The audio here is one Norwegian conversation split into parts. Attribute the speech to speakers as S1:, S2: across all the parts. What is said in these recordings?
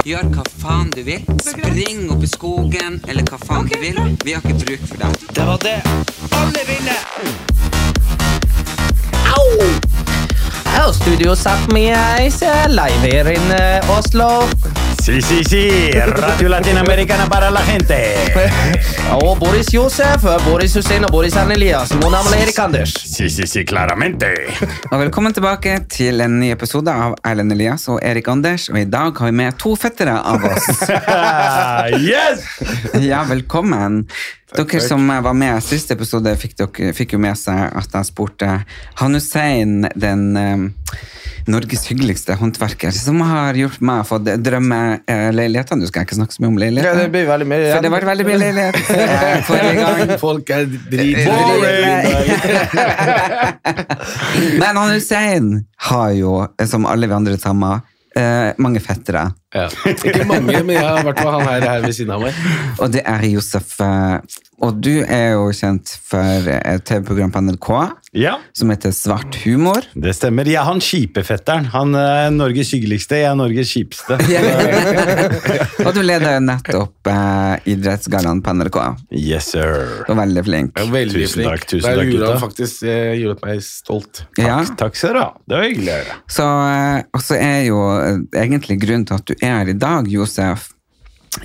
S1: Gjør hva faen du vil. Spring opp i skogen, eller hva faen du vil. Vi har ikke bruk for deg. Det var det alle ville!
S2: Au, studio Sápmi is eh, live her in eh, Oslo.
S3: Sí, sí, sí. Radio Latinoamericana para la gente.
S2: Og Boris Josef, eh, Boris Hussein og Boris Arne Elias. Mitt navn er Erik Anders.
S3: Sí, sí, sí, claramente.
S1: Og velkommen tilbake til en ny episode av Erlend Elias og Erik Anders. Og i dag har vi med to fettere av oss.
S3: yes!
S1: Ja, velkommen. Dere som eh, var med i siste episode, fikk, dere, fikk jo med seg at jeg spurte Han Hussein, den eh, Norges hyggeligste håndverker, som har hjulpet meg å få d- drømmeleiligheter. Nå skal jeg ikke snakke så mye om
S2: Ja,
S1: leiligheter.
S2: det blir veldig mye, ja.
S1: For det var veldig mye leilighet eh, forrige gang.
S4: Folk er drit...
S1: Men han Hussein har jo, som alle vi andre sammen, eh, mange fettere.
S4: Ja. Ikke mange, men jeg har vært med han her, her ved siden av meg.
S1: Og det er Josef. eh, Og du er jo kjent for et TV-program på NRK
S3: Ja,
S1: som heter Svart humor.
S3: det stemmer. Jeg er han kjipe fetteren. Han er Norges hyggeligste, jeg er Norges kjipeste.
S1: Og du leder nettopp eh, Idrettsgallaen på NRK.
S3: Yes, sir.
S1: Du er veldig flink.
S4: Veldig
S3: Tusen
S4: flink.
S3: takk, tusen
S4: Der
S3: takk,
S4: gjorde han
S3: gutta.
S4: faktisk eh, gjorde meg stolt.
S1: Ja,
S3: Takk skal du ha. Det var hyggelig å høre.
S1: så, eh, og så er jo eh, egentlig grunnen til at du er her i dag, Josef,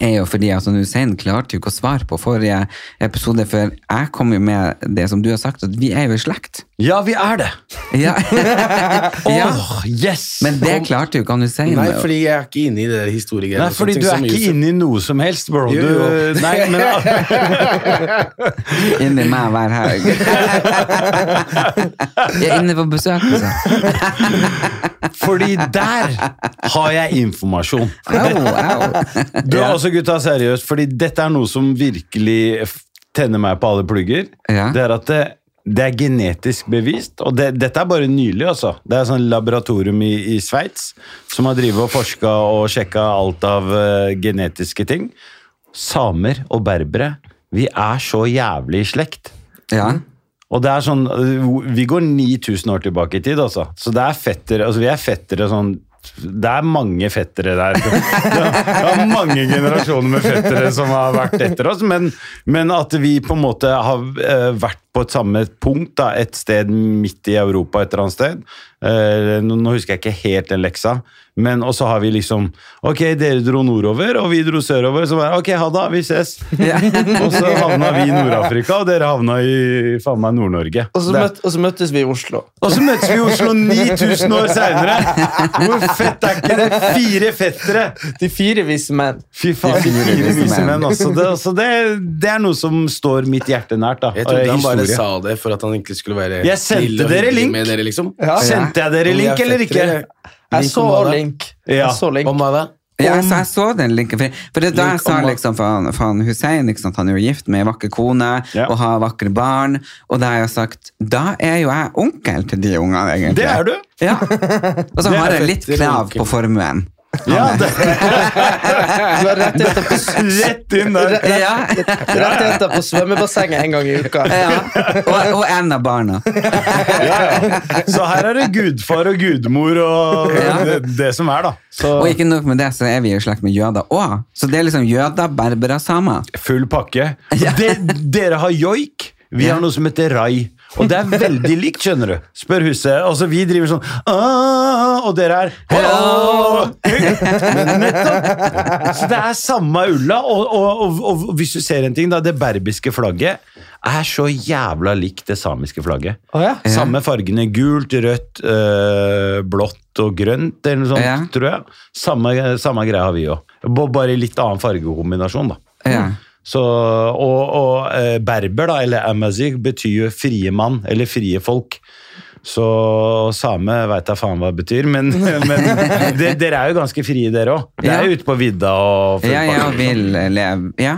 S1: er jo fordi at Hussein klarte jo ikke å svare på forrige episode, for jeg kom jo med det som du har sagt, at vi er jo i slekt.
S3: Ja, vi er det.
S1: Ja.
S3: Åh,
S1: ja.
S3: yes!
S1: Men det klarte jo ikke han Hussein.
S4: Nei, fordi jeg er ikke inne i det der historiegreiene.
S3: Nei, fordi du er ikke inne i noe som helst, bro.
S4: Jo, jo.
S3: Du, nei, men,
S1: Inni meg hver helg. Jeg er inne på besøk, altså.
S3: fordi der har jeg informasjon.
S1: Au, au.
S3: Du er også gutta seriøst, fordi dette er noe som virkelig f- tenner meg på alle plugger.
S1: Ja.
S3: Det er at det, det er genetisk bevist, og det, dette er bare nylig, altså. Det er sånn laboratorium i, i Sveits som har drivet og forska og sjekka alt av eh, genetiske ting. Samer og berbere, vi er så jævlig i slekt.
S1: Ja.
S3: Og det er sånn, øh, Vi går 9000 år tilbake i tid, altså. Så det er fettere, altså vi er fettere sånn det er mange fettere der. Det er mange generasjoner med fettere som har vært etter oss, men, men at vi på en måte har øh, vært på et samme punkt, da, et sted midt i Europa et eller annet sted. Eh, Nå nå husker jeg ikke helt den leksa, men og så har vi liksom Ok, dere dro nordover, og vi dro sørover, så bare Ok, ha det, vi ses. Og så havna vi i Nord-Afrika, og dere havna i faen meg Nord-Norge.
S2: Og så,
S3: Det-
S2: møt, og så møttes vi i Oslo.
S3: og så møtes vi i Oslo 9000 år seinere! Hvor fett er ikke det? Fire fettere!
S2: De fire vise menn.
S3: Fy faen,
S1: Fire
S3: fire
S1: vise
S3: vise
S1: menn.
S3: menn. Altså, det, altså det, det er noe som står mitt hjerte nært. da.
S4: Jeg trodde
S3: Eh,
S4: han bare
S3: historie.
S4: sa det for at han egentlig skulle være
S3: Jeg sendte
S4: snill og
S3: dere
S4: hyggelig
S3: link.
S4: med dere, liksom.
S3: Sendte jeg dere
S4: Om vi er
S3: link eller ikke?
S4: fettere.
S2: Jeg
S4: Link
S2: så
S4: om hva da?
S2: Link.
S3: Ja.
S2: Jeg så Link.
S4: Om hva da?
S1: Ja, så jeg så den linken. For, for det er da jeg sa liksom faen, faen Hussein, ikke sant? han er jo gift med ei vakker kone
S3: Ja.
S1: og har vakre barn. Og da har jeg sagt da er jo jeg onkel til de ungene, egentlig.
S3: Det er du!
S1: Ja. Og så
S3: Det
S1: har
S3: er
S1: jeg litt
S4: fetter
S1: krav
S4: onkel.
S1: på formuen.
S3: Ja, det,
S2: Du har rettigheter på,
S3: rett inn der.
S1: Ja.
S2: rettigheter på svømmebassenget en gang i uka.
S1: ja. Og, og en av barna.
S3: Ja, ja. Så her er det gudfar og gudmor og det, det som er, da. Så
S1: Og ikke nok med det, så er vi i slekt med jøder òg. Så det er liksom jøder, berbere, samer.
S3: full pakke. De, dere har joik, vi har noe som heter rai. Og det er veldig likt, skjønner du. Spør huset. Altså, vi driver sånn «Ah», Og dere er «Hello!» Nettopp. Så det er samme ulla. Og, og, og, og hvis du ser en ting, da. Det berbiske flagget er så jævla likt det samiske flagget.
S2: Å, ja.
S3: Samme fargene. Gult, rødt, øh, blått og grønt, eller noe sånt,
S1: Ja.
S3: tror jeg. Samme, samme greia har vi òg. Bare i litt annen fargekombinasjon, da.
S1: Ja.
S3: Så, og og eh, berber, da, eller amazigh, betyr jo frie mann, eller frie folk. Så same veit da faen hva det betyr, men, men de, dere er jo ganske frie, dere òg. Dere er
S1: Ja.
S3: jo ute på vidda og full
S1: Ja,
S3: pakke,
S1: ja,
S3: liksom.
S1: vil leve Ja.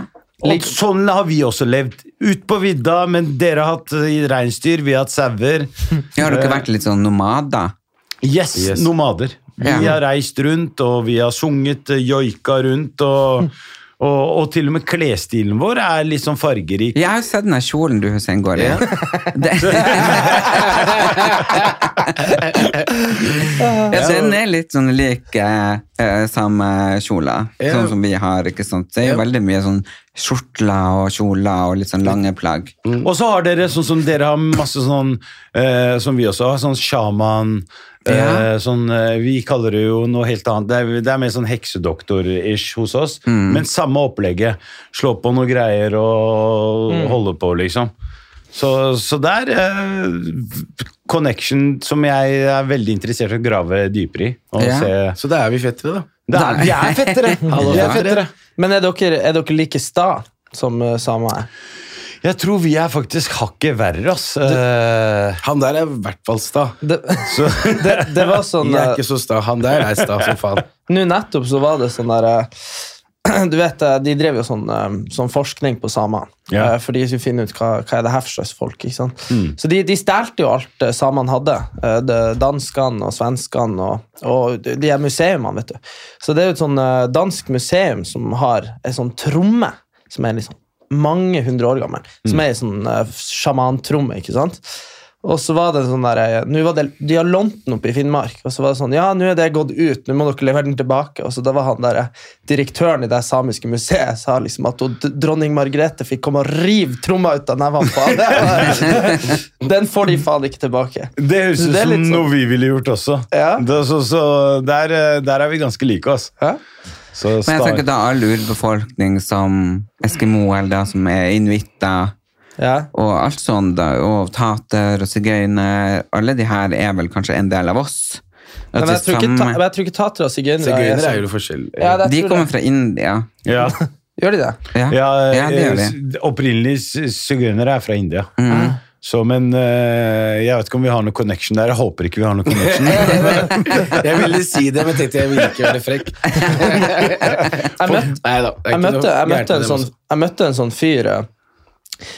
S3: Og sånn har vi også levd. Ut på vidda, men dere har hatt eh, reinsdyr, vi har hatt sauer.
S1: Ja, Har
S3: Eh,
S1: dere vært litt sånn nomader?
S3: Yes,
S4: Yes.
S3: nomader.
S1: Ja.
S3: Vi har reist rundt, og vi har sunget, eh, joika rundt, og, og, og til og med klesstilen vår er litt sånn fargerik.
S1: Jeg har jo sett den der kjolen du Hussein, går i. Det, ja, den er litt sånn lik eh, eh, samme kjola,
S4: Ja.
S1: sånn som vi har. ikke sant? Det er jo veldig mye sånn skjortler og kjoler og litt sånn lange plagg.
S2: Mm.
S3: Og så har dere sånn som dere har masse sånn eh, Som vi også har, sånn sjaman eh,
S1: Ja.
S3: sånn, eh, Vi kaller det jo noe helt annet. Det er, det er mer sånn heksedoktor-ish hos oss. Men samme opplegget. Slå på noe greier og holde på, liksom. Så, så det er eh, connection som jeg er veldig interessert i å grave dypere i. Og
S1: Ja.
S3: se.
S4: Så da er vi fettere, da.
S3: Det er, vi er fettere!
S4: Hallo,
S3: Vi er
S4: fettere.
S3: fettere.
S2: Men er dere, er dere like sta som eh, samer er?
S3: Jeg tror vi er faktisk hakket verre, ass. Eh,
S4: Han der er i hvert fall sta.
S2: Det,
S3: så,
S2: det, det var sånn
S4: Jeg er
S2: eh,
S4: ikke så sta. Han der er sta som faen.
S2: Nå nettopp så var det sånn der eh, Du vet, eh, de drev jo sånn, eh, sånn forskning på samene.
S3: Ja.
S2: Eh, For de skulle finne ut hva, hva er det her for slags folk. ikke sant? Så de, de stjelte jo alt eh, samene hadde. Eh, det- Danskene og svenskene og, og de de her museumene, vet du. Så det er jo et sånn eh, dansk museum som har ei sånn tromme som er liksom mange hundre år gammel. Som er ei sånn eh, sjamantromme, ikke sant. Og så var det sånn der, eh, nå var det, De har lånt den opp i Finnmark, og så var det sånn Ja, nå er det gått ut, nå må dere levere den tilbake. Og så da var han der, eh, Direktøren i det samiske museet sa liksom at hun, d- dronning Margrethe fikk komme og rive tromma ut av nevene på ham. Den får de faen ikke tilbake.
S3: Det høres
S2: Så
S3: ut
S2: det er
S3: som
S2: litt sånn-
S3: noe vi ville gjort også.
S2: Ja.
S3: Det, så, så der, eh, der er vi ganske like, altså.
S2: Hæ?
S3: Så
S1: Men jeg
S3: sta-
S1: tenker da all urbefolkning som Eskimo eller da, som er inuitter
S2: Ja.
S1: og alt sånt, da, og tater og sigøyner Alle de her er vel kanskje en del av oss? At
S2: Men jeg
S1: det
S2: tror ikke,
S1: samme-
S2: ta, men jeg tror ikke tatere og sigøynere
S4: Sigøynere er
S2: sånn.
S4: jo forskjellige.
S2: Ja, det- jeg
S1: De
S2: tror
S1: kommer fra India.
S3: ja.
S2: Gjør de det?
S1: Ja,
S3: Ja,
S1: Ja, det gjør
S3: eh,
S1: de.
S3: s- Opprinnelig s- sigøynere er fra India. Så, men eh, jeg vet ikke om vi har noen connection der. Jeg håper ikke vi har noen connection.
S4: Jeg ville si det, men tenkte jeg ville ikke være frekk.
S2: Jeg møtte
S4: Neida, det er
S2: jeg
S4: ikke
S2: møtte,
S4: noe
S2: jeg, møtte
S4: gærent med
S2: en
S4: dem altså.
S2: sånn,
S4: også.
S2: jeg møtte en sånn fyr eh,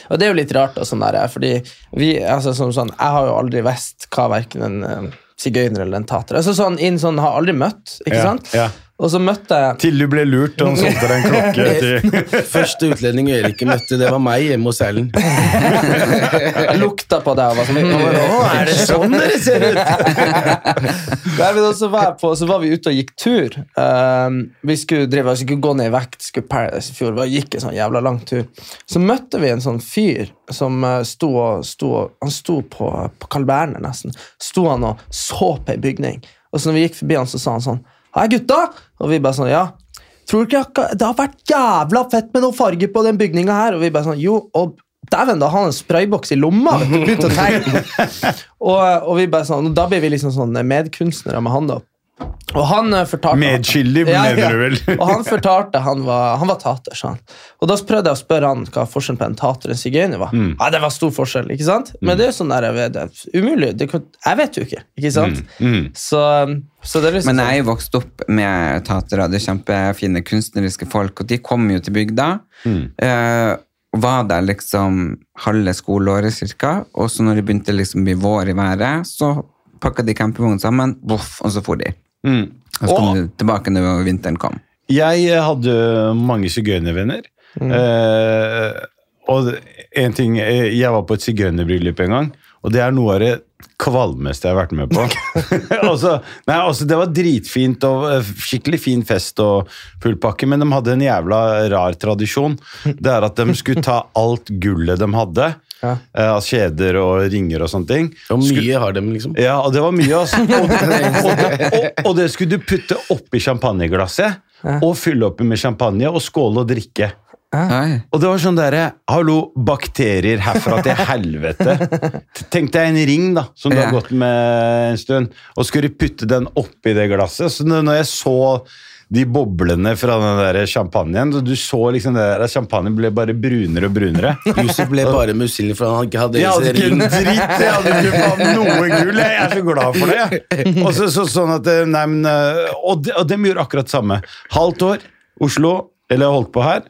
S2: Og det er jo litt rart, da, sånn der, eh, fordi vi, altså, sånn, sånn, jeg har jo aldri visst hva verken en eh, sigøyner eller en tater altså, sånn, inn, sånn, Har aldri møtt, ikke
S3: Ja,
S2: sant?
S3: ja.
S2: Og så møtte jeg
S3: Til du ble lurt og han solgte deg en klokke. Til.
S4: Første utlending Erik møtte, det var meg hjemme hos Erlend.
S2: jeg lukta på det og var sånn «Å, er det sånn?»
S4: dere ser ut?
S2: Nei, men også var jeg på, Så var vi ute og gikk tur. Ehm, vi skulle, drive, vi skulle gå ned i vekt, skulle Paradise i fjor. Vi gikk en sånn jævla lang tur. Så møtte vi en sånn fyr som eh, sto, og- sto, og- han sto på, på Carl Berner, nesten. Sto han og så på ei bygning. Og så når vi gikk forbi han, så sa han sånn Hei, gutta! Og vi bare sånn Ja. Tror du ikke det har vært jævla fett med noe farge på den bygninga her? Og vi bare sånn Jo, og dæven, da har han en sprayboks i lomma! vet du, Begynte å tenke. Og, og vi bare sånn, da blir vi liksom sånn medkunstnere med han da. Og han eh, fortalte...
S3: Medskyldig, mener du vel?
S2: og han fortalte han var, han var tater, sa han. Og da prøvde jeg å spørre han hva forskjellen på en tater og en sigøyner var.
S3: Mm.
S2: Ja, det var stor forskjell, ikke sant? Men det er jo sånn der, jeg vet, det er umulig. Det, kan- jeg vet jo ikke, ikke sant?
S3: Mm,
S2: Så, så det er liksom
S1: Men
S2: sånn...
S1: jeg er jo vokst opp med tatere, det er kjempefine kunstneriske folk, og de kom jo til bygda.
S3: Mm.
S1: eh, og var der liksom halve skoleåret cirka, og så når det begynte liksom å bli vår i været, så pakka de campingvognen sammen, voff, og så for de.
S3: Mm.
S1: Og så kom de tilbake når vinteren kom.
S3: Jeg eh, hadde mange sigøynervenner. Eh, og en ting, eh, jeg var på et sigøynerbryllup en gang, og det er noe av det kvalmeste jeg har vært med på. altså, nei, altså, det var dritfint og eh, skikkelig fin fest og full pakke, men de hadde en jævla rar tradisjon. Det er at de skulle ta alt gullet de hadde,
S2: Ja.
S3: eh, av kjeder og ringer og sånne ting.
S4: Og
S3: skulle-
S4: mye har dem, liksom.
S3: ja, og det var mye, altså. Og, og, og, og det skulle du putte oppi champagneglasset, og fylle oppi med champagne, og skåle og drikke.
S1: Oi.
S3: Og det var sånn derre Hallo, bakterier herfra til helvete. T- Tenk deg en ring da, som du har
S1: Ja.
S3: gått med en stund, og skulle putte den oppi det glasset. Så når når jeg så de boblene fra den der champagnen. Så du så liksom det der, champagnen ble bare brunere og brunere.
S4: Huset ble bare muslinger, for han ikke hadde
S3: Jeg hadde ikke en
S4: ring.
S3: dritt! Jeg hadde ikke faen noe gull! Jeg er så glad for det! jeg. Og så, så, sånn at, eh, nei, men, eh, og, de, og dem gjorde akkurat det samme. Halvt år, Oslo, eller holdt på her.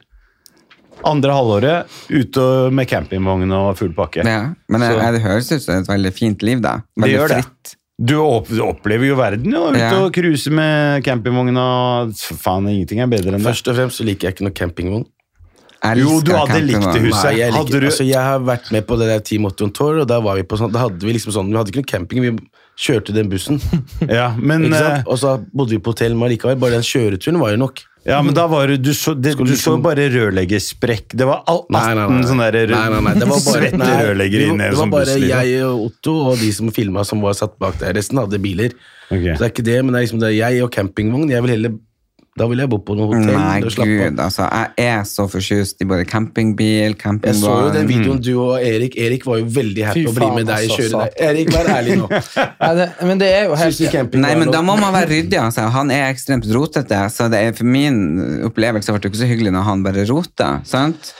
S3: Andre halvåret, ute med campingvogn og full pakke.
S1: Ja, men jeg,
S3: Så-
S1: jeg, det høres ut som et veldig fint liv, da. Veldig
S3: gjør det.
S1: fritt.
S3: Du opp, opplever jo verden, jo. Ute
S1: Ja.
S3: og cruise med campingvogna. Faen, ingenting er bedre enn det.
S4: Først og fremst så liker jeg ikke noe campingvogn.
S1: Jeg
S3: Jo,
S1: elsker
S3: du hadde likt det
S1: campingvogn.
S3: huset.
S4: Nei, jeg,
S3: Hadde
S4: liker,
S3: du-
S4: altså, jeg har vært med på det der Team 80 on Tour, og da var vi på sånn, da hadde vi liksom sånn, vi hadde ikke noe camping, vi kjørte den bussen,
S3: Ja, men,
S4: ikke sant?
S3: eh,
S4: Og så bodde vi på hotell, men likevel, bare den kjøreturen var jo nok.
S3: ja, men da var du Du så, det, du så
S4: liksom-
S3: bare rørleggersprekk. Det var all- 18
S4: Nei, nei, nei.
S3: sånne sånn der,
S4: Nei, nei, nei, det var bare-
S3: svette
S4: nei,
S3: rørleggere
S4: det var-
S3: inne i en
S4: Det var
S3: sånn
S4: bare
S3: buss. liksom.
S4: jeg og Otto og de som filma som var satt bak der. Resten hadde biler.
S3: Ok.
S4: Så det er ikke det, men det er liksom det er jeg og campingvogn. Jeg vil heller, da vil jeg bo på noe hotell.
S1: Nei,
S4: og slappe av.
S1: gud, altså. Jeg er så fortjust i både campingbil,
S4: Jeg så jo den
S1: campingvogn
S4: videoen du og Erik. Erik var jo veldig happy
S2: Fy
S4: å bli
S2: faen,
S4: med deg og
S2: altså,
S4: kjøre
S2: satan.
S4: deg. Erik, vær ærlig nå.
S2: Nei, sånn. det, men det er jo
S4: Synes
S2: helt
S4: du camping
S1: Nei,
S4: var
S1: men
S4: lov?
S1: da må man være ryddig. Altså. Han er ekstremt rotete, så det er, for min opplevelse ble det ikke så hyggelig når han bare rota. sant?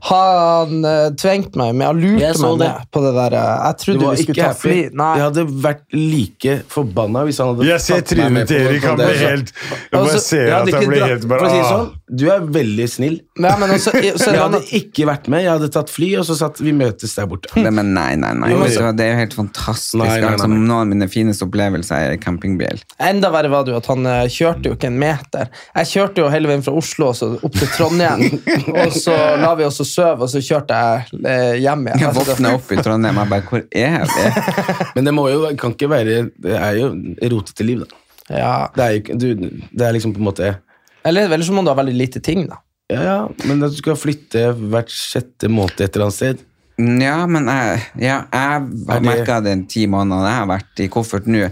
S2: Han uh, tvingte meg, men han lurte
S4: Jeg så
S2: meg
S4: det.
S2: ned på det der. eh, Jeg
S4: Du
S2: trodde
S4: var
S2: vi skulle
S4: ikke
S2: ta
S4: happy.
S2: fly. Nei.
S4: Jeg hadde vært like forbanna hvis han hadde
S3: Jeg ser
S4: tatt meg med
S3: trynet til
S4: på noe
S3: Erik.
S4: sånt
S3: Han
S4: der,
S3: blir
S4: så-
S3: helt Jeg bare
S4: Altså,
S3: ser
S4: hadde
S3: at han
S4: ikke
S3: blir
S4: dratt-
S3: helt
S4: for
S3: bare
S4: å si det
S3: ah.
S4: sånn, Du er veldig snill.
S2: Nei, men også, så,
S4: Jeg
S2: er
S4: hadde
S2: det-
S4: ikke vært med. Jeg hadde tatt fly, og så satt vi møtes der borte.
S1: Nei, men nei, nei, nei.
S4: Hm. Jo, jo.
S1: Vet du hva, det er jo helt fantastisk.
S4: Nei, nei, nei,
S1: Altså,
S4: nei.
S1: noen av mine fineste opplevelser er i campingbil.
S2: Enda verre var det jo at han eh, kjørte jo ikke en meter. Jeg kjørte jo hele veien fra Oslo og så opp til Trondheim, og så la vi oss og sove, og så kjørte jeg eh, hjem igjen.
S1: Jeg våkna opp i Trondheim og bare Hvor er vi?
S4: Men det må jo, kan ikke være Det er jo rotete liv, da.
S2: Ja.
S4: Det er, jo, ikke- du, det er liksom på en måte
S2: Eller, eller så må du ha veldig lite ting, da.
S4: Ja, ja, men at du skal flytte hvert sjette måned et eller annet sted
S1: Ja, men jeg, ja, jeg har
S4: det-
S1: merka den ti månedene jeg har vært i koffert nå.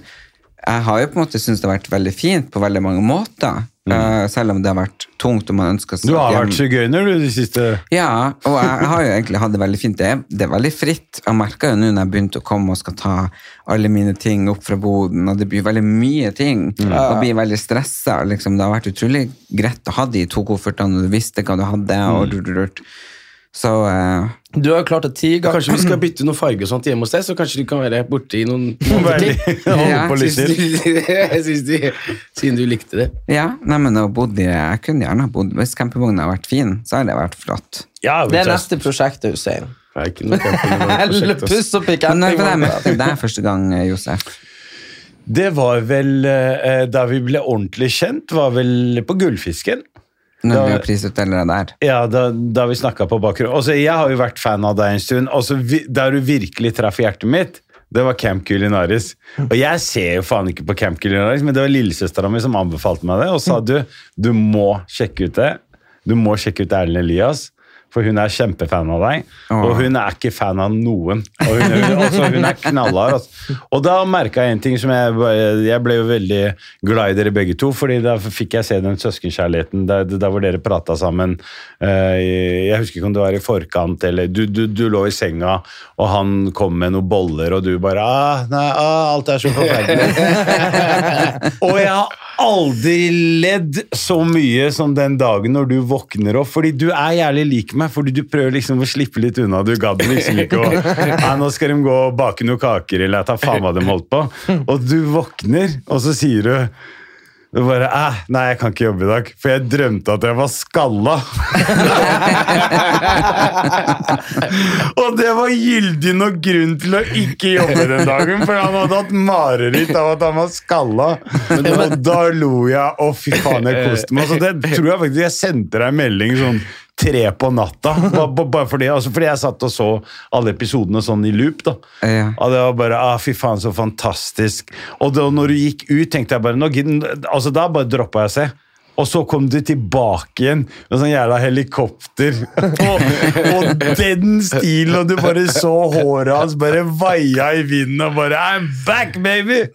S1: Jeg har jo på en måte syntes det har vært veldig fint på veldig mange måter.
S4: Mm.
S1: eh, selv om det har vært tungt og man ønsker seg
S3: Du har
S1: hjem.
S3: vært sigøyner, du, de siste
S1: Ja, og jeg har jo egentlig hatt det veldig fint. Det er, det er veldig fritt. Jeg merker jo nå når jeg begynte å komme og skal ta alle mine ting opp fra boden, og det blir veldig mye ting, og blir veldig stressa. Liksom. Det har vært utrolig greit å ha de to koffertene, og du visste hva du hadde. og rurt, rurt. Så eh,
S2: Du har jo klart det ti ganger.
S4: Kanskje vi skal bytte noen farger og sånt hjemme hos deg, så kanskje du kan være borte i noen
S3: Veldig- Holder
S1: Ja,
S3: på litt
S4: Syns
S3: til.
S4: du- Jeg syns du Siden du likte det.
S1: ja, nei, men å bodde, i- jeg kunne gjerne ha bodd Hvis campingvogna hadde vært fin, så hadde det vært flott.
S3: Ja,
S2: Det er neste prosjektet, Hussein.
S4: Det er ikke noe
S2: Eller
S4: campingvogn.
S2: puss opp i
S1: Men når var det jeg
S2: campingvogna.
S1: møtte deg første gang, Josef?
S3: Det var vel eh, Da vi ble ordentlig kjent, var vel på Gullfisken.
S1: Når
S3: Da-
S1: vi var prisutdelere der?
S3: Ja, da, da vi snakka på bakgrunn. Altså, jeg har jo vært fan av deg en stund. Altså, vi, der du virkelig traff hjertet mitt, det var Camp Culinaris. Og jeg ser jo faen ikke på Camp Culinaris, men det var lillesøstera mi som anbefalte meg det, og sa du, du må sjekke ut det. Du må sjekke ut Erlend Elias. For hun er kjempefan av deg, og
S1: Åh.
S3: hun er ikke fan av noen. Og hun, er- altså, hun er knallhard. Altså. Og da merka jeg en ting som jeg bare- Jeg ble jo veldig glad i dere begge to, fordi da fikk jeg se den søskenkjærligheten der, der hvor dere prata sammen. eh, i- Jeg husker ikke om det var i forkant, eller du, du, du lå i senga, og han kom med noen boller, og du bare ah, nei, ah, Alt er så forferdelig. og jeg har aldri ledd så mye som den dagen når du våkner opp, fordi du er jævlig lik meg, fordi du prøver liksom å slippe litt unna. Du gadd liksom ikke å Nei, nå skal de gå og bake noen kaker, eller jeg tar faen hva de holdt på. Og du våkner, og så sier du du bare eh, Nei, jeg kan ikke jobbe i dag, for jeg drømte at jeg var skalla. og det var gyldig nok grunn til å ikke jobbe den dagen, for han hadde hatt mareritt av at han var skalla. Og da lo jeg, og fy faen, jeg koste meg. Så det tror jeg faktisk jeg sendte deg en melding sånn tre på natta, bare, bare fordi, altså fordi jeg satt og så alle episodene sånn i loop. da.
S1: Ja.
S3: Og det var bare ah, Fy faen, så fantastisk. Og da når du gikk ut, tenkte jeg bare nå, gidder- altså Da bare droppa jeg å se. Og så kom du tilbake igjen med sånn jævla helikopter. Og, og den stilen, og du bare så håret hans bare vaia i vinden og bare I'm back, baby!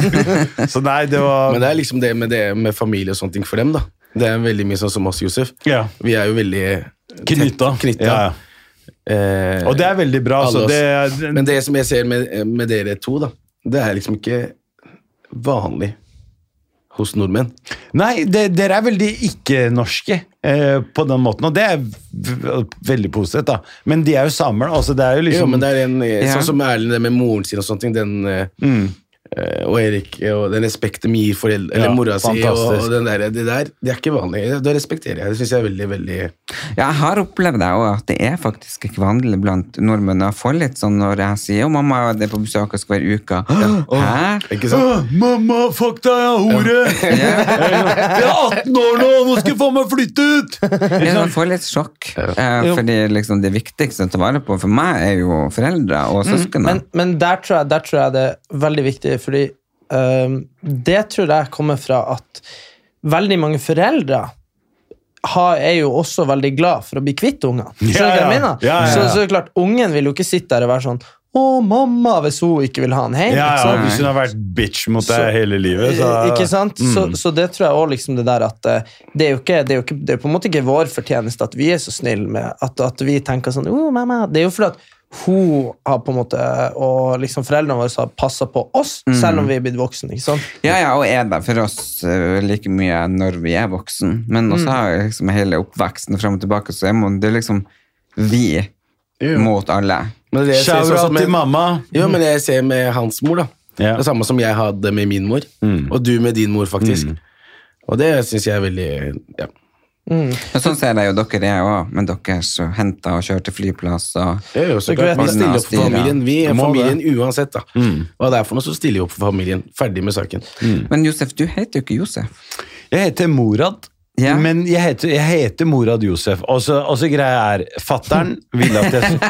S3: Så nei, det var
S4: Men det er liksom det med, det med familie og sånne ting for dem, da. Det er veldig mye sånn som oss, Josef.
S3: Ja.
S4: Vi er jo veldig
S3: Knytta.
S4: tett knytta.
S3: Ja, ja.
S4: Eh,
S3: Og det er veldig bra.
S4: alle
S3: Så
S4: oss.
S3: det, er-
S4: Men det som jeg ser med, med dere to, da, det er liksom ikke vanlig. hos nordmenn?
S3: Nei, de, dere er veldig ikke-norske eh, på den måten, og det er v- veldig positivt, da. Men de er jo samer, altså. Det er jo
S4: Jo,
S3: liksom
S4: men det er en, eh,
S1: Ja.
S4: Sånn som Erlend, det med moren sin og sånne ting, den, eh,
S3: Mm.
S4: eh, og Erik, eh, og den respekten vi gir foreldre,
S3: Ja,
S4: eller mora si, og,
S3: fantastisk.
S4: og den der, det der, det er ikke vanlig. Det, det respekterer jeg. Det syns jeg er veldig, veldig
S1: Ja, jeg har opplevd det, og at det er faktisk ikke vanlig blant nordmenn. Jeg får litt sånn når jeg sier 'Å, mamma, det er på besøk hos hver uke'. Hæ?
S4: Ikke sant?
S3: «Åh, Mamma, fuck deg, jeg er hore! Jeg er 18 år nå, nå skal jeg faen meg flytte ut!
S1: Ja, man får litt sjokk. Eh, Fordi liksom, det viktigste å ta vare på for meg er jo foreldre og søsken.
S2: Men, men der, tror jeg, der tror jeg det er veldig viktig, fordi øhm, det tror jeg kommer fra at veldig mange foreldre har, er jo også veldig glad for å bli kvitt ungene. Skjønner du hva jeg
S3: Ja, ja.
S2: mener?
S3: Ja, ja, ja.
S2: Så, så er det klart, ungen vil jo ikke sitte der og være sånn Å, mamma, hvis hun ikke vil ha han hjem.
S3: Ja,
S2: ikke
S3: ja,
S2: sant?
S3: Hvis hun har vært bitch mot deg
S2: Så-
S3: hele livet, så Mm.
S2: Eh, Ikke sant? Så, så det tror jeg også liksom det der at eh, det er jo ikke, det er jo ikke, det er på en måte ikke vår fortjeneste at vi er så snille med at, at vi tenker sånn oh, mamma. Det er jo fordi at hun har på en måte, og liksom foreldrene våre har passa på oss,
S3: Mm.
S2: selv om vi er blitt voksne. ikke sant?
S1: Ja, ja, og er der for oss eh, like mye når vi er voksen. Men også har jeg liksom hele oppveksten fram og tilbake, så jeg må, det er liksom vi mot alle.
S4: Men det jeg ser sånn som
S3: Shout-out
S4: en-
S3: til mamma!
S4: Ja, men jeg ser med hans mor, da.
S3: Ja. Mm.
S4: Det samme som jeg hadde med min mor. Og du med din mor, faktisk. Og det syns jeg er veldig ja.
S1: Og sånn ser jeg jo dere er òg, men dere så henter og kjører til flyplass og
S4: Det er jo så
S2: Dere vet
S4: klart, Vi
S1: det.
S4: stiller opp for familien, vi er
S3: Må Mm.
S4: familien uansett. da. Hva det er for noe, så stiller vi opp for familien. Ferdig med saken.
S1: Men Josef, du heter jo ikke Josef.
S3: Jeg heter Morad,
S1: Ja.
S3: men jeg heter, jeg heter Morad Josef. Og så og så greia er Fattern ville at jeg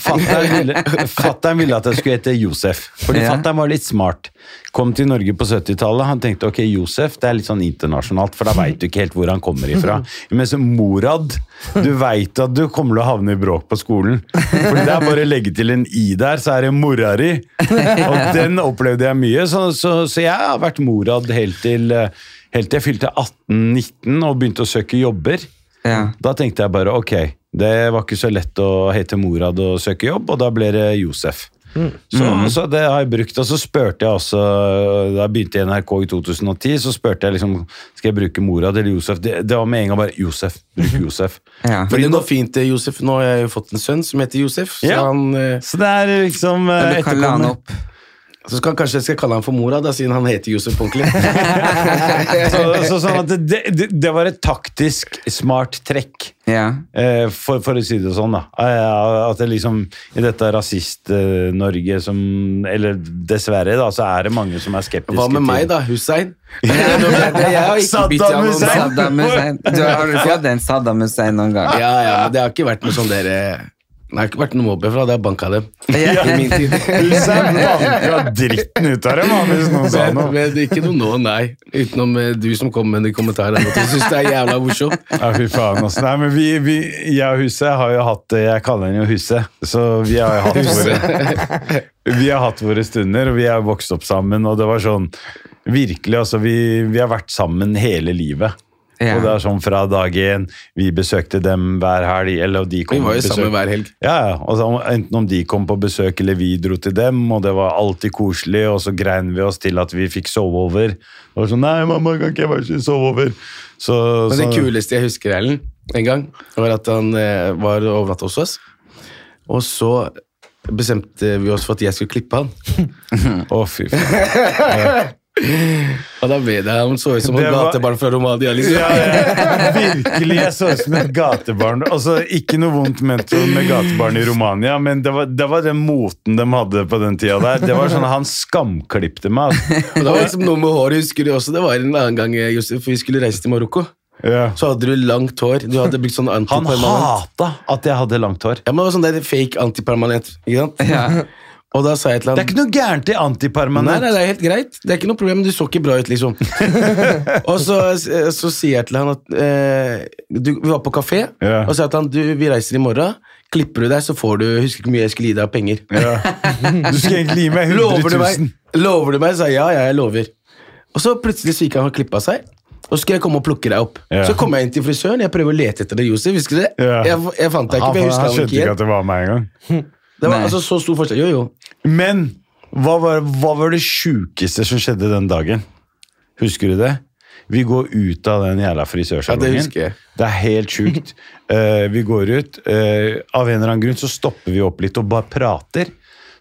S3: Fattern ville, fatteren ville at jeg skulle hete Josef. Fordi
S1: Ja.
S3: fattern var litt smart. Kom til Norge på 70-tallet. Han tenkte ok, Josef det er litt sånn internasjonalt, for da veit du ikke helt hvor han kommer ifra. Mens Morad Du veit at du kommer til å havne i bråk på skolen. Fordi det er bare å legge til en i der, så er det mora di. Og den opplevde jeg mye, så, så, så jeg har vært Morad helt til eh, Helt til jeg fylte 18-19 og begynte å søke jobber.
S1: Ja.
S3: Da tenkte jeg bare ok, det var ikke så lett å hete Morad og søke jobb, og da ble det Josef. Så, så det har jeg brukt, og så spurte jeg også Da jeg begynte i NRK i 2010, så spurte jeg liksom Skal jeg bruke Morad eller Josef. Det, det var med en gang bare Josef. Bruk Josef.
S1: Ja.
S4: Men det går fint, eh, Josef. Nå har jeg jo fått en sønn som heter Josef. Så,
S3: Ja.
S4: han, eh,
S3: Så det er liksom eh,
S1: Men du kaller han
S3: etterkommer.
S1: opp
S4: så skal han kanskje jeg skal kalle han for mora, da, siden han heter Josef på ordentlig.
S3: Så, så sånn at det, det, det var et taktisk smart trekk.
S1: Ja.
S3: Eh, For, for å si det sånn, da. Eh, At det liksom I dette rasist-Norge som Eller dessverre, da, så er det mange som er skeptiske
S4: Hva med meg,
S3: til
S4: da? Hussein? Nei, nå ble det- Jeg har ikke
S3: Saddam
S4: bitt av noen.
S3: Hussein.
S1: Saddam Hussein. Du har du fått en Saddam Hussein noen gang?
S4: Ja, ja, men det har ikke vært noe sånn dere Det har ikke vært noe mobbe, for da hadde jeg banka dem. I min tid.
S3: Hussein banka dritten ut av dem, han, hvis noen sa
S4: Men,
S3: noe.
S4: men ikke noe nå, nei. Utenom eh, du som kom med de kommentarene. Jeg syns det er jævla morsomt.
S3: Ja, fy faen, altså. Nei, men vi, vi, jeg og Huset har jo hatt det Jeg kaller den jo Huset, så vi har jo hatt våre Vi har hatt våre stunder, og vi har vokst opp sammen, og det var sånn Virkelig, altså. Vi, vi har vært sammen hele livet.
S1: Ja.
S3: Og det er sånn fra dag én Vi besøkte dem hver helg. Eller de kom
S4: Vi
S3: på
S4: var jo
S3: besøk.
S4: sammen hver helg.
S3: Ja, ja. Og så, enten om de kom på besøk eller vi dro til dem, og det var alltid koselig, og så grein vi oss til at vi fikk sove over. Det var sånn Nei, mamma, kan ikke jeg bare ikke sove over? Så, så
S4: Men det kuleste jeg husker, Erlend, en gang, var at han eh, var og overnatta hos oss. Og så bestemte vi oss for at jeg skulle klippe han.
S3: Å, fy faen.
S4: Og da ble det, Han så ut som et
S3: Det var-
S4: gatebarn fra Romania. Liksom.
S3: Ja, ja. Virkelig, jeg så ut som et gatebarn. Altså, Ikke noe vondt ment om med gatebarn i Romania, men det var, det var den moten de hadde på den tida der. Det var sånn, Han skamklipte meg. Altså.
S4: Og det var liksom noe med håret, husker du også. Det var en annen gang, eh, Josef, vi skulle reise til Marokko.
S3: Ja.
S4: Så hadde du langt hår. Du hadde brukt sånn
S3: Han
S4: antipermanent.
S3: hata at jeg hadde langt hår.
S4: Ja, men det var sånn der fake antipermanent. ikke sant?
S1: Ja.
S4: Og da sa jeg til han
S3: Det er ikke noe gærent i
S4: Nei,
S3: antipermanent.
S4: nei, det er helt greit. Det er ikke noe problem. Du så ikke bra ut, liksom. og så, så sier jeg til han at eh, du, Vi var på kafé,
S3: Ja.
S4: og sa til han du, vi reiser i morgen. Klipper du deg, så får du Husker ikke hvor mye jeg skulle gi deg av penger.
S3: Ja. Du skal egentlig gi meg 100
S4: Lover du meg?
S3: 000.
S4: Lover du meg? Sa jeg, ja, ja, jeg lover. Og så plutselig så gikk han og klippa seg. Og så skal jeg komme og plukke deg opp.
S3: Ja.
S4: Så kommer jeg inn til frisøren, jeg prøver å lete etter deg, Josef. Husker du det?
S3: Ja.
S4: Jeg, jeg fant deg ikke,
S3: Han,
S4: men
S3: han
S4: jeg husker han
S3: skjønte
S4: ikke
S3: ikke
S4: igjen.
S3: at det var meg engang.
S4: Det var
S1: Nei.
S4: altså så stor forskjell. Jo, jo.
S3: Men hva var, hva var det sjukeste som skjedde den dagen? Husker du det? Vi går ut av den jævla frisørsalongen.
S4: Ja, det husker jeg.
S3: Det er helt sjukt. Eh, vi går ut. eh, av en eller annen grunn så stopper vi opp litt og bare prater.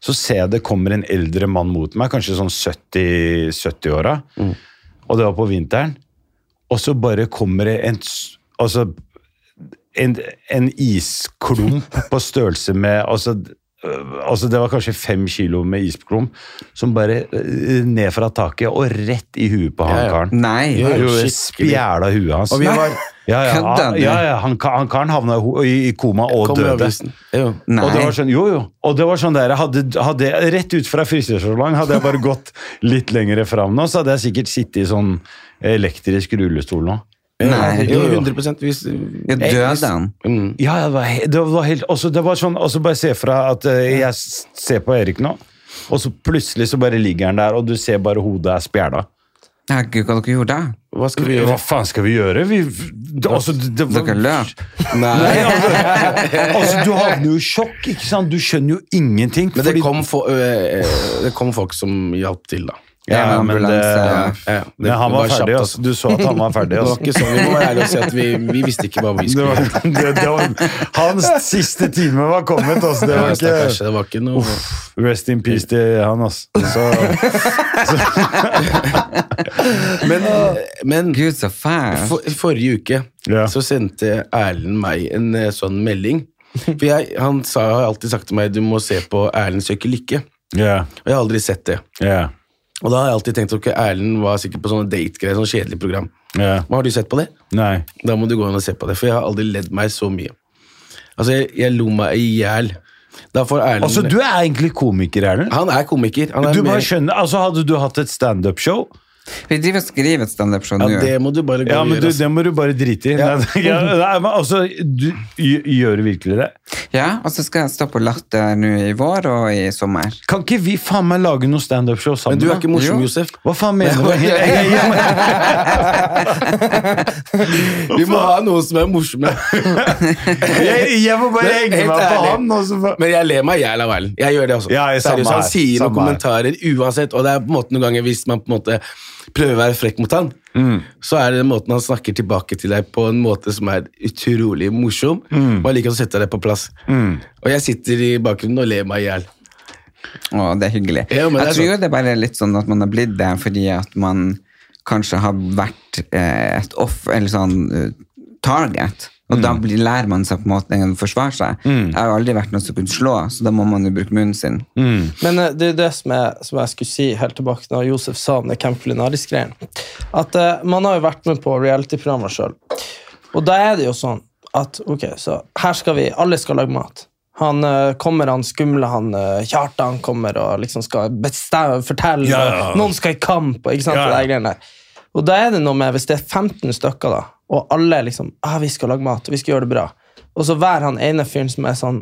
S3: Så ser jeg det kommer en eldre mann mot meg, kanskje sånn 70 70-åra.
S4: Mm.
S3: Og det var på vinteren. Og så bare kommer det en s- Altså en, en isklump på størrelse med altså, øh, altså det var kanskje fem kilo med isklump som bare øh, ned fra taket og rett i huet på
S4: Ja,
S3: han
S4: ja.
S3: karen.
S1: Nei.
S3: Jo, jo,
S4: Skikkelig.
S3: Spjæla huet hans.
S4: Og vi var-
S3: ja, ja,
S1: Kødda
S3: han-
S1: du?
S3: ja, ja, han, ka- han karen havna i ho- i, i koma og
S4: Kom i
S3: døde.
S4: avisen. Jo.
S1: Nei.
S3: Og det var sånn, jo, jo. Og det var sånn der, hadde, hadde jeg- Rett ut fra frisørsalongen hadde jeg bare gått litt lenger fram nå, så hadde jeg sikkert sittet i sånn elektrisk rullestol nå.
S1: Nei.
S4: Jo, 100 hvis
S1: Ja, døde han?
S4: Mm.
S3: Ja, ja, det var, he- det var helt også, det var sånn, også bare se fra at eh, jeg s- ser på Erik nå, og så plutselig så bare ligger han der, og du ser bare hodet er spjæla.
S1: Ja, gud, hva dere gjorde da?
S4: Hva skal vi
S3: Hva
S4: gjøre?
S3: faen skal vi gjøre? Vi, det, altså, det, det, var-
S1: Dere løp?
S3: Nei,
S4: Nei.
S3: altså, altså, du havner jo i sjokk, ikke sant? Du skjønner jo ingenting.
S4: Men det
S3: fordi-
S4: kom, fo- øh, øh, det kom folk som hjalp til, da.
S3: ja,
S1: Ja,
S3: men,
S1: ambulanse, ja.
S3: det,
S4: Ja, ja.
S3: men han var ferdig, altså. Du så at han var ferdig,
S4: Det var
S3: altså.
S4: ikke sånn, Vi må være ærlige og si at vi, vi visste ikke hva vi
S3: Det
S4: skulle
S3: var,
S4: gjøre.
S3: det, det var, hans siste time var kommet, altså. Det var
S4: Ja, stakkars,
S3: ikke
S4: det var ikke noe
S3: Rest in peace til han, altså. Så...
S4: Men, men
S1: Gud, så fælt.
S4: for, forrige uke
S3: Ja.
S4: så sendte Erlend meg en eh, sånn melding. For jeg, Han sa, har alltid sagt til meg du må se på Erlend søker lykke.
S3: Ja,
S4: Og jeg har aldri sett det.
S3: ja,
S4: Og da har jeg alltid tenkt ok, Erlend var sikkert på sånne dategreier, sånn kjedelig program.
S3: ja.
S4: Men har du sett på det?
S3: Nei.
S4: Da må du gå inn og se på det, for jeg har aldri ledd meg så mye. Altså, jeg, jeg lo meg i hjel. Da får Erlend
S3: Altså, du er egentlig komiker, Erlend.
S4: Han er komiker. Han er
S3: Du bare
S4: mer-
S3: skjønner, altså Hadde du hatt et standup-show
S1: Vi driver og skriver et standup-show
S4: ja,
S1: nå.
S4: det må du bare gå
S3: Ja,
S4: og
S3: men du,
S4: gjøre. altså. ass.
S3: det må du bare drite i. Nei, ja, nei, men altså, du gj- gjør du virkelig det?
S1: Ja, og så skal jeg stå på Latter nå i vår og i sommer.
S3: Kan ikke vi faen meg lage noe standup-show
S4: Men
S3: sammen?
S4: du er ikke morsom,
S1: Jo.
S4: Josef.
S3: Hva faen mener du? Jeg, jeg, jeg,
S4: Vi må ha noen som er morsomme.
S3: jeg, jeg må bare
S4: Men
S3: henge
S4: helt
S3: meg på
S4: ærlig.
S3: han. Og så bare-
S4: Men jeg ler meg i hjel av Erlend. Jeg gjør det også.
S3: Ja, jeg- samme
S4: Seriøst,
S3: her,
S4: han sier
S3: samme
S4: noen kommentarer uansett, og det er på en måte noen ganger hvis man på en måte prøver å være frekk mot han,
S3: Mm.
S4: så er det den måten han snakker tilbake til deg på en måte som er utrolig morsom,
S3: Mm.
S4: og jeg liker å sette deg på plass. Og jeg sitter i bakgrunnen og ler meg i hjel.
S1: Å, det er hyggelig.
S4: Ja, men det
S1: jeg
S4: er
S1: tror jo
S4: sant.
S1: det er bare litt sånn at man har blitt det fordi at man kanskje har vært eh, et off, eller sånn eh, target. Og da
S4: Mm.
S1: blir, lærer man seg på en måte å forsvare seg. Jeg har jo aldri vært noen som kunne slå, så da må man jo bruke munnen sin.
S4: Mm.
S2: Men eh, det er det som jeg, som jeg skulle si helt tilbake da Josef sa om det Camp Culinaris-greien. At eh, man har jo vært med på reality-programmer sjøl. Og da er det jo sånn at ok, så her skal vi, alle skal lage mat. Han eh, kommer, han skumle, han eh, Kjartan kommer og liksom skal bestemme, fortelle.
S3: Ja, ja, ja.
S2: og Noen skal i kamp og ikke sant,
S3: Ja, ja.
S2: det der greiene der. Og da er det noe med, hvis det er 15 stykker da, og alle liksom, ah, vi skal lage mat, vi skal gjøre det bra. Og så hver han ene fyren som er sånn,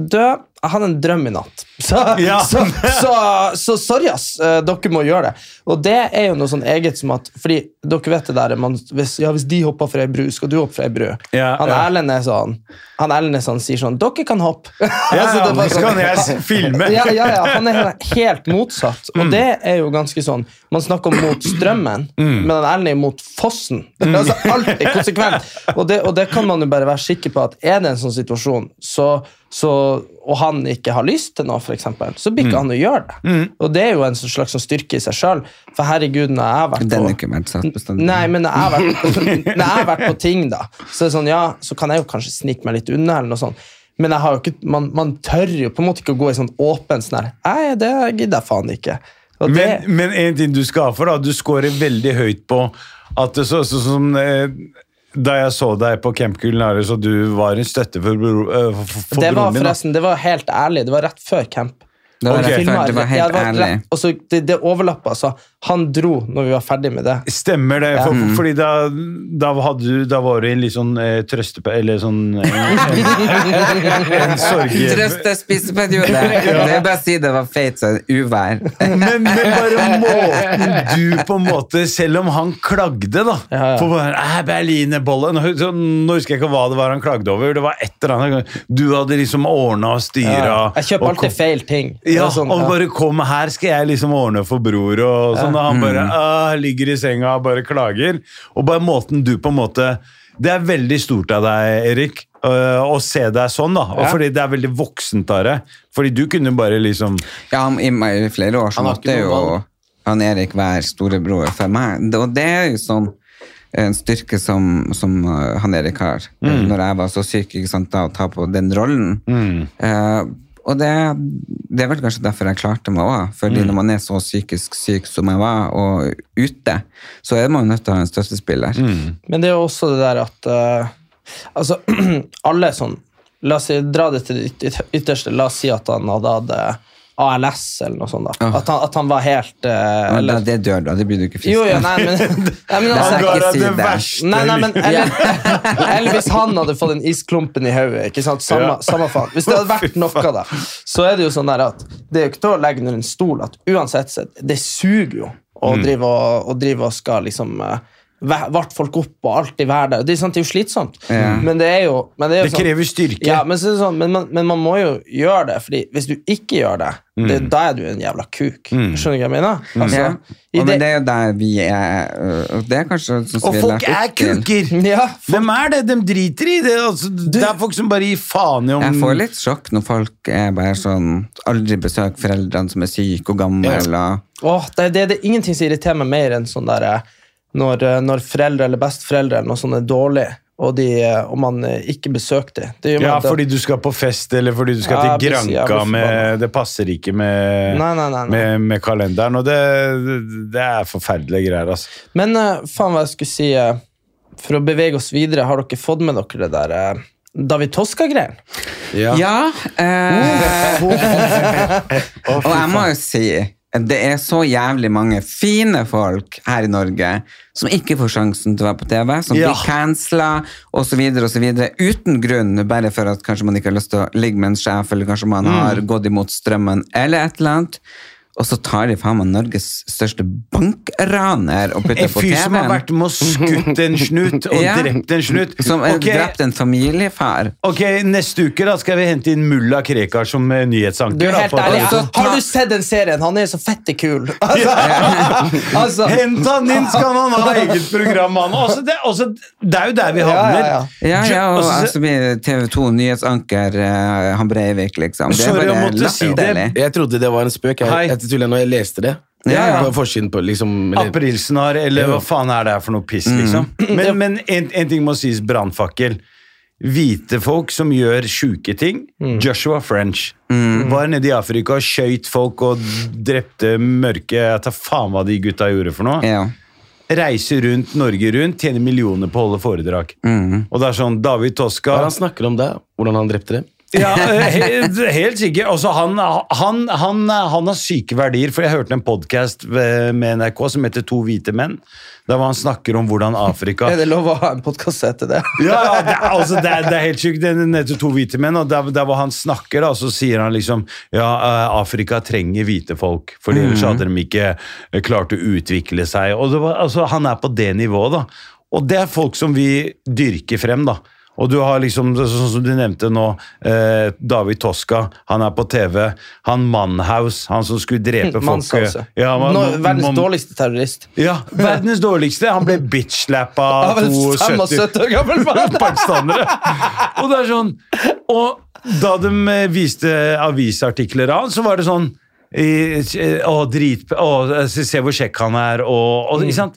S2: du, jeg hadde en drøm i natt. Så,
S3: Ja.
S2: så, så, så sorry, ass. eh, Dere må gjøre det. Og det er jo noe sånn eget som at Fordi dere vet det der man, hvis, ja, hvis de hopper fra ei bru, skal du hoppe fra ei bru.
S3: Ja,
S2: han
S3: ja.
S2: Erlend er sånn Han Erlend er sånn, sier sånn Dere kan hoppe.
S3: Ja,
S2: Altså, det er bare
S3: så kan jeg s- filme.
S2: ja, ja, ja, han er he- helt motsatt. Og det er jo ganske sånn Man snakker om mot strømmen, men han Erlend er mot fossen. Altså, alt er konsekvent. Og det, og det kan man jo bare være sikker på at er det en sånn situasjon, så, så, og han ikke har lyst til noe, for eksempel, så blir ikke han å gjøre det. Og det er jo en sånn slags sånn styrke i seg sjøl. For herregud, når jeg har vært
S1: Den
S2: på-
S1: er ikke vært satt bestandig.
S2: Nei, men når jeg, har vært, når jeg har vært på ting, da, så er det sånn, ja, så kan jeg jo kanskje snike meg litt unna, eller noe sånt. Men jeg har jo ikke, man, man tør jo på en måte ikke å gå i sånn åpen sånn her Nei, det gidder jeg faen ikke. Og det,
S3: Men, men en ting du skal ha for, da. Du scorer veldig høyt på at det så, så, som eh, da jeg så deg på Camp Culinaris, og du var en støtte for, bro- eh, for, for
S2: det var
S3: broren din. da.
S2: forresten det var helt ærlig. Det var rett før camp.
S1: Det var
S3: Ok.
S1: rett før,
S2: Filmet-
S1: det var
S2: ja,
S1: helt
S2: rett-
S1: ærlig.
S2: Og så det, det overlappa, så han dro når vi var ferdig med det.
S3: Stemmer det. For, for, fordi da, da, hadde, du- da var du i en litt sånn eh, trøste... Eller sånn eh, En, en sorg...
S1: Trøste spiseperiode! Det er bare å si det var feit så uvær.
S3: Men, men bare måten du på en måte Selv om han klagde, da.
S2: ja.
S3: For bare, «Æ, Berlinerbolle nå, så- nå husker jeg ikke hva det var han klagde over. Det var et eller annet. Du hadde liksom ordna og styra.
S2: Jeg kjøper alltid feil ting. Det
S3: Ja,
S2: er sånn,
S3: og bare kom her, skal jeg liksom ordne for bror og sånn. sånn, og han bare «Ah, ligger i senga og bare klager. Og bare måten du på en måte Det er veldig stort av deg, Erik, øh, å se deg sånn, da. Og
S2: Ja.
S3: fordi det er veldig voksent av deg. Fordi du kunne bare liksom
S1: Ja, han- i, ma- i flere år så
S4: Han har
S1: måtte
S4: ikke noe
S1: jo
S4: valg.
S1: han Erik være storebror for meg. Det- Og det er jo sånn en styrke som, som eh, han Erik har. Når jeg var så syk, ikke sant, da, å ta på den rollen. Eh, og det, det er vel kanskje derfor jeg klarte meg òg. Fordi når man er så psykisk syk som jeg var, og ute, så er man jo nødt til å ha en støttespiller.
S3: Mm.
S2: Men det er jo også det der at eh, Altså, alle sånn La oss si, dra det til det yt- ytterste. La oss si at han hadde hatt eh, ALS eller noe sånt. da. At, han, at han var helt eh,
S1: Men da,
S2: eller,
S1: det dør du av, det blir du ikke frisk
S2: Jo, jo,
S1: av.
S2: nei, men, nei, men
S3: Han
S2: altså,
S3: ga
S1: ikke
S3: deg
S1: si
S3: det
S1: det.
S3: verste
S2: Nei, nei, men eller, eller hvis han hadde fått den isklumpen i hodet. ikke sant? Samme,
S3: Ja.
S2: samme faen. Hvis det hadde vært noe, da, så er det jo sånn der at det er jo ikke til å legge under en stol at uansett sett, det suger jo å drive og, å drive og skal liksom eh, væ- Varte folk opp og alltid være der. Det er, sant, det er jo slitsomt, men det er jo men det, er jo sånn-
S3: Det krever styrke.
S2: Ja, men, så er det sånn, men, man, men man må jo gjøre det, Fordi hvis du ikke gjør det, det da er du en jævla kuk. Skjønner du hva jeg mener? Altså,
S1: Mm. Ja.
S2: i
S1: Og, men
S2: det-
S1: det er jo der vi er. øh, Og det er kanskje sånn som
S3: Og
S1: vi
S3: folk
S1: lært
S3: er
S1: opp til.
S3: kuker!
S2: ja,
S3: Hvem er det? De driter i det. Altså, det er folk som bare gir faen i om
S1: Jeg får litt sjokk når folk er bare sånn Aldri besøk foreldrene som er syke og gamle. Eller,
S2: Åh, det, det, det er ingenting som irriterer meg mer enn sånn der, eh, når, eh, når foreldre eller besteforeldre eller noe sånt er dårlig, og, de, eh, og man eh, ikke besøker dem. Det gjør
S3: Ja,
S2: meg- det-
S3: fordi du skal på fest, eller fordi du skal
S2: Ja,
S3: til
S2: jeg blir så jævlig
S3: Granka
S2: forbanna.
S3: med Det passer ikke med,
S2: Nei, nei, nei, nei.
S3: med, med kalenderen, og det, det er forferdelige greier, altså.
S2: Men eh, faen hva jeg skulle si eh, For å bevege oss videre, har dere fått med dere det der eh, David Toska-greien?
S1: ja, eh, Og jeg må jo si at det er så jævlig mange fine folk her i Norge som ikke får sjansen til å være på TV, som
S3: Ja.
S1: blir cancela osv. uten grunn, bare for at kanskje man ikke har lyst til å ligge med en sjef, eller kanskje
S3: Mm.
S1: man har gått imot strømmen, eller et eller annet. Og så tar de faen meg Norges største bankraner og putter
S3: En
S1: på
S3: fyr som har
S1: TV-en.
S3: vært med og skutt en snut, og
S1: Ja.
S3: drept en snut.
S1: Som har
S3: Ok,
S1: drept en familiefar.
S3: ok, neste uke da skal vi hente inn Mulla Krekar som eh, nyhetsanker.
S2: Du er
S3: da,
S2: helt
S3: på-
S2: ærlig,
S1: altså, ta-
S2: Har du sett den serien? Han er så fette kul! Altså, altså,
S3: Hent han inn, skal han ha eget program, han. Også det, også, det er jo der vi
S2: ja,
S3: havner.
S2: ja.
S1: Ja,
S3: Ju-
S1: ja, og
S3: altså,
S1: altså, blir TV 2 nyhetsanker eh, han Breivik, liksom. Det er
S3: Sorry å
S1: bare
S3: måtte si det.
S1: latterlig.
S4: Jeg trodde det var en spøk.
S3: Hei.
S4: Jeg, jeg tuller når jeg leste det.
S1: Ja, ja.
S4: På forsiden på liksom eller-
S3: Aprilsnarr, eller hva faen er det her for noe piss, liksom. Men, men en, en ting må sies, brannfakkel. Hvite folk som gjør sjuke ting.
S2: Mm.
S3: Joshua French var nede i Afrika og skøyt folk og drepte mørke Jeg tar faen hva de gutta gjorde for noe.
S1: Ja.
S3: Reiser rundt Norge rundt, tjener millioner på å holde foredrag. Og det er sånn David
S4: Hva
S3: Toska
S4: er det han snakker om det? Hvordan han drepte det?
S3: ja, helt, helt sikkert. Altså, han, han, han, han har syke verdier, for jeg hørte en podkast med NRK som heter To hvite menn, der hvor han snakker om hvordan Afrika
S2: Er det lov å ha en podkast etter det?
S3: ja, ja, det, er- altså, det, er- det er helt sjukt. Den heter To hvite menn, og der, der hvor han snakker, da, så sier han liksom Ja, eh, Afrika trenger hvite folk, for ellers
S2: Mm.
S3: hadde de ikke eh, klart å utvikle seg. Og det var, altså, han er på det nivået, da. Og det er folk som vi dyrker frem, da. Og du har liksom, så- sånn som du nevnte nå, eh, David Toska, han er på TV. Han Mannhaus, han som skulle drepe folk.
S2: Mannsalse.
S3: Ja, man-
S2: altså. Nå- Verdens
S3: man-
S2: dårligste terrorist.
S3: Ja, verdens dårligste. Han ble bitch-slappa
S2: Av
S3: av
S2: en
S3: 72
S2: 75 år gammel mann!
S3: pakistanere. Og det er sånn Og da de eh, viste avisartikler av han, så var det sånn eh, Å, drit... Å, se se hvor kjekk han er, og, og Ikke sant?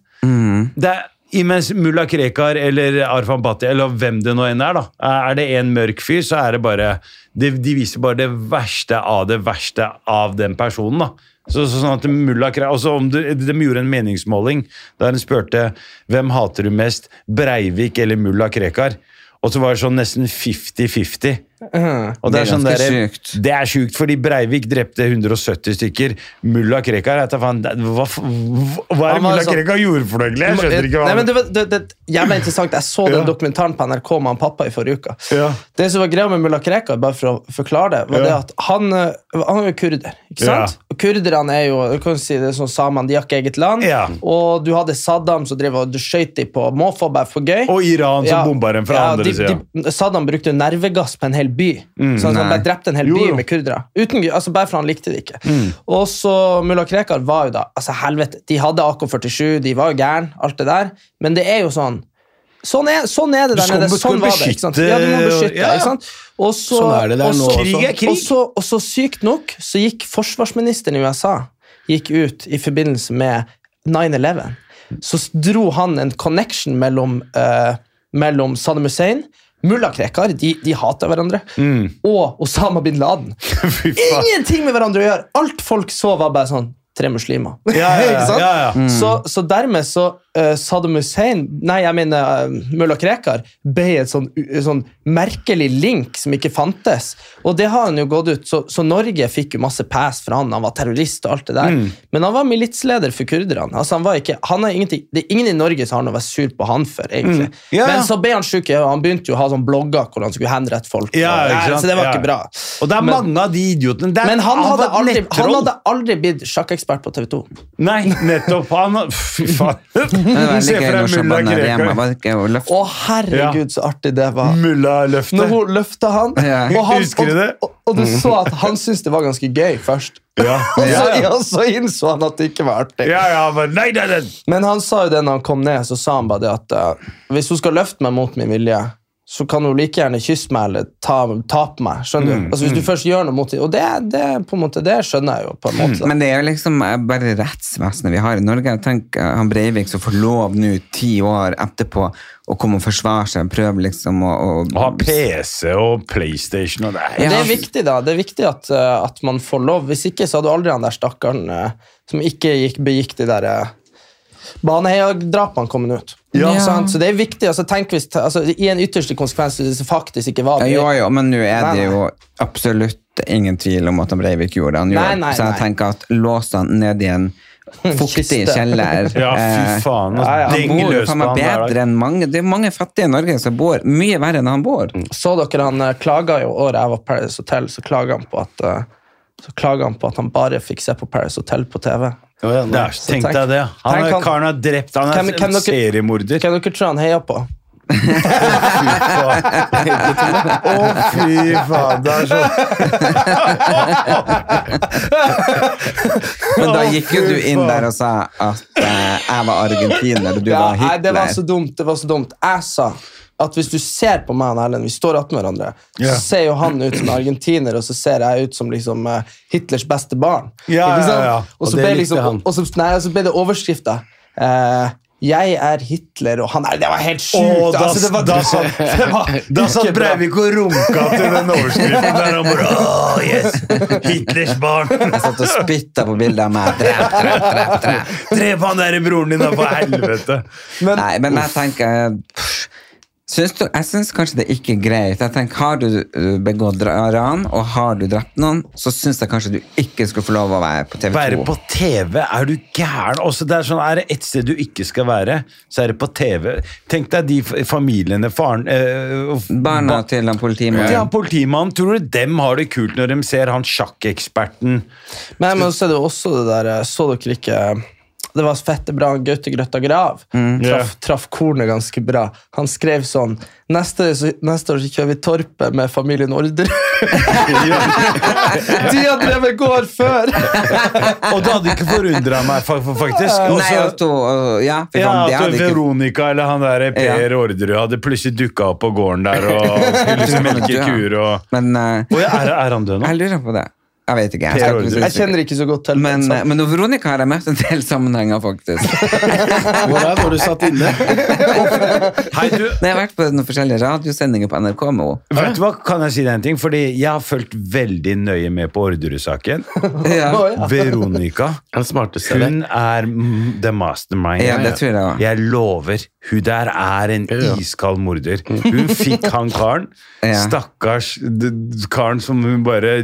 S3: Det er, imens mulla Krekar eller Arfan Bhatti eller hvem det nå enn er, da, er det en mørk fyr, så er det bare De, de viser bare det verste av det verste av den personen. da. Så, så sånn at mulla Krekar, også om du, De gjorde en meningsmåling der de spurte hvem hater du mest, Breivik eller mulla Krekar. Og så var det sånn nesten 50-50. Og det
S1: Det
S3: er
S1: er
S3: sånn
S1: ganske
S3: der-
S1: sjukt.
S3: Det er sjukt, fordi Breivik drepte 170 stykker. Mulla Krekar jeg vet da faen, det- hva, f- hva er
S2: Han
S3: det
S2: var
S3: mulla
S2: sånn-
S3: Krekar gjorde for noe? egentlig? Jeg skjønner ikke hva
S2: Nei,
S3: han
S2: men det, var- det, det, jævla interessant. Jeg så
S3: Ja.
S2: den dokumentaren på NRK med han pappa i forrige uke.
S3: Ja.
S2: Det som var greia med mulla Krekar, bare for å forklare det, var det
S3: Ja.
S2: at han, eh, han er jo kurder. ikke
S3: Ja.
S2: sant? Og Kurderne er jo du kan si det er sånn samene, de har ikke eget land.
S3: Ja.
S2: Og du hadde Saddam som drev og skøyt dem på måfå bare for gøy.
S3: Og Iran som
S2: Ja.
S3: bomba dem fra
S2: Ja,
S3: andre Mm.
S2: de-
S3: sida.
S2: de- Saddam brukte jo nervegass på en hel by. så han
S1: Nei.
S2: bare drepte en hel
S3: Jo,
S2: by
S3: jo. Mm.
S2: med kurdere. Uten, gru- altså bare for han likte det ikke. Og så mulla Krekar var jo da Altså, helvete. De hadde AK-47, de var jo gæren, alt det der. Men det er jo sånn Sånn er, sånn er det der
S3: skal-
S2: nede.
S3: du skal
S2: Sånn var det. ikke sant? Ja, du må beskytte.
S3: ja, ja.
S2: ikke sant? Og så,
S4: Sånn er det der
S2: og
S4: nå
S2: så-
S4: også. Krig
S3: er krig.
S2: Og så, og så sykt nok så gikk forsvarsministeren i USA gikk ut i forbindelse med 9-11. Så s- dro han en connection mellom, eh, mellom Saddam Hussein Mulla Krekar, de, de hater hverandre. Og Osama bin Laden.
S3: Fy faen.
S2: Ingenting med hverandre å gjøre! Alt folk så, var bare sånn Tre muslimer.
S3: Ja, ja,
S2: Ikke sant?
S3: ja, ja.
S2: Så, så dermed så eh, Saddam Hussein, nei, jeg mener eh, mulla Krekar, ble et sånn, u- sånn merkelig link som ikke fantes. Og det har han jo gått ut, så, så Norge fikk jo masse pass fra han, han var terrorist og alt det der.
S3: Mm.
S2: Men han var militsleder for kurderne. Altså, han var ikke, han har ingenting, det er ingen i Norge som har noe å være sur på han for, egentlig.
S3: Mm. Ja, ja.
S2: Men så ble han syk, og han begynte jo å ha sånn blogger hvor han skulle henrette folk.
S3: Ja,
S2: og,
S3: ikke sant?
S2: så det var
S3: Ja.
S2: ikke bra.
S3: Og det er
S2: Men-
S3: mange av de idiotene. Det er-
S2: Men han hadde,
S3: var
S2: aldri, han
S3: nettroll.
S2: hadde aldri blitt sjakkekspert på TV 2.
S3: Nei, nettopp. Han hadde- Fy faen.
S1: Det var
S3: Se
S1: veldig
S3: for
S1: gøy når
S3: deg mulla
S1: Shabana
S3: Krekar.
S1: Rema var det ikke å løfte
S2: Å, herregud, så artig det var.
S3: Mulla-løftet.
S2: Når hun løfta han,
S1: Ja.
S2: og, han
S3: Husker du
S2: og,
S3: det?
S2: og, og du så at han syntes det var ganske gøy først.
S3: Ja.
S2: Og så,
S3: Ja, ja.
S2: og så innså han at det ikke var artig.
S3: Ja, ja, men nei, nei, nei.
S2: Men han sa jo det når han kom ned, så sa han bare det at eh, hvis hun skal løfte meg mot min vilje, så kan hun like gjerne kysse meg eller ta, ta på meg. skjønner
S3: Mm.
S2: du? Altså hvis du først gjør noe mot det, Og det, det, på en måte, det skjønner jeg jo. på en måte.
S1: Men det er jo liksom eh, bare rettsvesenet vi har i Norge. Jeg tenker eh, han Breivik som får lov nå ti år etterpå å komme og forsvare seg, prøve liksom å, å
S3: Å ha PC og PlayStation og det er-
S1: Ja.
S2: Det er viktig da, det er viktig at, eh, at man får lov. Hvis ikke så hadde du aldri han der stakkaren eh, som ikke gikk, begikk de der uh, Baneheia-drapene kommet ut.
S1: Ja.
S2: Sant? Så det er viktig. Altså, tenk hvis, altså, I en ytterste konsekvens hvis det faktisk ikke var
S1: Ja,
S2: det.
S1: jo, jo, men nå er
S2: Nei,
S1: det
S2: nei.
S1: jo absolutt ingen tvil om at han Breivik gjorde det han gjorde.
S2: Nei, nei,
S1: Så jeg
S2: nei.
S1: tenker at lås han ned i en fuktig
S2: Kiste.
S1: kjeller.
S3: Ja,
S1: eh,
S3: fy faen.
S2: Ja, ja.
S3: Altså,
S2: Han
S1: Han
S3: Ding
S1: bor jo faen
S3: løs på
S1: meg
S3: han der,
S1: bedre
S3: da.
S1: enn mange. Det er mange fattige i Norge som bor mye verre enn han bor.
S3: Mm.
S2: Så dere han eh, klaga jo året jeg var på Paris Hotel, så klaga han på at eh, så klaga han på at han bare fikk se på Paris Hotel på TV.
S3: Der, Tenk
S2: tenk-
S3: deg det. Han
S2: tenk
S3: er
S2: han-
S3: karen har drept. Han er
S2: Hvem- hvem
S3: en
S2: dere-
S3: seriemorder.
S2: Hvem dere tror han heia på?
S3: Å, fy faen. Det er så
S1: Men da gikk jo du inn der og sa at eh, jeg var argentiner, og du
S2: Ja,
S1: var Hitler.
S2: nei, det var så dumt. det var så dumt. Jeg sa at hvis du ser på meg og Erlend, vi står attmed hverandre,
S3: Ja.
S2: så ser jo han ut som argentiner, og så ser jeg ut som liksom, eh, Hitlers beste barn.
S3: Ja,
S2: Ikke sant?
S3: ja, ja.
S2: Og
S4: Og
S2: så
S4: det
S2: ble,
S4: likte
S2: liksom,
S4: han.
S2: og så, nei, og så ble det overskrifta. eh, jeg er Hitler, og han er Det var helt
S3: Å,
S2: sjukt!
S3: da,
S2: altså, det var-
S3: da satt, det var, da satt
S2: Ikke bra.
S3: Breivik og runka til den overskriften der. Han bare Å, yes! Hitlers barn!
S1: Jeg satt og spytta på bildet av meg. Drep, drep, drep, drep.
S3: Drep han derre broren din, da, for helvete!
S1: Nei, men jeg tenker pff, syns du, Jeg syns kanskje det er ikke greit. Jeg tenker, Har du uh, begått ra- ran, og har du drept noen, så syns jeg kanskje du ikke skulle få lov å være på TV 2.
S3: Være på TV, er du gæren? Også det er, sånn, er det ett sted du ikke skal være, så er det på TV. Tenk deg de f- familiene faren, eh, f-
S1: Barna
S3: ba-
S1: til han
S3: ja,
S1: politimannen.
S3: Politimannen, tror du dem har det kult når de ser han sjakkeksperten?
S2: Nei, men så er det jo også det der eh, Så dere ikke eh, Det var fette bra Gaute Grøtta Grav
S1: Mm.
S2: traff,
S3: Ja.
S2: traff kornet ganske bra. Han skrev sånn Neste, så- neste år så kjører vi Torpet med familien Orderud. De har drevet gård før!
S3: Og det hadde ikke forundra meg, fa- fa- faktisk.
S1: Nei,
S3: Også,
S1: og to, og, ja, for
S3: altså- ja, altså,
S1: faen, det
S3: at
S1: hadde ikke
S3: Veronica eller han der eh, Per Orderud hadde plutselig dukka opp på gården der og skulle melke
S1: Ja.
S3: kuer og
S1: Men eh,
S3: Å ja, er, er han død nå?
S1: jeg lurer på det. Jeg vet ikke.
S3: Per
S1: Jeg,
S3: Ordre.
S2: Jeg
S1: skal ikke
S2: kjenner ikke så godt til det,
S1: men,
S2: så-
S1: eh, men og Veronica har jeg møtt en del sammenhenger, faktisk.
S4: Hvor er det du satt inne?
S3: Hei, du,
S1: Nei, Jeg har vært på noen forskjellige radiosendinger på NRK med henne.
S3: Vet du hva, kan jeg si deg en ting? Fordi jeg har fulgt veldig nøye med på Orderud-saken.
S1: Ja.
S3: Veronica,
S4: Den smarteste der.
S3: hun er mm, the mastermind.
S1: Ja, det tror jeg også.
S3: Jeg lover, hun der er en
S4: Ja.
S3: iskald morder. Hun fikk han karen,
S1: Ja.
S3: stakkars d- d- karen som hun bare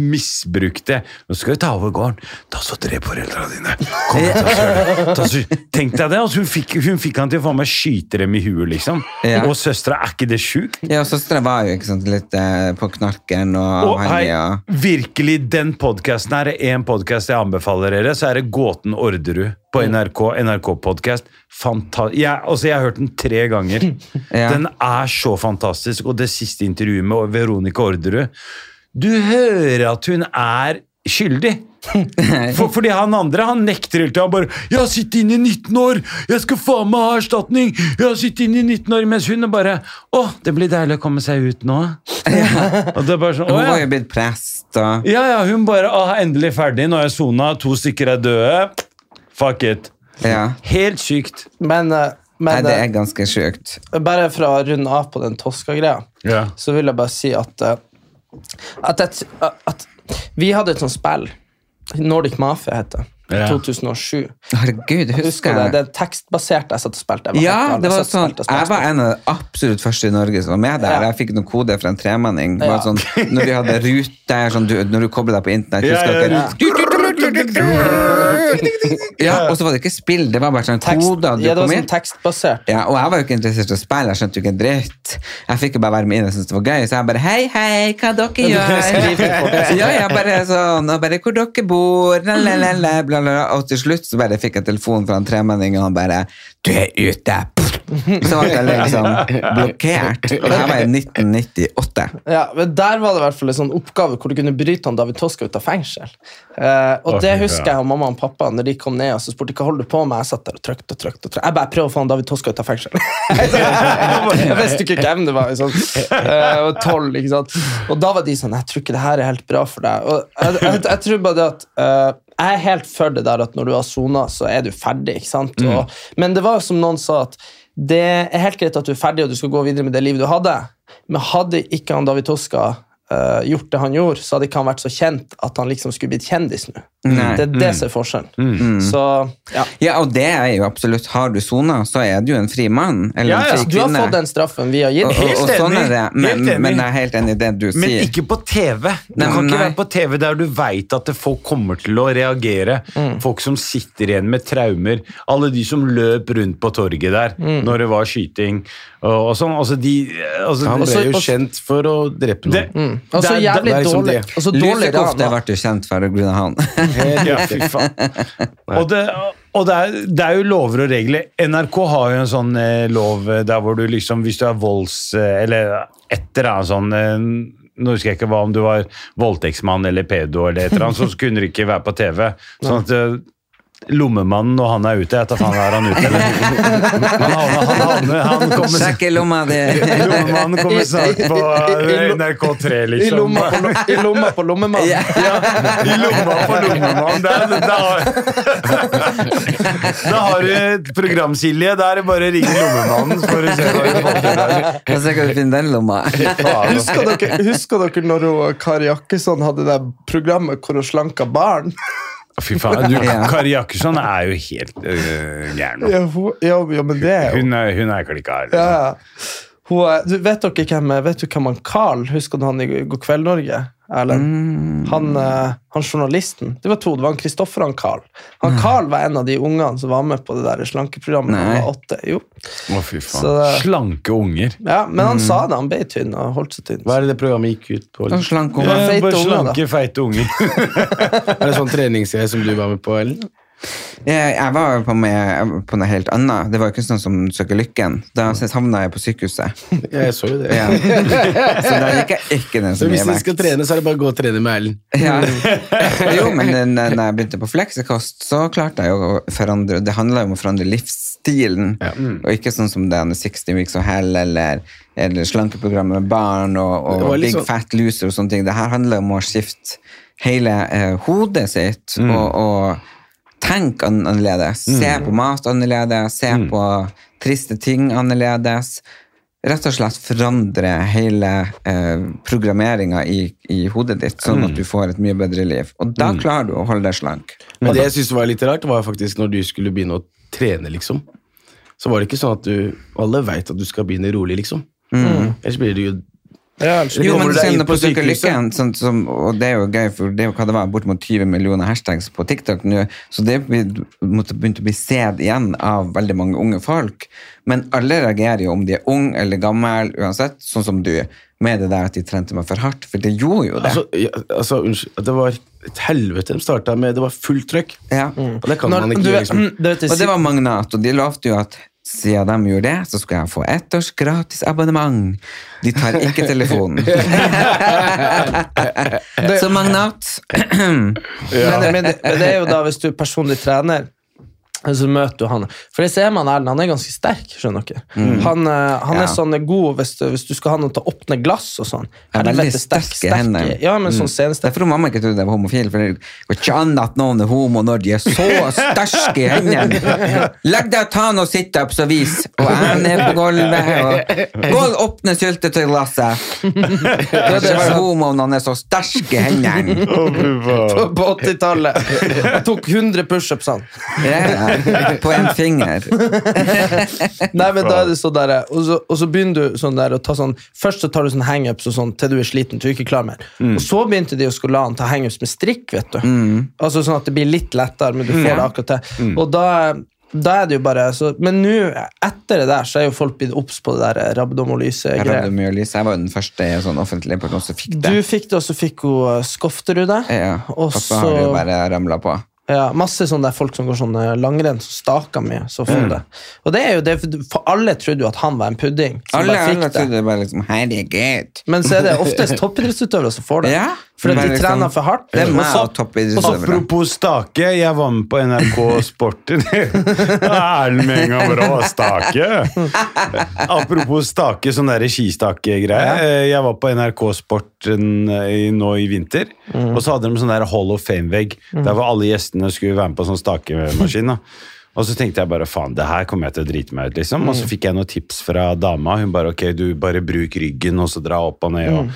S3: misbrukte. Nå skal vi ta over gården. Ta så tre foreldra dine. Kom, ta så, ta så. Tenk deg det, altså, hun, fikk, hun fikk han til å faen meg skyte dem i huet, liksom.
S1: Ja.
S3: Og søstera, er ikke det sjukt?
S1: Ja, og søstera var jo ikke sant, litt eh, på knarken, og,
S3: Og
S1: han
S3: hei,
S1: ja.
S3: virkelig, den podkasten her er en podkast jeg anbefaler dere, så er det Gåten Orderud. på
S1: Mm.
S3: NRK, NRK-podkast. Fanta jeg, altså, jeg har hørt den tre ganger.
S1: Ja.
S3: Den er så fantastisk. Og det siste intervjuet med Veronica Orderud Du hører at hun er skyldig! For, fordi han andre han nekter helt til. Han bare 'Jeg har sittet inne i 19 år! Jeg skal faen meg ha erstatning!' Jeg har sittet inne i 19 år Mens hun er bare 'Å, det blir deilig å komme seg ut nå'. Og det er bare sånn,
S1: Hun
S3: «Å, ja.
S1: var jo blitt prest og
S3: Ja, ja, hun bare ah, 'Endelig ferdig, nå er jeg sona, to stykker er døde'. Fuck it.
S1: Ja.
S3: Helt sykt.
S2: Men, eh,
S1: Nei,
S2: men
S1: det
S2: eh,
S1: er ganske sjukt.
S2: bare for å runde av på den Toska-greia,
S3: Ja.
S2: så vil jeg bare si at eh, at, jeg t- at vi hadde et sånt spill, Nordic Mafia heter det,
S3: Ja.
S2: 2007.
S1: Herregud,
S2: Husker
S1: husker
S2: du det?
S1: jeg
S2: Det er tekstbasert jeg satt og spilte. Jeg
S1: Ja,
S2: helt gal.
S1: det
S2: Jeg
S1: var
S2: satt og
S1: sånn,
S2: spilte og spilte
S1: jeg
S2: og
S1: var en av de absolutt første i Norge som var med der.
S2: Ja.
S1: Jeg fikk noen kode fra en tremenning. Det
S2: Ja.
S1: var Sånn, når vi hadde ruter, sånn, du, når du kobler deg på internett,
S3: Ja,
S1: husker
S3: ja,
S1: dere Ja, og så var det ikke spill, det var bare sånn
S2: Tekst,
S1: koder du
S2: ja, det
S1: kom
S2: var
S1: inn.
S2: sånn tekstbasert.
S1: Ja, og jeg var jo ikke interessert i å spille, jeg skjønte jo ikke en dritt. Jeg fikk jo bare være med inn, jeg syntes det var gøy, så jeg bare hei, hei, hva dere gjør? Ja, jeg bare sånn, og bare hvor dere bor, la, la, la, la, bla, bla, bla. Og til slutt så bare fikk jeg telefon fra en tremenning, og han bare du er ute. Så var jeg liksom blokkert. Og det her var i 1998.
S2: Ja, men Der var det i hvert fall en sånn oppgave hvor du kunne bryte han David Toska ut av fengsel. Eh, og
S3: Å,
S2: det
S3: fy
S2: husker
S3: faen.
S2: jeg og mamma og pappa når de kom ned og så spurte hva holder du på med. Jeg satt der og trykte og trykte. og trykte. Jeg bare prøver å få han David Toska ut av fengsel. jeg visste ikke hvem det var. Liksom. Eh, og tolv, ikke sant. Og da var de sånn Jeg tror ikke det her er helt bra for deg. Og jeg, jeg, jeg tror bare det at eh, jeg er helt for det der at når du har sona, så er du ferdig. ikke sant?
S1: Mm.
S2: Og, men det var jo som noen sa, at det er helt greit at du er ferdig og du skal gå videre med det livet du hadde, men hadde ikke han David Toska eh, gjort det han gjorde, så hadde ikke han vært så kjent at han liksom skulle blitt kjendis nå.
S1: Nei. Mm.
S2: Det er det som er forskjellen. Så ja.
S1: Ja, og det er jo absolutt, har du sona, så er du jo en fri mann, eller
S3: Ja, ja,
S1: en
S3: så
S1: fri
S2: Du har
S1: kvinne.
S2: fått den straffen vi har gitt.
S1: Og, og, og
S3: Helt
S1: sånn
S3: enig.
S1: er det, men,
S3: Helt enig.
S1: men jeg er helt enig i det du sier.
S3: Men ikke på TV. Du
S1: Nei,
S3: kan ikke
S1: nei.
S3: være på TV der du veit at det- folk kommer til å reagere.
S2: Mm.
S3: Folk som sitter igjen med traumer. Alle de som løp rundt på torget der
S2: Mm.
S3: når det var skyting. Og, og sånn, altså de altså,
S4: Han
S2: så-
S4: ble jo
S2: og-
S4: kjent for å drepe noen.
S3: det-
S2: Og så
S3: det er-
S2: Mm. Altså, jævlig
S4: det er liksom
S2: dårlig.
S4: det.
S1: Altså,
S2: Og så dårlig
S1: Lusekofte
S2: ran, da.
S1: ble du kjent for på grunn av han.
S3: Ja, fy faen. Og, det, og det, er, det er jo lover og regler. NRK har jo en sånn eh, lov eh, der hvor du liksom Hvis du er volds... Eh, eller et eller annet sånn eh, Nå husker jeg ikke hva om du var voldtektsmann eller pedo, eller et eller annet, så kunne du ikke være på TV. Sånn at eh, Lommemannen når han er ute, jeg tar faen er han ute, eller? Han, havner- han, havner- han kommer
S1: Sjekk i lomma di!
S3: Lommemannen kommer snart på eh, NRK3,
S2: I
S3: liksom.
S2: lomma på, lo i lomma på lommemannen.
S3: I lomma på lommemann. Da, da, da har du et program, Silje. Da er det bare å ringe lommemannen. For å se hva du får til der.
S1: Og så kan du finne den lomma.
S3: Faen, ass.
S2: Husker dere, husker dere når hun, eh, Kari Jakkesson hadde det programmet hvor hun slanka barn?
S3: Fy faen, du,
S1: Ja.
S3: Kari Jakkesson er jo helt øh, gæren. nå.
S2: Ja, hun, ja, ja men det er jo
S3: Hun er, hun er klikka
S2: ja,
S3: her. Liksom.
S2: ja. hun, er- du, Vet dere hvem, eh, vet du hvem han Carl Husker du han i God kveld Norge? Erlend? Han, eh, han journalisten. Det var to. Det var han Kristoffer og han Carl. Han Carl var en av de ungene som var med på det der slankeprogrammet. da Han
S1: Nei.
S2: var åtte. Jo.
S3: altså.
S4: Å, fy faen.
S2: Så, det-
S3: Slanke unger.
S2: ja, men han sa det. Han ble tynn og holdt seg tynn.
S4: Hva er det det programmet gikk ut på?
S1: Og Sånn slank
S3: Ja,
S1: henne.
S2: feite
S3: bare
S2: unger, da.
S3: slanke, feite unger.
S4: Er det sånn treningsserie som du var med på, Ellen?
S1: Jeg jeg var jo på, med, på noe helt annet. Det var jo ikke sånn som Søker lykken. Da havna jeg på sykehuset.
S4: Ja, jeg så jo det.
S1: Ja. Så da gikk jeg ikke den
S4: Så
S1: som
S4: hvis
S1: mye
S4: du skal
S1: vekt.
S4: trene, så er det bare å gå og trene med Erlend.
S1: Ja. Mm. Jo, men den- den- når jeg begynte på fleksikost, så klarte jeg jo å forandre Det handla jo om å forandre livsstilen,
S4: Mm.
S1: og ikke sånn som det er 60 Weeks of Hell eller, eller slankeprogrammet med barn og,
S4: Det
S1: og
S4: var litt
S1: Big
S4: sånn-
S1: Fat Loser og sånne ting. Det her handler om å skifte hele eh, hodet sitt
S4: Mm.
S1: og, og tenke an annerledes. Se på mat annerledes, se
S4: Mm.
S1: på triste ting annerledes. Rett og slett forandre hele eh, programmeringa i, i hodet ditt, sånn
S4: Mm.
S1: at du får et mye bedre liv. Og da klarer du å holde deg slank.
S4: Men det jeg synes var litt rart, var faktisk når du skulle begynne å trene, liksom. Så var det ikke sånn at du Alle veit at du skal begynne rolig, liksom.
S1: Mm.
S4: Ellers blir det jo
S1: Jo, men
S4: Kommer
S1: du
S4: du deg
S1: sender
S4: inn
S1: på
S4: på
S1: Søker
S4: sykehuset?
S1: lykken, sånn, som, og det er jo gøy, for det er jo hva det var, bortimot 20 millioner hashtags på TikTok nå, så det blir- måtte begynte å bli sed igjen av veldig mange unge folk. Men alle reagerer jo om de er ung eller gammel, uansett, sånn som du, med det der at de trente meg for hardt, for det gjorde jo det.
S4: Altså, ja, altså unnskyld, det var et helvete de starta med. Det var fullt trøkk.
S1: Ja.
S4: Og det kan
S2: Når-
S4: man ikke
S2: du
S4: gjøre.
S2: vet-
S4: Liksom.
S2: mm, du vet,
S1: Og det var Magnat, og de lovte jo at siden de gjorde det, så skal jeg få ett års gratis abonnement. De tar ikke telefonen. så Magnat
S2: Men, men, det, men det er jo da hvis du er personlig trener så møter du han. For det ser man Erlend, han er ganske sterk. skjønner dere. Han, eh, han er
S1: Mm. Ja.
S2: sånn god hvis du, hvis du skal ha noe til å åpne glass og sånn.
S1: Ja, veldig
S2: Helvete,
S1: sterke hender. Mm.
S2: Ja, men sånn scenesterk.
S1: Derfor har mamma ikke trodde jeg var homofil, for det går ikke an at noen er homo når de er så sterke i hendene. Legg deg og ta noen situps og vis, og jeg er ned på gulvet, og Gål åpne syltetøyglasset. Kanskje være homo når han er så sterk i hendene.
S2: På 80-tallet. Han tok 100 pushups, han.
S1: Ja, På en finger.
S2: Nei, men da er det sånn der, og, så, og så begynner du sånn der å ta sånn Først så tar du sånn hangups og sånn til du er sliten til du ikke klarer mer.
S1: Mm.
S2: Og så begynte de å skulle la han ta hangups med strikk, vet du. Altså sånn at det blir litt lettere, men du
S1: Mm.
S2: får det akkurat til. Og da, da er det jo bare så, Men nå, etter det der, så er jo folk blitt obs på det der eh,
S1: Jeg hadde
S2: rabdomolysegreiet.
S1: mye lys. Jeg var jo den første sånn offentlig person som fikk
S2: Du
S1: det.
S2: fikk det, og så fikk hun eh, Skofterud det.
S1: Ja,
S2: Og
S1: og så har det jo
S2: så-
S1: bare ramla på.
S2: Ja, masse sånne der folk som går sånn eh, langrenn, som staker mye. Så
S1: Mm.
S2: får det. Og det er jo det, for alle trodde jo at han var en pudding. Som
S1: Alle,
S2: bare fikk
S1: alle
S2: det.
S1: trodde bare liksom Herregud.
S2: Men så er det oftest toppidrettsutøvere som får det.
S1: Ja.
S2: Fordi
S1: Men
S2: de
S1: liksom,
S2: trener for hardt.
S1: Det er
S2: Og
S1: meg
S2: så-
S1: og toppidrettsutøvere.
S3: Apropos stake, jeg var med på NRK Sport. Da er den med en gang bra stake. Apropos stake, sånn der skistake-greie. Eh, Jeg var på NRK Sport en- i- nå i vinter, og så hadde de sånn der Hall of Fame-vegg, der hvor alle gjestene skulle være med på sånn stakemaskin. da. Og så tenkte jeg bare faen, det her kommer jeg til å drite meg ut, liksom. Og så fikk jeg noen tips fra dama. Hun bare ok, du bare bruk ryggen, og så dra opp og ned og,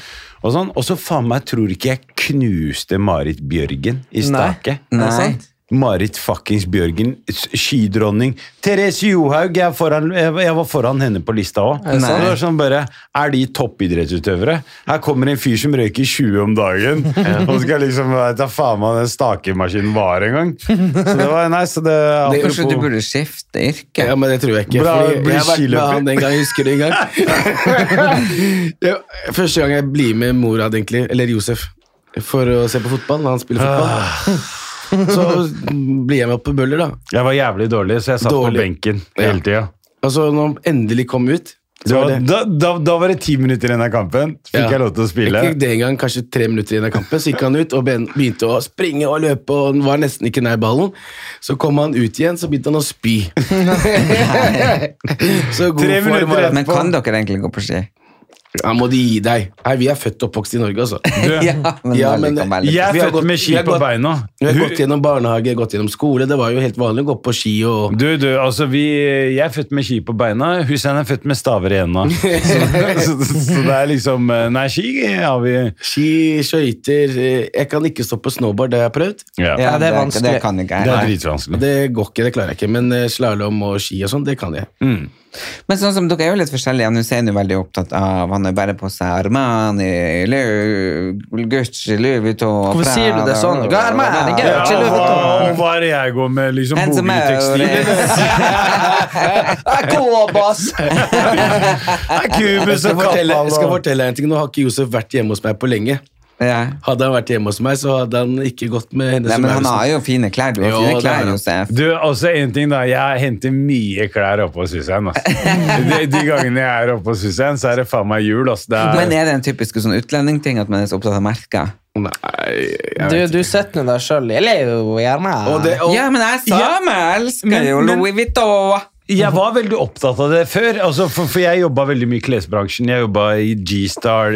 S3: og sånn. Og så faen meg tror ikke jeg knuste Marit Bjørgen
S2: Nei.
S3: i stake.
S2: Er det
S1: Nei.
S2: sant?
S3: Marit fuckings Bjørgen, s- skidronning. Therese Johaug, jeg, er foran, jeg, jeg var foran henne på lista òg.
S1: det sant?
S3: Er, sånn bare, er de toppidrettsutøvere? Her kommer en fyr som røyker 20 om dagen, og skal liksom jeg vet da faen meg den stakemaskinen var engang. Så det var nei, så det
S1: Kanskje du
S3: apropos-
S1: burde skifte yrke?
S4: Ja, men det tror jeg ikke.
S3: Bra,
S4: Fordi
S3: bli
S4: jeg har vært med
S3: skiløper.
S4: han den gang, jeg husker det en gang. Jeg- Første gang jeg blir med Morad, egentlig, eller Josef, for å se på fotball. når Han spiller fotball.
S2: Ah.
S4: Så blir jeg med opp på Bøller, da.
S3: Jeg var jævlig dårlig, så jeg satt
S4: Dårlig.
S3: på benken hele tida.
S4: Og så når han endelig kom ut så
S3: Da,
S4: var det-
S3: da, da, da var det ti minutter igjen av kampen. Fikk
S4: Ja.
S3: jeg lov til å spille.
S4: Ikke den gang, kanskje tre minutter igjen av kampen, så gikk han ut og ben- begynte å springe og løpe, og han var nesten ikke nær ballen. Så kom han ut igjen, så begynte han å spy. så god
S3: Tre
S4: form
S3: minutter
S4: var han.
S1: Men kan dere egentlig gå på ski?
S4: Ja, må de gi deg. Nei, vi er født og oppvokst i Norge, altså.
S3: Du,
S1: men,
S4: Ja,
S1: det
S4: men-
S1: kan være litt-
S3: jeg
S4: Vi har
S3: er født
S4: gått-
S3: med
S4: vi
S3: ski
S4: har
S3: på
S4: gått-
S3: beina.
S4: Vi har
S3: Hun-
S4: gått gjennom barnehage, gått gjennom skole. Det var jo helt vanlig å gå på ski og
S3: Du, du, altså vi, Jeg er født med ski på beina, Hussein er født med staver i hendene. Så, så, så det er liksom eh, Nei, ski har vi
S4: Ski, skøyter eh, Jeg kan ikke stå på snowboard, det har jeg prøvd.
S3: ja.
S1: Ja,
S2: Ja, det
S1: det,
S2: er
S1: det,
S2: vanskelig.
S1: kan ikke
S3: Det
S1: jeg.
S3: er dritvanskelig.
S4: Det går ikke, det klarer jeg ikke. Men slalåm og ski og sånn, det kan jeg.
S3: Mm.
S1: Men sånn som dere er jo litt forskjellige. Han Hussein er jo veldig opptatt av Han har bare på seg Armani, Lu- Gucci, Louis Vuitton
S2: Hvorfor sier du det sånn? Hva er Armani?
S1: Ja,
S3: Ja,
S2: Gucci, Louis
S3: hva,
S2: Vuitton.
S3: hva er det jeg går med? Liksom
S1: En som er
S3: Bogetekstiler?
S2: Jeg går, boss!
S4: Jeg
S3: Kubus
S4: skal
S3: og
S4: fortelle, jeg skal
S3: kappa.
S4: fortelle deg en ting. Nå har ikke Josef vært hjemme hos meg på lenge.
S1: Ja.
S4: Hadde han vært hjemme hos meg, så hadde han ikke gått med henne.
S1: Nei,
S4: som
S1: men
S4: er
S1: han
S4: hos-
S1: har jo fine klær. Du har
S4: Jo,
S1: fine
S4: det har
S1: klær,
S4: han.
S1: Josef.
S3: Du, også en ting da Jeg henter mye klær oppe hos Hussein. ass. De, de gangene jeg er oppe hos Hussein, så er det faen meg jul. ass. Det
S1: Men
S3: er,
S1: er det en typisk sånn utlendingting at man er så opptatt av merker?
S4: Nei, jeg
S2: Du,
S4: vet
S2: du setter nå deg sjøl. Jeg er jo
S4: Og
S2: gjerne
S4: det- og-
S1: Ja, men jeg er
S3: Ja.
S1: same! Jeg elsker
S3: Men-
S1: jo
S3: men-
S1: Louis Vuitton!
S3: jeg var veldig opptatt av det før, altså, for, for jeg jobba veldig mye i klesbransjen. Jeg jobba i G-Star,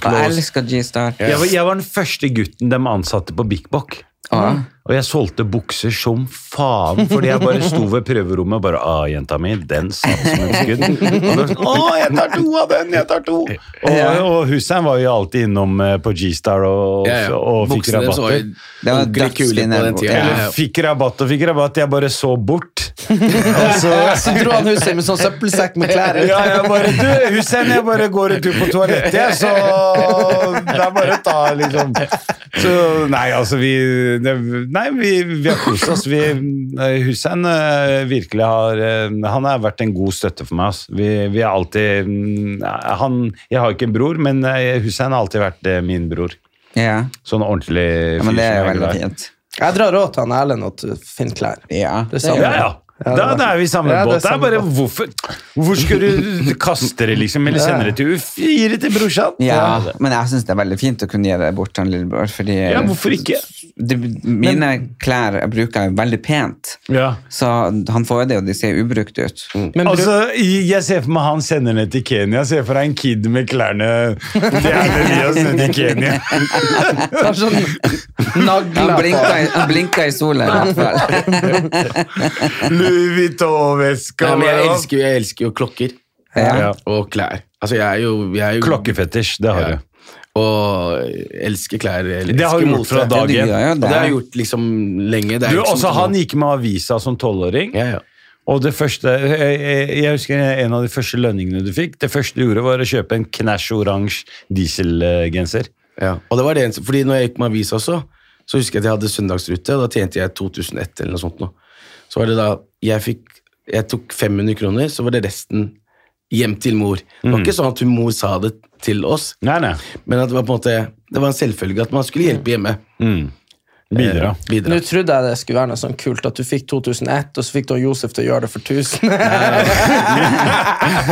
S1: Og jeg
S3: Close,
S1: elsker G-Star.
S3: Jeg var, jeg var den første gutten de ansatte på Big Bock.
S1: Ja.
S3: Og jeg solgte bukser som faen, fordi jeg bare sto ved prøverommet og bare ah, 'Jenta mi, den satt som et skudd'. Og da, sånn, 'Å, jeg tar to av den! Jeg tar to!' Og, og Hussein var jo alltid innom eh, på G-Star og,
S4: Ja, ja.
S3: og fikk
S4: Buksene så
S3: rabatter.
S1: Det var
S4: ordentlig kule på den
S1: dødsfine-
S4: tida.
S1: Ja.
S3: Eller fikk rabatt og fikk rabatt, jeg bare så bort. Og så
S2: Så dro han huset med sånn søppelsekk med klær.
S3: ja, jeg bare Du, Hussein, jeg bare går en tur på toalettet, jeg, så det er bare å ta, liksom. Så nei, altså, vi det, Nei, vi, vi har kost oss. Vi, eh, Hussein eh, virkelig har eh, Han har vært en god støtte for meg, ass. Vi, vi har alltid mm, Han Jeg har ikke en bror, men eh, Hussein har alltid vært eh, min bror.
S1: Ja.
S3: Sånn ordentlig
S1: ja, men det er jo
S3: som
S1: veldig
S3: glad i-
S1: fint.
S2: Jeg drar råd til han Erlend å t- finne klær.
S1: Ja.
S2: Det samme.
S3: Ja, ja.
S2: Ja,
S3: Da,
S2: det var-
S3: da er vi i samme
S2: Ja, det er
S3: båt. Det er
S2: samme
S3: bare
S2: båt.
S3: hvorfor, hvorfor skal du kaste det, liksom? Eller sende det til Gir det til brorsan?
S1: Ja, men jeg syns det er veldig fint å kunne gi det bort til en lillebror. Fordi
S3: Ja, hvorfor ikke?
S1: De, mine klær jeg bruker jeg veldig pent,
S3: Ja.
S1: så han får det, og de ser ubrukt ut.
S2: Men bru-
S3: altså, jeg ser for meg han sender ned til Kenya. Jeg ser for deg en kid med klærne Det er det vi har sendt til Kenya.
S2: tar sånn
S1: Han
S2: nagler på.
S1: blinka, i- han blinka i sola, i hvert fall.
S3: Louis Vuitton-veska.
S4: Ja, men jeg
S3: hva?
S4: elsker, jo- jeg elsker jo klokker
S3: Ja.
S4: og klær. Altså, jeg er jo, jeg er jo
S3: Klokkefetisj, det har
S4: Ja.
S3: du.
S4: Og elsker klær. Eller,
S3: Det har
S4: elsker
S3: du gjort
S4: mote.
S3: fra
S1: Ja,
S3: dag én.
S1: det gjør jeg.
S4: Og det har jeg gjort liksom lenge. Det er
S3: Du,
S4: jo ikke
S3: også
S4: sånn-
S3: Han gikk med avisa som tolvåring.
S4: ja, ja.
S3: Og det første, jeg, jeg- jeg husker en av de første lønningene du fikk. Det første du gjorde, var å kjøpe en knæsj oransje dieselgenser.
S4: Ja. Og det var det eneste, fordi når jeg gikk med avis også, så husker jeg at jeg hadde søndagsrute, og da tjente jeg 2001 eller noe sånt. Nå. Så var det da, jeg fikk, jeg tok 500 kroner, så var det resten hjem til mor. Det
S3: Mm.
S4: var ikke sånn at hun mor sa det til oss,
S3: Nei, nei.
S4: men at det var på en måte, det var en selvfølge at man skulle hjelpe hjemme.
S3: Mm. Bidra.
S4: Eh, bidra.
S2: Nå trodde jeg det skulle være noe sånn kult at du fikk 2001, og så fikk du han Josef til å gjøre det for 1000.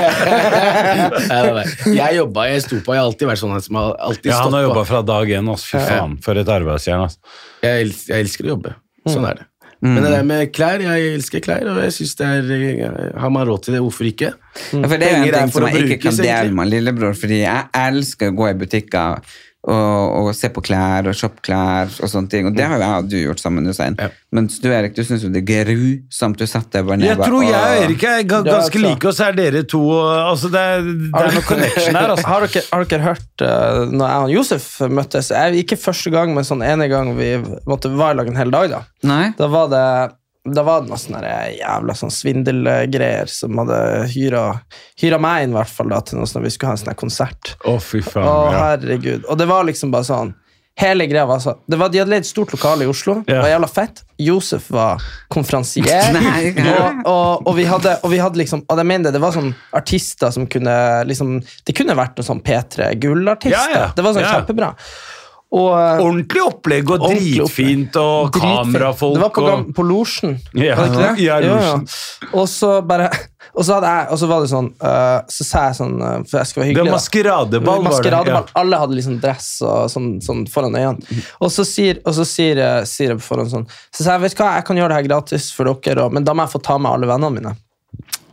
S4: Nei, nei, nei. Jeg jobba, jeg sto på, jeg har alltid vært sånn en som har alltid
S3: Ja, han
S4: stått
S3: har jobba
S4: på.
S3: fra dag én. ass. Fy faen, for et arbeidsjern. ass.
S4: Jeg, els jeg elsker å jobbe.
S3: Mm.
S4: Sånn er det. Men det der med klær, jeg elsker klær, og jeg synes det er eh, Har man råd til det, hvorfor ikke?
S1: Ja, For det er jo
S4: Penger
S1: en
S4: er
S1: ting
S4: for
S1: som
S4: å
S1: jeg ikke
S4: brukes,
S1: kan
S4: egentlig.
S1: dele med lillebror, fordi jeg elsker å gå i butikker og, og se på klær og shoppe klær og sånne ting. Og det har jo jeg og du gjort sammen, Hussein.
S4: Ja.
S1: Mens du, Erik, du syns jo det er grusomt. Du satt der bare nede
S3: Jeg tror jeg og
S1: og-
S3: Erik er ga-
S2: Ja,
S3: ganske
S2: altså.
S3: like, og så er dere to og- altså, det, er, det er noe connection her. Altså.
S2: Har dere, har dere hørt uh, når jeg og Josef møttes? Jeg, ikke første gang, men sånn ene gang vi måtte være i lag en hel dag. Da
S1: Nei?
S2: Da var det da var det noen sånne der jævla sånn svindelgreier som hadde hyra, hyra meg inn i hvert fall da, til noe sånt, vi skulle ha en sånn her konsert.
S3: Å, fy faen.
S2: Å,
S3: Ja.
S2: herregud. Og det var liksom bare sånn Hele greia var sånn det var, De hadde leid stort lokale i Oslo. Det
S3: Ja.
S2: var jævla fett. Josef var konferansier.
S1: Nei,
S2: og, og, og, vi hadde, og vi hadde liksom Og jeg mener det, det var sånn artister som kunne liksom Det kunne vært noen sånn P3 Gull-artister.
S3: Ja, ja.
S2: Det var sånn
S3: Ja.
S2: kjempebra. Og, eh,
S3: Ordentlig opplegg og
S2: Ordentlig opplegg.
S3: dritfint og
S2: Dritfett.
S3: kamerafolk.
S2: Det var på,
S3: og-
S2: gam- på losjen.
S3: Ja,
S2: Var det ikke det?
S3: ja,
S2: Jo, ja.
S3: losjen.
S2: Og så bare Og så, hadde jeg, og så var det sånn eh, Så sa jeg sånn eh, For jeg skal være
S3: Det var
S2: hyggelig. da.
S3: maskeradeball, var det.
S2: Maskeradeball.
S3: Ja.
S2: Alle hadde liksom dress og sånn, sånn foran øynene. Og så sier, og så sier, eh, sier jeg på forhånd sånn Så sa jeg vet du hva, jeg kan gjøre det her gratis for dere, og, men da må jeg få ta med alle vennene mine.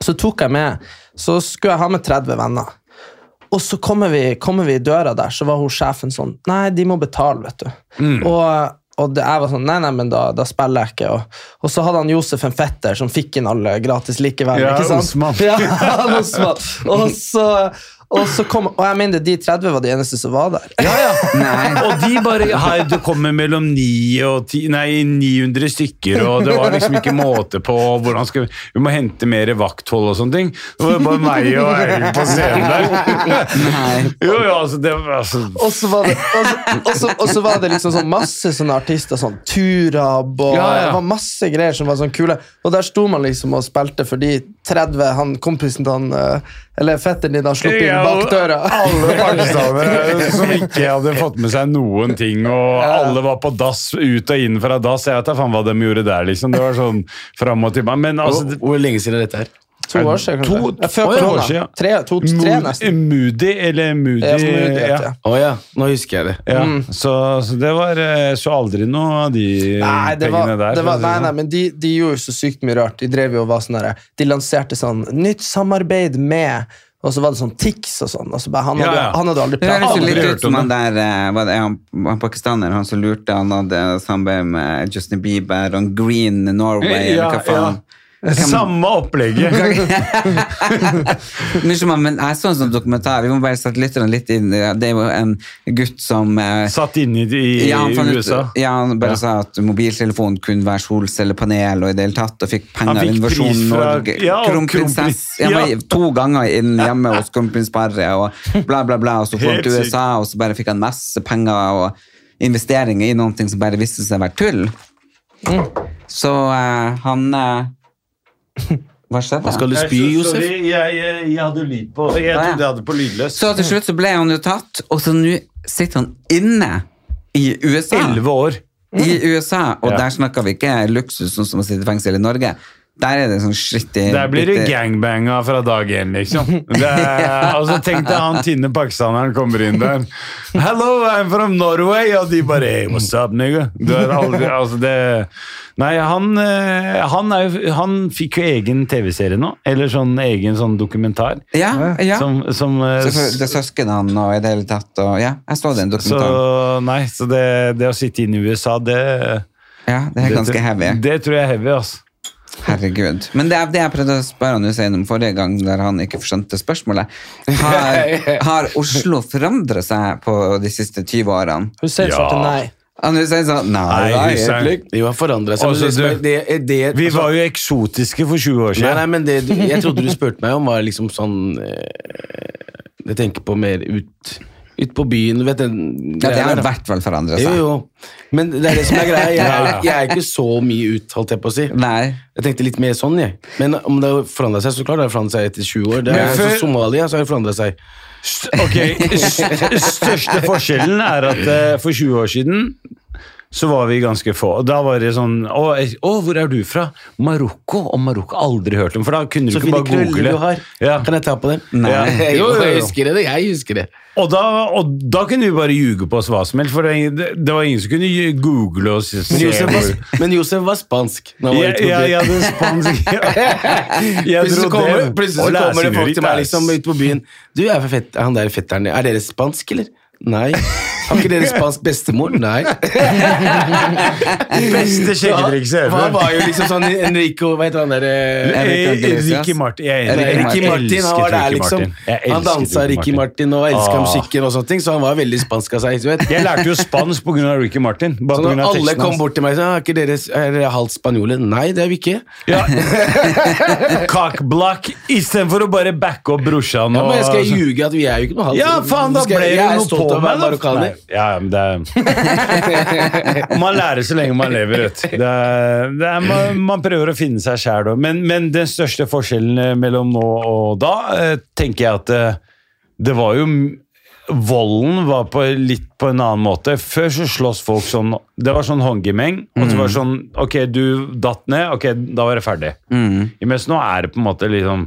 S2: Så tok jeg med Så skulle jeg ha med 30 venner. Og så kommer vi, kommer vi i døra der, så var hun sjefen sånn Nei, de må betale, vet du.
S3: Mm.
S2: Og, og det, jeg var sånn Nei, nei, men da, da spiller jeg ikke. Og, og så hadde han Josef en fetter som fikk inn alle gratis likevel.
S3: Ja,
S2: ikke sant?
S3: Osman.
S2: Ja, han Osman. Og så, og så kom Og jeg mener, de 30 var de eneste som var der.
S3: Ja, ja.
S1: Nei.
S3: Og de bare Hei, det kommer mellom 9 og 10 Nei, 900 stykker, og det var liksom ikke måte på hvordan skal vi Vi må hente mer vakthold og sånne ting. Det var bare meg og Eirik på scenen der.
S1: Nei.
S3: Jo, jo, altså, det var altså
S2: Og så var det, og så, og så, og så var det liksom sånn masse sånne artister, sånn Turab og
S3: Ja, ja.
S2: Det var masse greier som var sånn kule. Og der sto man liksom og spilte for de 30 han kompisen til han eh, Eller fetteren din har sluppet inn bak døra.
S3: Alle pakistanere som ikke hadde fått med seg noen ting, og alle var på dass, ut og inn fra dass. Jeg vet da faen hva de gjorde der, liksom. Det var sånn fram og tilbake. Men altså
S4: Hvor, hvor lenge siden er dette her?
S2: To år siden, kanskje.
S3: To-
S2: Ja, før
S3: Å, ja,
S2: korona.
S3: år siden, ja.
S2: Tre, to, tre nesten.
S3: Moody eller Moody.
S2: Ja, Moody heter
S3: ja.
S2: det.
S4: Å ja, nå husker jeg det.
S3: Ja,
S1: Mm.
S3: så, så det var eh, Så aldri noe av de
S2: Nei, det var,
S3: pengene der.
S2: det
S3: for å
S2: var,
S3: si
S2: nei,
S3: sånn.
S2: nei, men de, de gjorde jo så sykt mye rart. De drev jo og var sånn der, de lanserte sånn nytt samarbeid med Og så var det sånn Tix og sånn. Og så bare, han,
S3: Ja,
S2: hadde,
S3: ja.
S2: han hadde aldri
S1: Det høres jo
S3: Aldri
S2: pratet
S1: litt
S3: hørt
S1: ut som
S3: om
S1: han der eh, hva det er, han, han pakistaner, han som lurte, han hadde samarbeid med Justin Bieber og Green Norway,
S3: sånn. Ja,
S1: eller hva faen.
S3: Samme opplegget!
S1: Mye som han- Men jeg så en sånn dokumentar, vi må bare sette lytterne litt inn. Det er jo en gutt som eh,
S3: Satt inne i, i
S1: ja, han fant ut-
S3: USA.
S1: Ja, han bare
S3: Ja.
S1: sa at mobiltelefonen kunne være solcellepanel og i det hele tatt, og fikk penger
S3: Han
S1: av
S3: fikk
S1: Innovasjon
S3: pris fra-
S1: Norge.
S3: ja, og kronprins-
S1: Kronprinsesse. Ja,
S3: ja.
S1: men To ganger inn hjemme hos kronprins Barre og bla, bla, bla. Og så får han
S3: Helt
S1: til
S3: sykt.
S1: USA, og så bare fikk han masse penger og investeringer i noe som bare viste seg å være tull. Så eh, han eh, Hva skjedde?
S4: Skal du spy, Josef?
S3: Sorry, jeg, jeg, jeg hadde lyd på. Jeg
S1: Ah, ja.
S3: trodde jeg hadde på lydløs.
S1: Så til slutt så ble han jo tatt, og så nå sitter han inne I USA.
S3: Elleve år.
S1: I USA, og
S3: Ja.
S1: der snakker vi ikke luksus sånn som å sitte i fengsel i Norge. Der er det sånn skittig
S3: Der blir du
S1: bitte-
S3: gangbanga fra dag én, liksom. Det er, og så tenk deg han tynne pakistaneren kommer inn der. 'Hello, I'm from Norway.' Og de bare hey, 'What's up, nigga?' Du er aldri, altså det, nei, han, eh, han, er, jo- han fikk jo egen TV-serie nå. Eller sånn egen sånn dokumentar.
S1: Ja, ja.
S3: Som, som, eh,
S1: Så for- Det er søskenene og i det hele tatt. Og, ja, jeg så den dokumentaren.
S3: så nei, så det, det å sitte inne i USA, det
S1: ja, det er ganske heavy.
S3: Det tror jeg er heavy, altså.
S1: Herregud. Men det er det jeg prøvde å spørre han Hussein om forrige gang, der han ikke skjønte spørsmålet. Har, har Oslo forandret seg på de siste 20 årene?
S2: Hussein
S3: Ja.
S2: svarte nei.
S1: Han Hussein sa nei,
S3: Nei,
S1: nei
S3: Hussein.
S1: egentlig ikke.
S4: Jo, har forandra seg. men
S3: Altså,
S4: det som er-
S3: du-
S4: det- det-
S3: Vi
S4: altså-
S3: var jo eksotiske for 20 år
S4: Nei, nei,
S3: siden.
S4: men det, du- jeg trodde du spurte meg om var liksom sånn eh, Jeg tenker på mer ut, ut på byen, du vet den
S1: Ja, det altså.
S4: greia
S1: har i
S4: der, da.
S1: hvert fall forandret
S4: Jo,
S1: seg.
S4: jo. Men det er det som er greia. Jeg er, jeg er ikke så mye ut, holdt jeg på å si.
S1: Nei.
S4: Jeg tenkte litt mer sånn, jeg. Men om det har forandra seg, så klart det har forandra seg etter 20 år. Det
S3: Men
S4: er,
S3: før-
S4: så Somalia så har det forandra seg.
S3: St- Ok, st- største forskjellen er at eh, for 20 år siden så var vi ganske få. Da var det sånn Å, eh, å hvor er du fra? Marokko? Og Marokko aldri hørt om, for da kunne du
S4: Så
S3: ikke
S4: fine
S3: bare
S4: krøller
S3: google.
S4: du har.
S3: Ja.
S4: Kan jeg ta på dem?
S1: Nei.
S4: Jo, jo, jeg husker det. Jeg husker det.
S3: Og, da, og da kunne vi bare ljuge på oss hva som helst, for det, det, det var ingen som kunne ju- google oss.
S4: Men Josef var, men Josef var spansk. Når han var
S3: Ja,
S4: ute på
S3: ja,
S4: byen.
S3: ja, det er spansk. Jeg
S4: Plutselig så
S3: trodde-
S4: kommer, plutselig
S3: Å,
S4: så
S3: lære
S4: kommer det
S3: seg
S4: folk
S3: litt,
S4: til meg
S3: ass.
S4: liksom ute på byen. Du, er for fett, han der fetteren Er dere spansk, eller? Nei. Har ikke dere spansk bestemor? Nei.
S3: Beste sjekketrikset
S4: Han
S3: ever.
S4: var jo liksom sånn Enrico Hva heter han der? eh,
S3: Eh,
S1: Iglesias.
S3: Ricky Martin. Jeg er enig.
S1: Ricky
S4: Ricky
S3: Jeg
S4: Martin, han
S3: elsket
S4: var der
S3: Ricky
S4: liksom.
S3: Martin. Jeg
S4: Han
S3: elsket
S4: dansa Ricky Martin og elska ham
S3: Ah.
S4: skikken og sånne ting, så han var veldig spansk av seg. Du vet.
S3: Jeg lærte jo spansk pga. Ricky Martin. Bare
S4: Så
S3: på grunn
S4: når
S3: av
S4: alle
S3: teksten
S4: kom
S3: hans.
S4: bort til meg og sa Er ikke dere, er dere halvt spanjole? Nei, det er vi ikke.
S3: Ja. Cockblock istedenfor å bare backe opp brorsan.
S4: Ja,
S3: og-
S4: men jeg skal ljuge at vi er jo ikke noe halvt
S3: Ja, faen, da
S4: Skal-
S3: ble det
S4: Jeg er
S3: noe
S4: stolt
S3: på
S4: av å være
S3: meg, da.
S4: marokkaner.
S3: Nei, Ja, men det er... Man lærer så lenge man lever, vet du. Det er, det er, man, man prøver å finne seg sjæl òg. Men, men den største forskjellen eh, mellom nå og da, eh, tenker jeg at eh, det var jo m- Volden var på litt på en annen måte. Før så slåss folk sånn Det var sånn håndgemeng. Og så var
S4: Mm.
S3: det sånn Ok, du datt ned. Ok, da var det ferdig.
S4: Mm.
S3: Mens nå er det på en måte liksom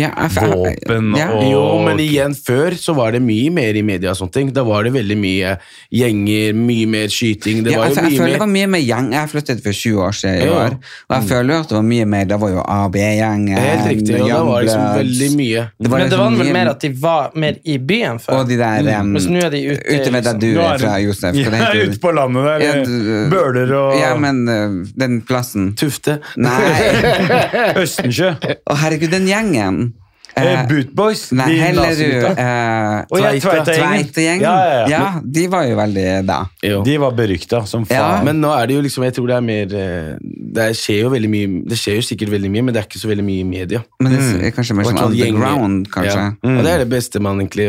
S1: Ja, jeg- jeg-
S3: Våpen
S1: ja.
S3: og-
S4: Jo, men igjen, før så var det mye mer i media og sånne ting. Da var det veldig mye gjenger, mye mer skyting. Det
S1: ja,
S4: var
S1: altså,
S4: jo
S1: jeg
S4: mye
S1: føler det
S4: mer
S1: var mye mer gjeng. Jeg flyttet for 20 år siden i
S4: Ja. Mm.
S1: år. Og jeg føler jo at det var mye mer. Da var jo A, B-gjeng.
S4: Helt riktig, og da var det liksom veldig mye.
S2: Men det var vel mer at de var mer i byen før.
S1: liksom Og de der
S3: mm,
S1: um,
S2: Mens nå er de ute,
S1: ute ved der
S2: liksom.
S1: du
S3: Nå er
S1: er fra,
S3: det-
S1: Josef. hva
S3: Ja,
S1: heter det?
S3: ute på landet der.
S1: Ja, du-
S3: Bøler og
S1: Ja, men uh, den plassen.
S4: Tufte.
S1: Nei,
S3: Østensjø.
S1: å herregud, den gjengen.
S3: Eh, Bootboys.
S1: Eh, Nei, Hellerud.
S3: nazigutta.
S1: eh,
S3: Å, ja,
S1: Tveita-
S3: Tveita-gjengen.
S1: Tveita-gjengen.
S3: Ja, ja, ja.
S1: Ja, de var jo veldig da.
S4: Jo.
S3: De var berykta som
S1: Ja.
S3: faen.
S4: Men nå er det jo liksom, jeg tror det er mer eh, Det skjer jo veldig mye Det skjer jo sikkert veldig mye, men det er ikke så veldig mye i media.
S1: Men det er kanskje mer
S4: Og
S1: sånn
S4: sånn gjenger.
S1: underground, kanskje. Mm.
S4: Ja. Og det er det beste man egentlig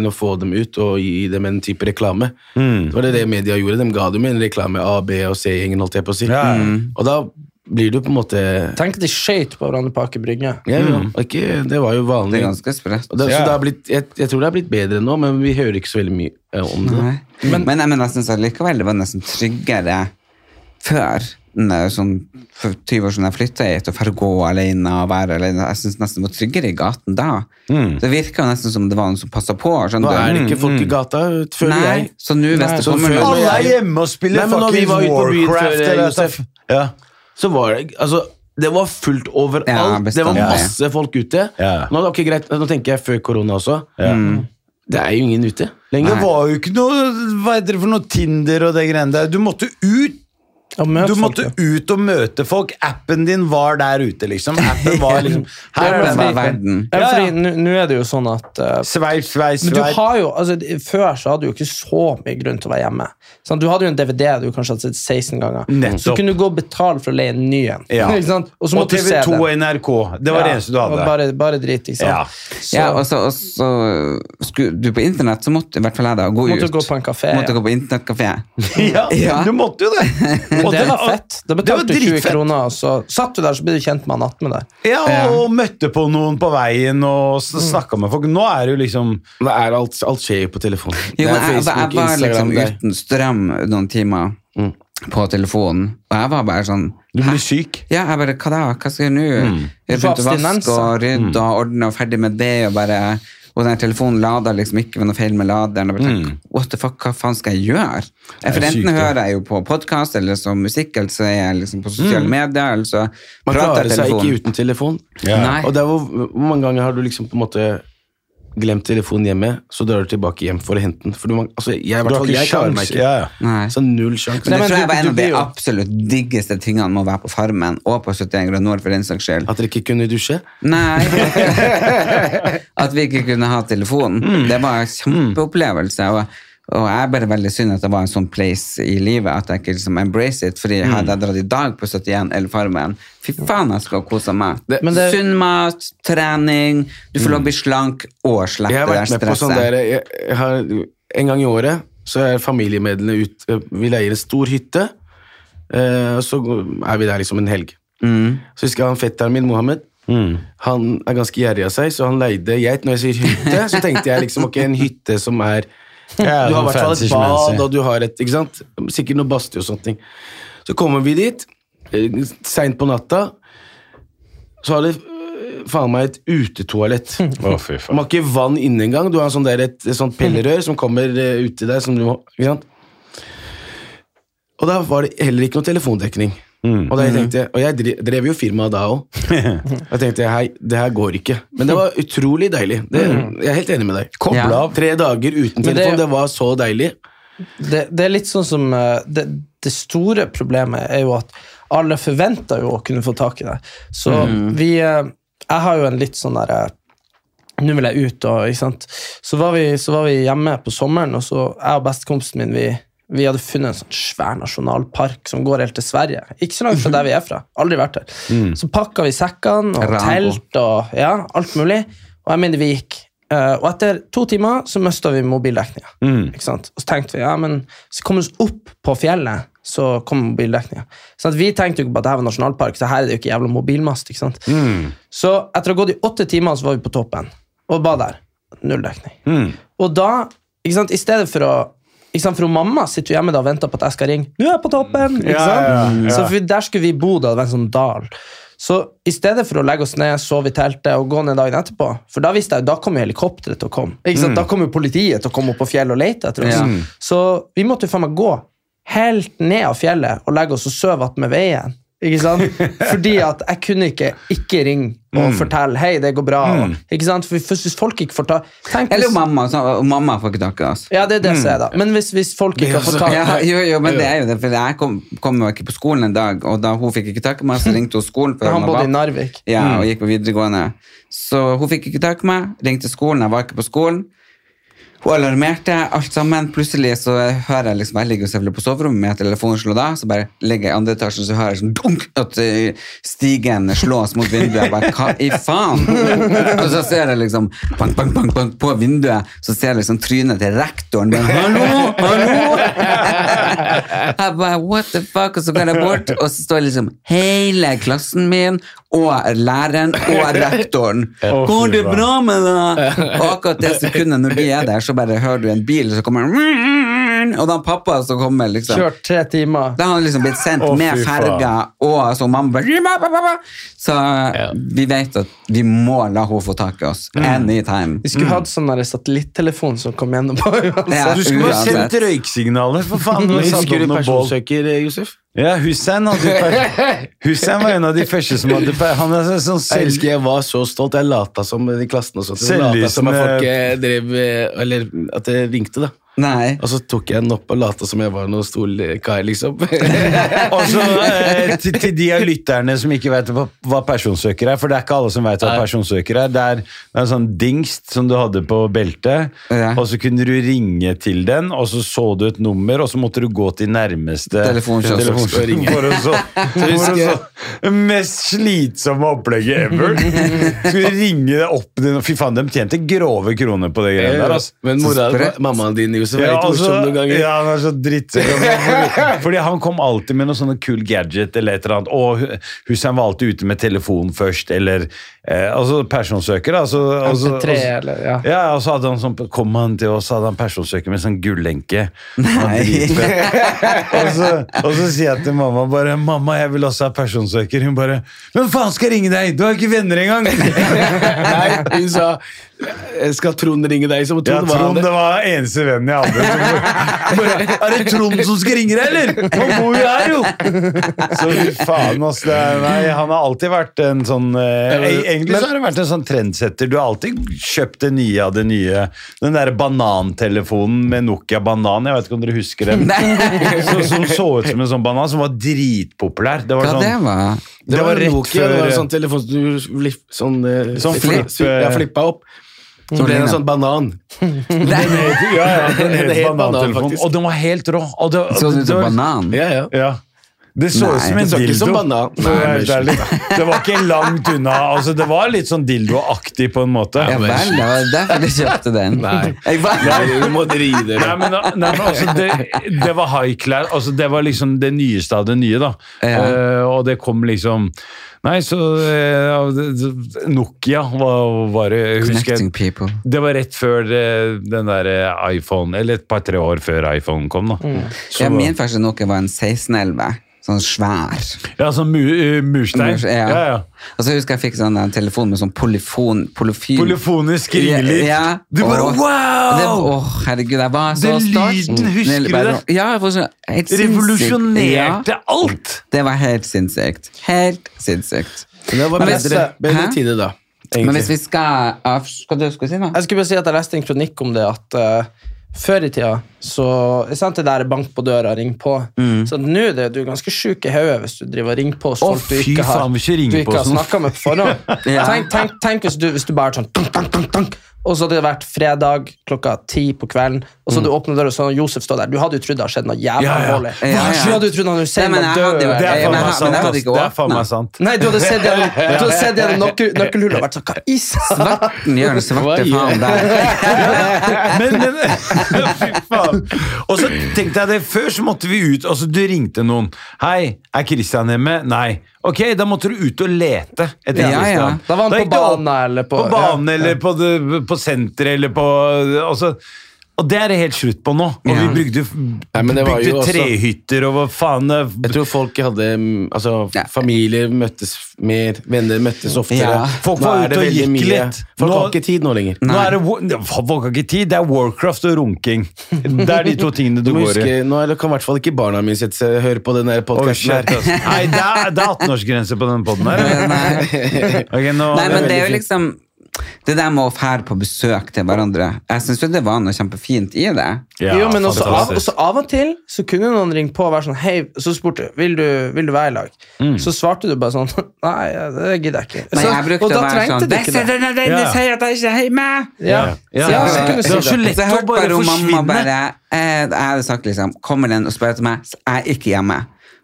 S4: enn å få dem ut og gi dem en type reklame.
S3: Mm.
S4: Det var det det media gjorde. De ga dem en reklame A, B og C-gjengen, holdt jeg på å si.
S3: Ja.
S1: Mm.
S4: Og da blir du på en måte
S2: Tenk at de skøyt på hverandre på Aker Brygge.
S4: ja, ja. Ikke, Det var jo
S1: Det
S4: vanlig.
S1: er ganske sprøtt.
S4: Mm. Og det,
S3: Mm. Ja.
S4: så det har blitt, jeg, jeg tror det har blitt bedre nå, men vi hører ikke så veldig mye eh, om det.
S1: Nei. Men, jeg mener, jeg syns allikevel det var nesten tryggere før. når Sånn, for 20 år siden jeg flytta hit, og for å gå alene og være alene. Jeg syns nesten det var tryggere i gaten da. Det virka nesten som det var noen som passa på.
S4: Mm. Nå
S1: skjønner
S4: er det
S3: Mm,
S1: du?
S4: ikke folk i gata, føler
S1: Nei,
S4: jeg.
S1: så nå hvis det
S4: så
S1: kommer
S4: føler
S1: noen
S3: Alle er
S4: jeg-
S3: hjemme og spiller
S4: Nei, men når vi
S3: fucking
S4: var ute på byen
S3: Warcraft.
S4: før,
S3: eller-
S4: Josef.
S3: ja.
S4: så var det altså, det var fullt overalt.
S1: Ja,
S4: det var
S1: bestandig.
S4: masse folk ute.
S3: Ja.
S4: Nå, ok, greit, nå tenker jeg før korona også. Det er jo ingen ute lenger.
S3: Det var jo ikke noe Hva heter det for noe Tinder og det greiene der. Du måtte ut
S2: Og møte
S3: du
S2: folk,
S3: måtte
S2: jo.
S3: ut og møte folk. Appen din var der ute, liksom. Appen var liksom
S2: Ja, men
S3: Her
S1: var
S3: er
S2: fordi-
S3: det.
S1: verden.
S2: Ja,
S3: Ja,
S2: fordi
S3: ja.
S2: nå- Nå er det jo sånn at eh,
S3: Sveip, sveip,
S2: Men du
S3: sveip.
S2: har jo, altså, de- Før så hadde du jo ikke så mye grunn til å være hjemme. Sant? du hadde jo en DVD du kanskje hadde sett 16 ganger. Så
S3: Nettopp.
S2: kunne du gå og betale for å leie en ny en.
S3: Ja.
S2: Ikke sant? Og så
S3: Og
S2: måtte du se
S3: TV2
S2: den.
S3: og NRK. Det var det
S2: Ja,
S3: eneste du
S2: og
S3: hadde.
S2: Bare, bare drit, ikke sant.
S3: Ja.
S2: Så
S1: Ja, og så, og så skulle du på internett, så måtte i hvert fall jeg da gå
S2: måtte
S1: ut.
S2: du gå på en kafé.
S1: måtte
S2: ja.
S1: gå på internettkafé.
S3: Ja,
S1: Ja.
S3: du måtte jo det.
S2: Og det
S1: det-
S2: var fett. Da
S3: var
S2: betalte du 20
S3: dritfett.
S2: kroner, og så satt du der, så ble du kjent med han attmed der.
S3: Ja, og møtte på noen på veien og snakka med folk. Nå er det jo liksom
S4: Det er alt, alt skjer jo på telefonen.
S1: Jo,
S4: Det er
S1: men jeg, jeg,
S4: Facebook,
S1: jeg var liksom
S4: Instagram, det er-
S1: uten strøm noen timer på telefonen, og jeg var bare sånn
S3: Du blir syk.
S1: Ja, jeg bare, hva da? Hva skal jeg gjøre nå?
S2: Du får
S1: Jeg begynte å vaske
S2: abstinenser.
S1: og rydde og ordne og ferdig med det, og bare og den telefonen lada liksom ikke det var noe feil med laderen. og Jeg bare, tenkte, What the fuck, hva faen skal jeg gjøre? Jeg, for
S3: er sykt,
S1: enten
S3: det.
S1: hører jeg jo på podkast eller som musikk, eller så er jeg liksom på sosiale medier, eller så
S4: Man
S1: prater
S4: klarer
S1: jeg
S4: seg ikke
S1: telefonen.
S4: uten telefon.
S3: Ja.
S1: Nei.
S4: Og det er hvor, hvor mange ganger har du liksom på en måte glemt telefonen hjemme, så drar du tilbake hjem for å hente den? For du, man, altså, jeg,
S3: Du
S4: i hvert
S3: har
S4: fall,
S3: ikke
S4: jeg klarer meg
S3: sjans.
S4: ikke.
S3: Ja, ja.
S1: Nei.
S4: Så null
S1: Men
S4: sjanse.
S1: det
S2: men
S1: tror
S2: du-
S1: jeg var
S2: du
S1: en av de
S2: blir jo-
S1: absolutt diggeste tingene med å være på Farmen og på 71 grader nord, for den saks skyld.
S4: At dere ikke kunne dusje?
S1: Nei. at vi ikke kunne ha telefon. Det var en kjempeopplevelse. Og, og jeg er bare veldig synd at det var en sånn place i livet at jeg ikke liksom embrace it. fordi hadde jeg dratt i dag på 71 eller Farmen, fy faen, jeg skulle ha kosa meg.
S2: Men det-
S1: Sunn mat, trening, du får lov å bli slank og
S4: Jeg
S1: slippe
S4: har
S1: det
S4: vært
S1: der
S4: med på sånn
S1: stresset.
S4: der jeg, jeg har, En gang i året så er familiemedlemmene ute. Vi leier en stor hytte, eh, og så går- er vi der liksom en helg. Så husker jeg han fetteren min, Mohammed. Han er ganske gjerrig av seg, så han leide geit. Når jeg sier hytte, så tenkte jeg liksom ok, en hytte som er Du har i hvert fall et bad, og du har et ikke sant? Sikkert noe badstue og sånne ting. Så kommer vi dit, eh, seint på natta, så har det eh, faen meg et utetoalett.
S3: Å, fy
S4: Man
S3: faen.
S4: har ikke vann inne engang. Du har en sånn der, et, et sånt pillerør som kommer eh, ut til deg. Som du må, ikke sant? Og da var det heller ikke noe telefondekning.
S3: Mm.
S4: Og, da jeg tenkte, og jeg drev, drev jo firmaet da òg. Da tenkte jeg hei, det her går ikke. Men det var utrolig deilig. Det, jeg er helt enig med deg.
S1: Koble Ja. av.
S4: Tre dager uten
S2: Men det-
S4: telefon, det var så deilig.
S2: det, det er litt sånn som eh, det, det store problemet er jo at alle forventer jo å kunne få tak i det. Så vi eh, Jeg har jo en litt sånn derre Nå vil jeg ut, og ikke sant. Så var, vi, så var vi hjemme på sommeren, og så jeg og bestekompisen min vi, vi hadde funnet en sånn svær nasjonalpark som går helt til Sverige. Ikke så langt fra der vi er fra. Aldri vært der. Så pakka vi sekkene og
S1: Rambo.
S2: telt og ja, alt mulig. Og jeg mener vi gikk. Eh, og etter to timer så mista vi mobildekninga. Ikke sant? Og så tenkte vi ja, men hvis vi kommer oss opp på fjellet, så kommer mobildekninga. Sånn at vi tenkte jo ikke på at det her var nasjonalpark, så her er det jo ikke jævla mobilmast. ikke sant? Så etter å ha gått i åtte timer, så var vi på toppen og var der. Null dekning.
S3: Mm.
S2: Og da, ikke sant, i stedet for å ikke sant, For hun mamma sitter jo hjemme da og venter på at jeg skal ringe. Nå er jeg på toppen! Ikke
S3: Ja,
S2: sant?
S3: ja, ja.
S2: Så for der skulle vi bo, da. Det var en sånn dal. Så i stedet for å legge oss ned, sove i teltet og gå ned dagen etterpå For da visste jeg jo, da kommer jo helikopteret til å komme. Ikke
S3: Mm.
S2: sant? Da kommer jo politiet til å komme opp på fjellet og lete etter oss.
S1: Ja.
S2: Så vi måtte jo faen meg gå helt ned av fjellet og legge oss og sove attmed veien. Ikke sant? Fordi at jeg kunne ikke ikke ringe
S3: Mm.
S2: og fortelle hei, det går bra. Og, ikke sant? For Hvis folk ikke får ta tenk
S1: Eller
S2: hvis,
S1: jo mamma. Så, og mamma får ikke tak i oss.
S2: Ja, det er det som er, da. Men hvis, hvis folk
S4: Mm. Det er
S2: ikke får
S4: altså-
S2: ta
S1: Ja, jo, jo, men det er jo det, for jeg kom, kom jo ikke på skolen en dag, og da hun fikk ikke tak i meg, så ringte hun skolen. for
S2: Han
S1: hun
S2: bodde i
S1: var-
S2: Narvik.
S1: Ja, og gikk på videregående. Så hun fikk ikke tak i meg, ringte skolen, jeg var ikke på skolen. Hun alarmerte, alt sammen. Plutselig så hører jeg liksom, jeg ligger jo selvfølgelig på soverommet med telefonen slår da, så bare ligger jeg i andre etasjen, så hører jeg sånn dunk, at eh, stigen slås mot vinduet. Jeg bare, hva i faen? Og så ser jeg liksom, bank, bank, bank, bank, på vinduet, så ser jeg liksom trynet til rektoren, men hallo, hallo! Jeg bare, what the fuck? Og så går jeg bort, og så står liksom hele klassen min og læreren og rektoren.
S3: Å, fy
S1: Går det
S3: faen.
S1: bra med deg? Og akkurat det sekundet når de er der, så bare hører du en bil, og så kommer Og da pappa som kommer, liksom.
S2: Kjørt tre timer.
S1: Da har han liksom blitt sendt
S3: Å, fy
S1: med ferga, og så mamma bare Så vi vet at vi må la henne få tak i oss.
S3: Mm.
S1: Anytime.
S2: Vi skulle
S4: Mm.
S2: hatt sånn der satellittelefon som kom gjennom. på uansett.
S1: Ja.
S3: Du skulle bare
S1: Uansett.
S3: sendt røyksignaler, for faen! og satt
S4: Husker
S3: opp
S4: du
S3: noen bål.
S4: personsøker, eh, Josef?
S3: Ja, Hussein, hadde jo per- Hussein var en av de første som hadde per- Han er sånn
S4: Jeg
S3: selv...
S4: elsker, jeg var så stolt. Jeg lata som i klassen og sånt. Jeg
S3: Selvlysende-
S4: Lata som at folk eh, drev eh, Eller at det ringte, da.
S1: Nei.
S4: Og så tok jeg den opp og lata som jeg var noen stor kar, liksom.
S3: Og så eh, til, til de av lytterne som ikke vet hva, hva personsøker er, for det er ikke alle som vet hva personsøker er. Det er, det er en sånn dingst som du hadde på beltet,
S1: Ja.
S3: og så kunne du ringe til den, og så så du et nummer, og så måtte du gå til nærmeste
S1: Telefonkiosk.
S3: telefonkiosk
S4: Og ringe.
S3: for å så, for å så det mest slitsomme opplegget ever. Skulle ringe deg opp Fy faen, de tjente grove kroner på det greiene der, altså.
S4: Men mora,
S1: Så sprøtt.
S4: mammaen din, så veldig morsom noen ganger.
S3: Ja, han er så drittsekk. Fordi, fordi han kom alltid med noe sånne cool gadget eller et eller annet. Og Hussein var alltid ute med telefon først, eller eh, altså personsøker. Altså, altså,
S2: MP3
S3: altså-
S2: eller ja.
S3: ja, og så hadde han sånn, kom han til oss, så hadde han personsøker med sånn gullenke.
S1: Nei.
S3: og, så, og så sier jeg til mamma bare, mamma, jeg vil også ha personsøker. Hun bare, hvem faen skal jeg ringe deg? Du har ikke venner engang.
S4: Nei, hun sa «Jeg Skal Trond ringe deg? Så
S3: Ja,
S4: Trond var
S3: Trond,
S4: han
S3: det var eneste vennen jeg hadde. Bare, er det Trond som skal ringe deg, eller? Han bor jo her, jo! Så fy faen, ass. Det er, nei, han har alltid vært en sånn eh, e- Egentlig så har han vært en sånn trendsetter. Du har alltid kjøpt det nye av det nye. Den derre banantelefonen med Nokia Banan, jeg vet ikke om dere husker den? Så, som så ut som en sånn banan, som var dritpopulær. Det var
S1: Hva det
S3: sånn
S1: var?
S4: Det var
S3: rett
S4: Nokia, det var
S3: før-
S4: en sånn telefon som du flip, sånn, eh,
S3: Sånn
S4: flip-
S3: flip, eh,
S4: ja, flippa opp. Så ble det en sånn banan.
S3: Ja, ja, den
S4: En
S3: het
S4: helt banan,
S3: banantelefon.
S4: faktisk.
S3: Og den var helt rå. Og det,
S1: Så du
S3: det
S1: til
S3: var-
S1: banan?
S4: Ja, ja.
S3: Ja. Det så
S1: Nei,
S3: ut som
S1: det
S3: en
S4: så ikke
S3: dildo.
S4: som banan.
S3: for å være
S4: Nei,
S3: helt ærlig. det var ikke langt unna. Altså, det var litt sånn dildoaktig på en måte.
S1: Ja vel, det var derfor du kjøpte den.
S4: Nei.
S1: Jeg var,
S4: Du må drite deg.
S3: Nei, men, nei, men altså, det, det var highclad. Altså, det var liksom det nyeste av det nye, da.
S1: Ja.
S3: Eh, og det kom liksom Nei, så eh, det- Nokia var, var det, husker jeg.
S1: Connecting people.
S3: Det var rett før eh, den der eh, iPhone, eller et par-tre år før iPhone kom, da. Så,
S1: Ja, min første Nokia var en 1611. Sånn svær.
S3: ja, sånn mu, eh, murstein.
S1: Murs-
S3: Ja, ja.
S1: Og så husker jeg jeg fikk sånn en telefon med sånn polyfon, polyfyl.
S3: Polifonisk ringelyd.
S1: Ja, ja.
S3: Du bare
S1: Åh. Og det,
S3: wow!
S1: åh, herregud, jeg var så
S3: Den
S1: stolt.
S3: lyden, husker
S1: Den-
S3: du
S1: bare-
S3: det?
S1: Ja, jeg var så helt sinnssykt.
S3: Revolusjonerte
S1: Ja,
S3: alt!
S1: det var helt sinnssykt. Helt sinnssykt.
S4: Det var
S1: Men hvis-
S4: bedre, bedre
S1: Hæ?
S4: tider da.
S1: Men
S4: Egentlig.
S1: hvis vi skal av... Hva du skulle si nå?
S2: Jeg skulle bare si at jeg leste en kronikk om det at eh, før i tida så sant, det der bank på døra, ring på. Så nå er det, du er ganske sjuk i hodet hvis du driver og ringer på hos
S3: Mm. Å,
S2: folk du
S3: fy
S2: ikke har,
S3: faen,
S2: du
S3: hvis du ringer på
S2: ikke har
S3: sånn.
S2: snakka med på forhånd.
S1: Ja.
S2: tenk, tenk, tenk hvis du, hvis du bare er sånn tank, tank, tank, tank, og så hadde det vært fredag klokka ti på kvelden, og så hadde du åpna døra, og så hadde Josef stått der. Du hadde jo trodd det hadde skjedd noe jævlig
S3: Mm. Ja, ja.
S2: alvorlig.
S1: Ja, ja.
S2: Du hadde jo trodd han Hussein
S1: Nei, men
S2: var
S1: jeg hadde
S2: død.
S1: jo-
S3: Det er
S1: jeg-
S3: faen
S1: men
S3: meg
S1: jeg
S3: sant.
S1: hadde
S3: ass.
S1: ikke
S3: Det er faen
S1: åpnet.
S3: meg sant.
S2: Nei, du hadde sett gjennom, du hadde sett gjennom nøkkel- nøkkelhullet og vært sånn Hva i sa-"
S1: Svarten gjør den svarte
S4: Hva gjør-
S1: faen der.
S3: Men, men Fy faen. Og så tenkte jeg det, før så måtte vi ut, altså du ringte noen. Hei, er Christian hjemme? Nei. Ok, da måtte du ut og lete etter
S1: Ja, ja.
S3: Christian.
S2: Da var han på
S3: gikk du opp-
S2: banen eller på-
S3: På banen eller på, det- på senteret eller på altså, og det er det helt slutt på nå. Og vi
S1: Ja.
S3: brygde,
S4: Nei, men det var jo
S3: bygde
S4: også-
S3: trehytter og hva faen eh,
S4: Jeg tror folk hadde mm, Altså,
S1: Ja.
S4: familier møttes mer, venner møttes oftere.
S1: Ja.
S3: Folk
S4: Nå
S3: var
S4: er
S3: ute
S4: det
S3: og
S4: veldig
S3: gikk
S4: mye-
S3: litt.
S4: Folk
S3: Nå-
S4: har ikke tid nå lenger.
S3: Nå er det, wa- folk har ikke tid, det er Warcraft og runking. Det er de to tingene du
S4: Du må
S3: går i.
S4: huske, nå er det- kan i hvert fall ikke barna mine sette seg høre på den der
S3: Oi,
S4: podkasten
S3: shit,
S4: her.
S3: ass. Nei, det er, det er 18-årsgrense på den poden her. eller?
S1: eh,
S3: Ok, nå,
S1: Nei, men det er jo
S3: veldig fint.
S1: liksom Det der med å fære på besøk til hverandre Jeg syns jo det var noe kjempefint i det.
S3: Ja,
S2: jo, men også av,
S3: fantastisk.
S2: også av og til så kunne noen ringe på og være sånn Hei, så spurte du vil du vil du være i lag.
S3: Mm.
S2: Så svarte du bare sånn Nei, det gidder jeg ikke.
S1: Men
S2: så,
S1: jeg brukte
S2: og da
S1: å være
S2: trengte
S1: sånn
S2: du ikke det.
S1: «Bestemor, den
S3: Ja.
S1: sier at jeg ikke er hjemme!»
S2: Ja.
S3: Ja,
S2: Så, ja, så
S3: ja, ja.
S2: kunne du
S3: Det var
S2: si
S3: så
S2: det.
S3: lett
S1: Så jeg
S3: å
S1: hørte
S3: bare
S1: bare om mamma bare
S3: forsvinne.
S1: eh, Jeg hadde sagt liksom Kommer den og spør etter meg, så er jeg ikke hjemme.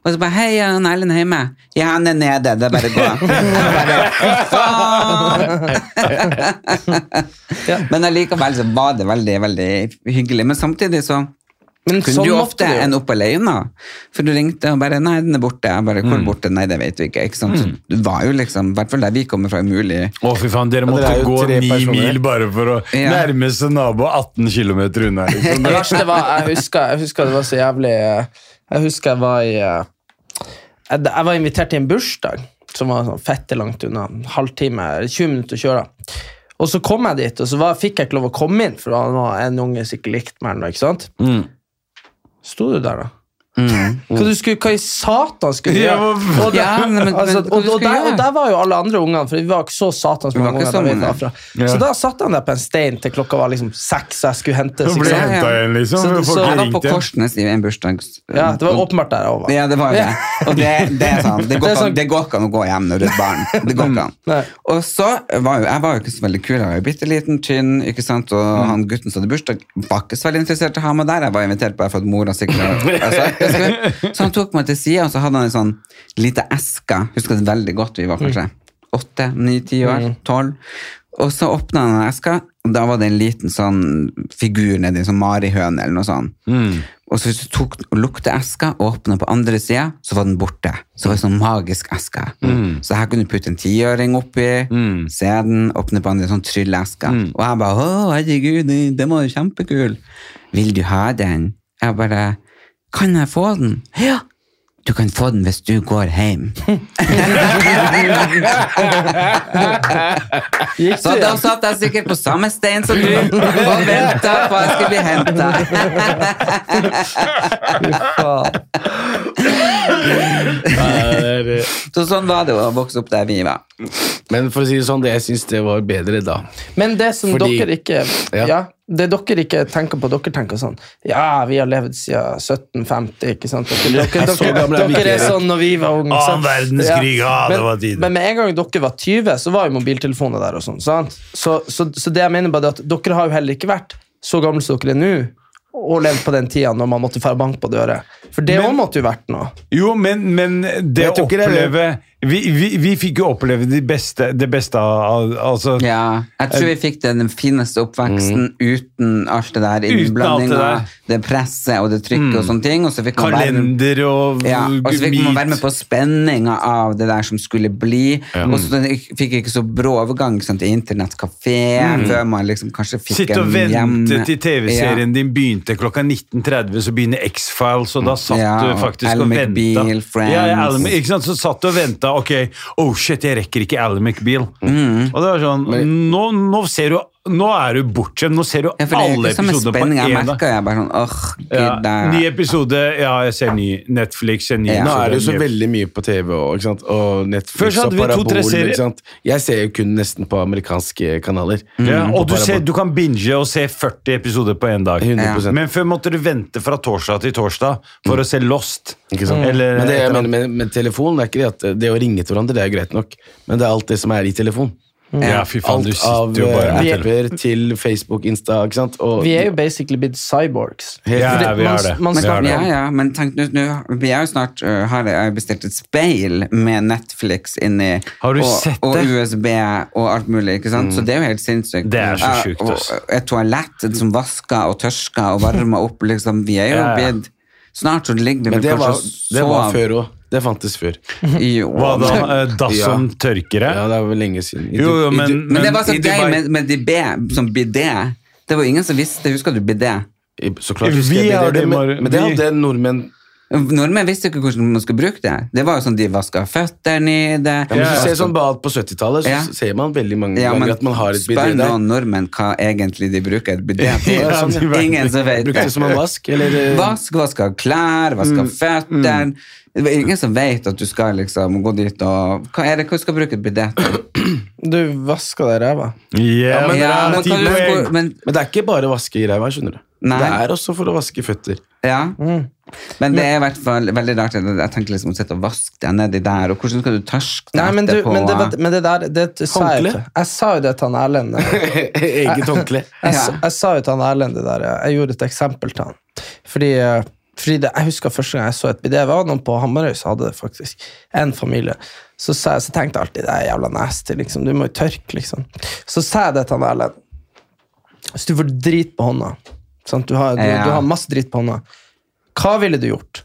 S1: Og så bare Hei, er han Erlend hjemme? Ja, han er nede. Det er bare å gå. Jeg bare, «Fy faen!» Men allikevel så var det veldig, veldig hyggelig. Men samtidig så
S2: Men
S1: kunne
S2: sånn
S1: du
S2: måtte
S1: ofte
S2: du jo.
S1: ende opp alene. For du ringte og bare 'Nei, den er borte.' Jeg bare
S2: Mm.
S1: 'Hvor borte?' 'Nei, det vet vi ikke.' ikke sant? Så Du var jo liksom, i hvert fall der vi kommer fra, umulig.
S3: Å, fy faen, dere måtte
S4: dere er jo
S3: gå
S4: tre
S3: ni
S4: personer.
S3: mil bare for å
S1: Ja.
S3: nærmeste nabo 18 km unna. Liksom.
S2: Det verste var jeg husker, jeg husker det var så jævlig eh, Jeg husker jeg var i eh, Jeg, jeg var invitert til en bursdag som var sånn fette langt unna. en Halvtime, eller 20 minutter å kjøre. Og så kom jeg dit, og så var, fikk jeg ikke lov å komme inn, for han var en unge som ikke likte meg. eller noe, ikke sant?
S1: Mm.
S2: Sto du der, da? Hva, du skulle, hva i satan skulle du
S3: Ja,
S2: gjøre?
S3: men-
S2: Og, da-
S1: Ja, men- men-
S2: altså,
S1: men hva
S2: og,
S1: du
S2: og,
S1: skulle
S2: der, og
S1: gjøre?
S2: der var jo alle andre ungene, for vi var ikke så satans
S1: Vi var
S2: mange
S1: ikke
S2: unger.
S1: sånn, så
S2: da vi
S1: mange.
S2: var fra.
S3: Ja.
S2: Så da satt han der på en stein til klokka var liksom seks, og jeg skulle hente
S3: Så ble
S2: sigaretter.
S3: jeg henta igjen, liksom.
S2: Så-
S3: for
S2: så
S3: folk
S2: jeg
S1: Jeg var på
S3: ringte.
S1: Korsnes i en bursdags...
S2: Ja,
S4: Mm.
S2: det var åpenbart der jeg var.
S1: Ja, det var jo det. Og det, det er
S2: Det
S1: sånn, det går,
S2: er
S1: ikke an-
S2: sånn-
S1: det går ikke an å gå hjem når du er et barn. Det går ikke an.
S2: Nei.
S1: Og så var jo, jeg var jo ikke så veldig kul, jeg var jo bitte liten, tynn, ikke sant, og
S2: Mm.
S1: han gutten som hadde bursdag var ikke så veldig interessert i å ha meg der, jeg var invitert bare for at mora sikkert hadde- jeg sa, «Jeg skal». Så han tok meg til siden, og så hadde han en sånn
S2: Mm.
S1: lite eske, husker det veldig godt, vi var kanskje 8, 9, 10 år, 12, Og så åpna han den eska, og da var det en liten sånn figur nedi, sånn marihøne eller noe sånt. Og så hvis du tok og lukte eska og åpna på andre sida, så var den borte. Så var det sånn magisk eske. Så her kunne du putte en tiøring oppi, se den, åpne på andre, sånn trylleeske. Og jeg bare Å, herregud, den var jo kjempekul. Vil du ha den? Jeg bare Kan jeg få den? Ja. Du kan få den hvis du går hjem.
S2: Gikk
S1: Så
S2: du-
S1: da satt jeg sikkert på samme stein som du og venta på at jeg skulle bli henta.
S2: Fy faen.
S1: Så sånn var det å vokse opp der vi var.
S4: Men for å si det sånn, det, jeg syns det var bedre da.
S2: Men det som
S4: Fordi-
S2: dere ikke ja.
S4: Ja.
S2: det dere ikke tenker på, dere tenker sånn Ja, vi har levd siden 1750, ikke sant? Dere, dere,
S4: så
S2: dere,
S4: gamle er vi
S2: dere
S4: ikke.
S2: er sånn når vi var unge. sant?
S3: Annen Ah, verdenskrig, ja, det var tiden.
S2: Men, men med en gang dere var 20, så var jo mobiltelefoner der og sånn, sant? Så, så, så det jeg mener bare er at dere har jo heller ikke vært så gamle som dere er nå, og levd på den tida når man måtte få bank på døra. For det
S3: Men-
S2: òg måtte jo vært noe.
S3: Jo, men, men det
S4: jeg
S3: å
S4: tror ikke det er
S3: oppleve vi, vi, vi fikk jo oppleve det beste, det beste av av- altså,
S1: Ja, jeg tror vi fikk den fineste oppveksten Mm. uten alt det der Mm.
S3: Uten alt det
S1: innblandinga,
S3: der.
S1: det presset og det trykket og sånne ting. Og så fikk man være
S3: kalender og
S1: ja, og så fikk man
S3: meet.
S1: være med på spenninga av det der som skulle bli. Og så fikk jeg ikke så brå overgang sant, til internettkafé før man liksom kanskje fikk
S3: Sitte og
S1: en
S3: vente
S1: hjemme-
S3: til TV-serien din begynte klokka 19.30, så begynner X-Files, og da satt
S1: Ja,
S3: du
S1: og
S3: faktisk
S1: Al
S3: og
S1: McBeal,
S3: venta.
S1: Friends.
S3: Ja, ja, Al- ikke sant? Så satt du og venta. Ok, oh shit, jeg rekker ikke Al McBeal.
S1: Mm.
S3: Og det var sånn, nå, nå ser du Nå er du bortskjemt. Nå ser du
S1: Ja, for det er jo
S3: alle
S1: ikke samme
S3: episodene på
S1: spenning. Jeg
S3: én dag.
S1: merker jeg bare sånn åh, gud,
S3: Ja,
S1: det er-
S3: ny episode, ja, jeg ser ny. Netflix, ser ny.
S1: Ja.
S3: episode,
S4: Nå er det jo så
S3: ny-
S4: veldig mye på TV og, ikke sant? og
S3: Før
S4: Netflix
S3: så hadde
S4: og
S3: vi to, tre
S4: Parabol.
S3: serier.
S4: Ikke sant? Jeg ser jo kun nesten på amerikanske kanaler.
S3: ja,
S4: På
S3: og du, ser,
S4: Parabol.
S3: du kan binge og se 40 episoder på én dag.
S4: 100%.
S3: Men før måtte du vente fra torsdag til torsdag for å se Lost.
S4: Ikke sant?
S3: Eller
S4: men det
S3: et
S4: jeg
S3: eller
S4: mener med, med telefonen er ikke det at det å ringe til hverandre, det er jo greit nok, men det er alt det som er i telefonen.
S3: Ja, fy faen, du
S4: Alt av
S3: sitter jo bare
S4: eh,
S3: med telefonen.
S4: apper til Facebook, Insta, ikke sant? Og,
S2: Vi er jo basically blitt cyborgs.
S3: Ja, ja, vi er det.
S2: Man, man
S3: Vi er
S2: skal,
S3: det.
S1: Ja, ja, men tenk nå, nå- vi er jo snart øh, har jeg bestilt et speil med Netflix inni.
S3: Har du
S1: og,
S3: sett
S1: og
S3: det? Mm.
S1: USB og alt mulig, ikke sant? Så det er jo helt sinnssykt.
S3: Det er så
S1: Ja,
S3: sjukt, altså. ass.
S1: og et toalett som vasker og tørsker og varmer opp, liksom. Vi er jo
S3: Ja, ja.
S1: blitt Snart så ligger det
S4: men
S1: vel
S4: det
S1: kanskje
S4: var,
S1: og
S4: det var
S1: sover.
S4: før òg. Det fantes før.
S1: Jo,
S3: Hva da?
S1: men-
S3: Eh, Dass
S4: Ja.
S3: som tørkere?
S4: Ja, det er vel lenge siden. I
S3: Jo,
S4: Du-
S3: jo,
S4: i
S3: men, sånn
S4: Du-
S1: Men det var så
S3: i
S1: gøy
S3: Dubai-
S1: med, med de B, som bidé. Det var ingen som visste. Husker du bidé?
S4: i- Så klart
S3: Vi
S4: husker jeg
S3: har
S4: det,
S3: det,
S4: det,
S3: Mar-
S4: men, men det
S3: vi-
S4: hadde nordmenn
S1: Nordmenn visste ikke hvordan man skulle bruke det. Det var jo sånn de vaska føttene i det.
S4: ja, men Hvis du
S1: Vaska-
S4: ser sånn bad på 70-tallet, så
S1: Ja.
S4: ser man veldig mange
S1: Ja, men
S4: ganger at man har et
S1: spør
S4: bidé der.
S1: noen nordmenn hva egentlig de bruker et bidé til.
S3: Ja, sånn, ja.
S1: Ingen som vet
S4: Brukte det som en
S1: det.
S4: vask, eller eh,
S1: Vask, vask av klær, vask av føttene. Det var ingen som vet at du skal liksom gå dit og Hva er det hva du skal bruke et bidé til?
S2: du vasker deg i ræva.
S3: Ja, men det
S1: Ja,
S3: er
S1: men
S3: ti
S1: kan du
S3: poeng.
S1: spor- men,
S4: Men det er ikke bare å vaske i ræva, skjønner du.
S1: Nei.
S4: Det er også for å vaske føtter.
S1: Ja. Men det er i hvert fall veldig rart. at Jeg tenker liksom å sitte og vaske deg nedi der, og hvordan skal du tørske deg
S2: Nei, men, du,
S1: etterpå?
S2: men, det, var- men det der det, det sa jeg,
S4: Håndkle?
S2: til- jeg sa jo det til han Erlend. eh, Jeg,
S4: Eget håndkle.
S2: s-
S1: Ja.
S2: jeg sa jo til han Erlend det der. Jeg gjorde et eksempel til han. Fordi, eh, fordi det, Jeg husker første gang jeg så et bidé. Det var noen på Hamarøy som hadde det. faktisk. En familie. Så, sa jeg, så tenkte jeg alltid det er jævla nasty. Liksom. Du må jo tørke, liksom. Så sa jeg det til han Erlend. Hvis du får drit på hånda sant? Du, har, du,
S1: Ja.
S2: du har masse drit på hånda. Hva ville du gjort?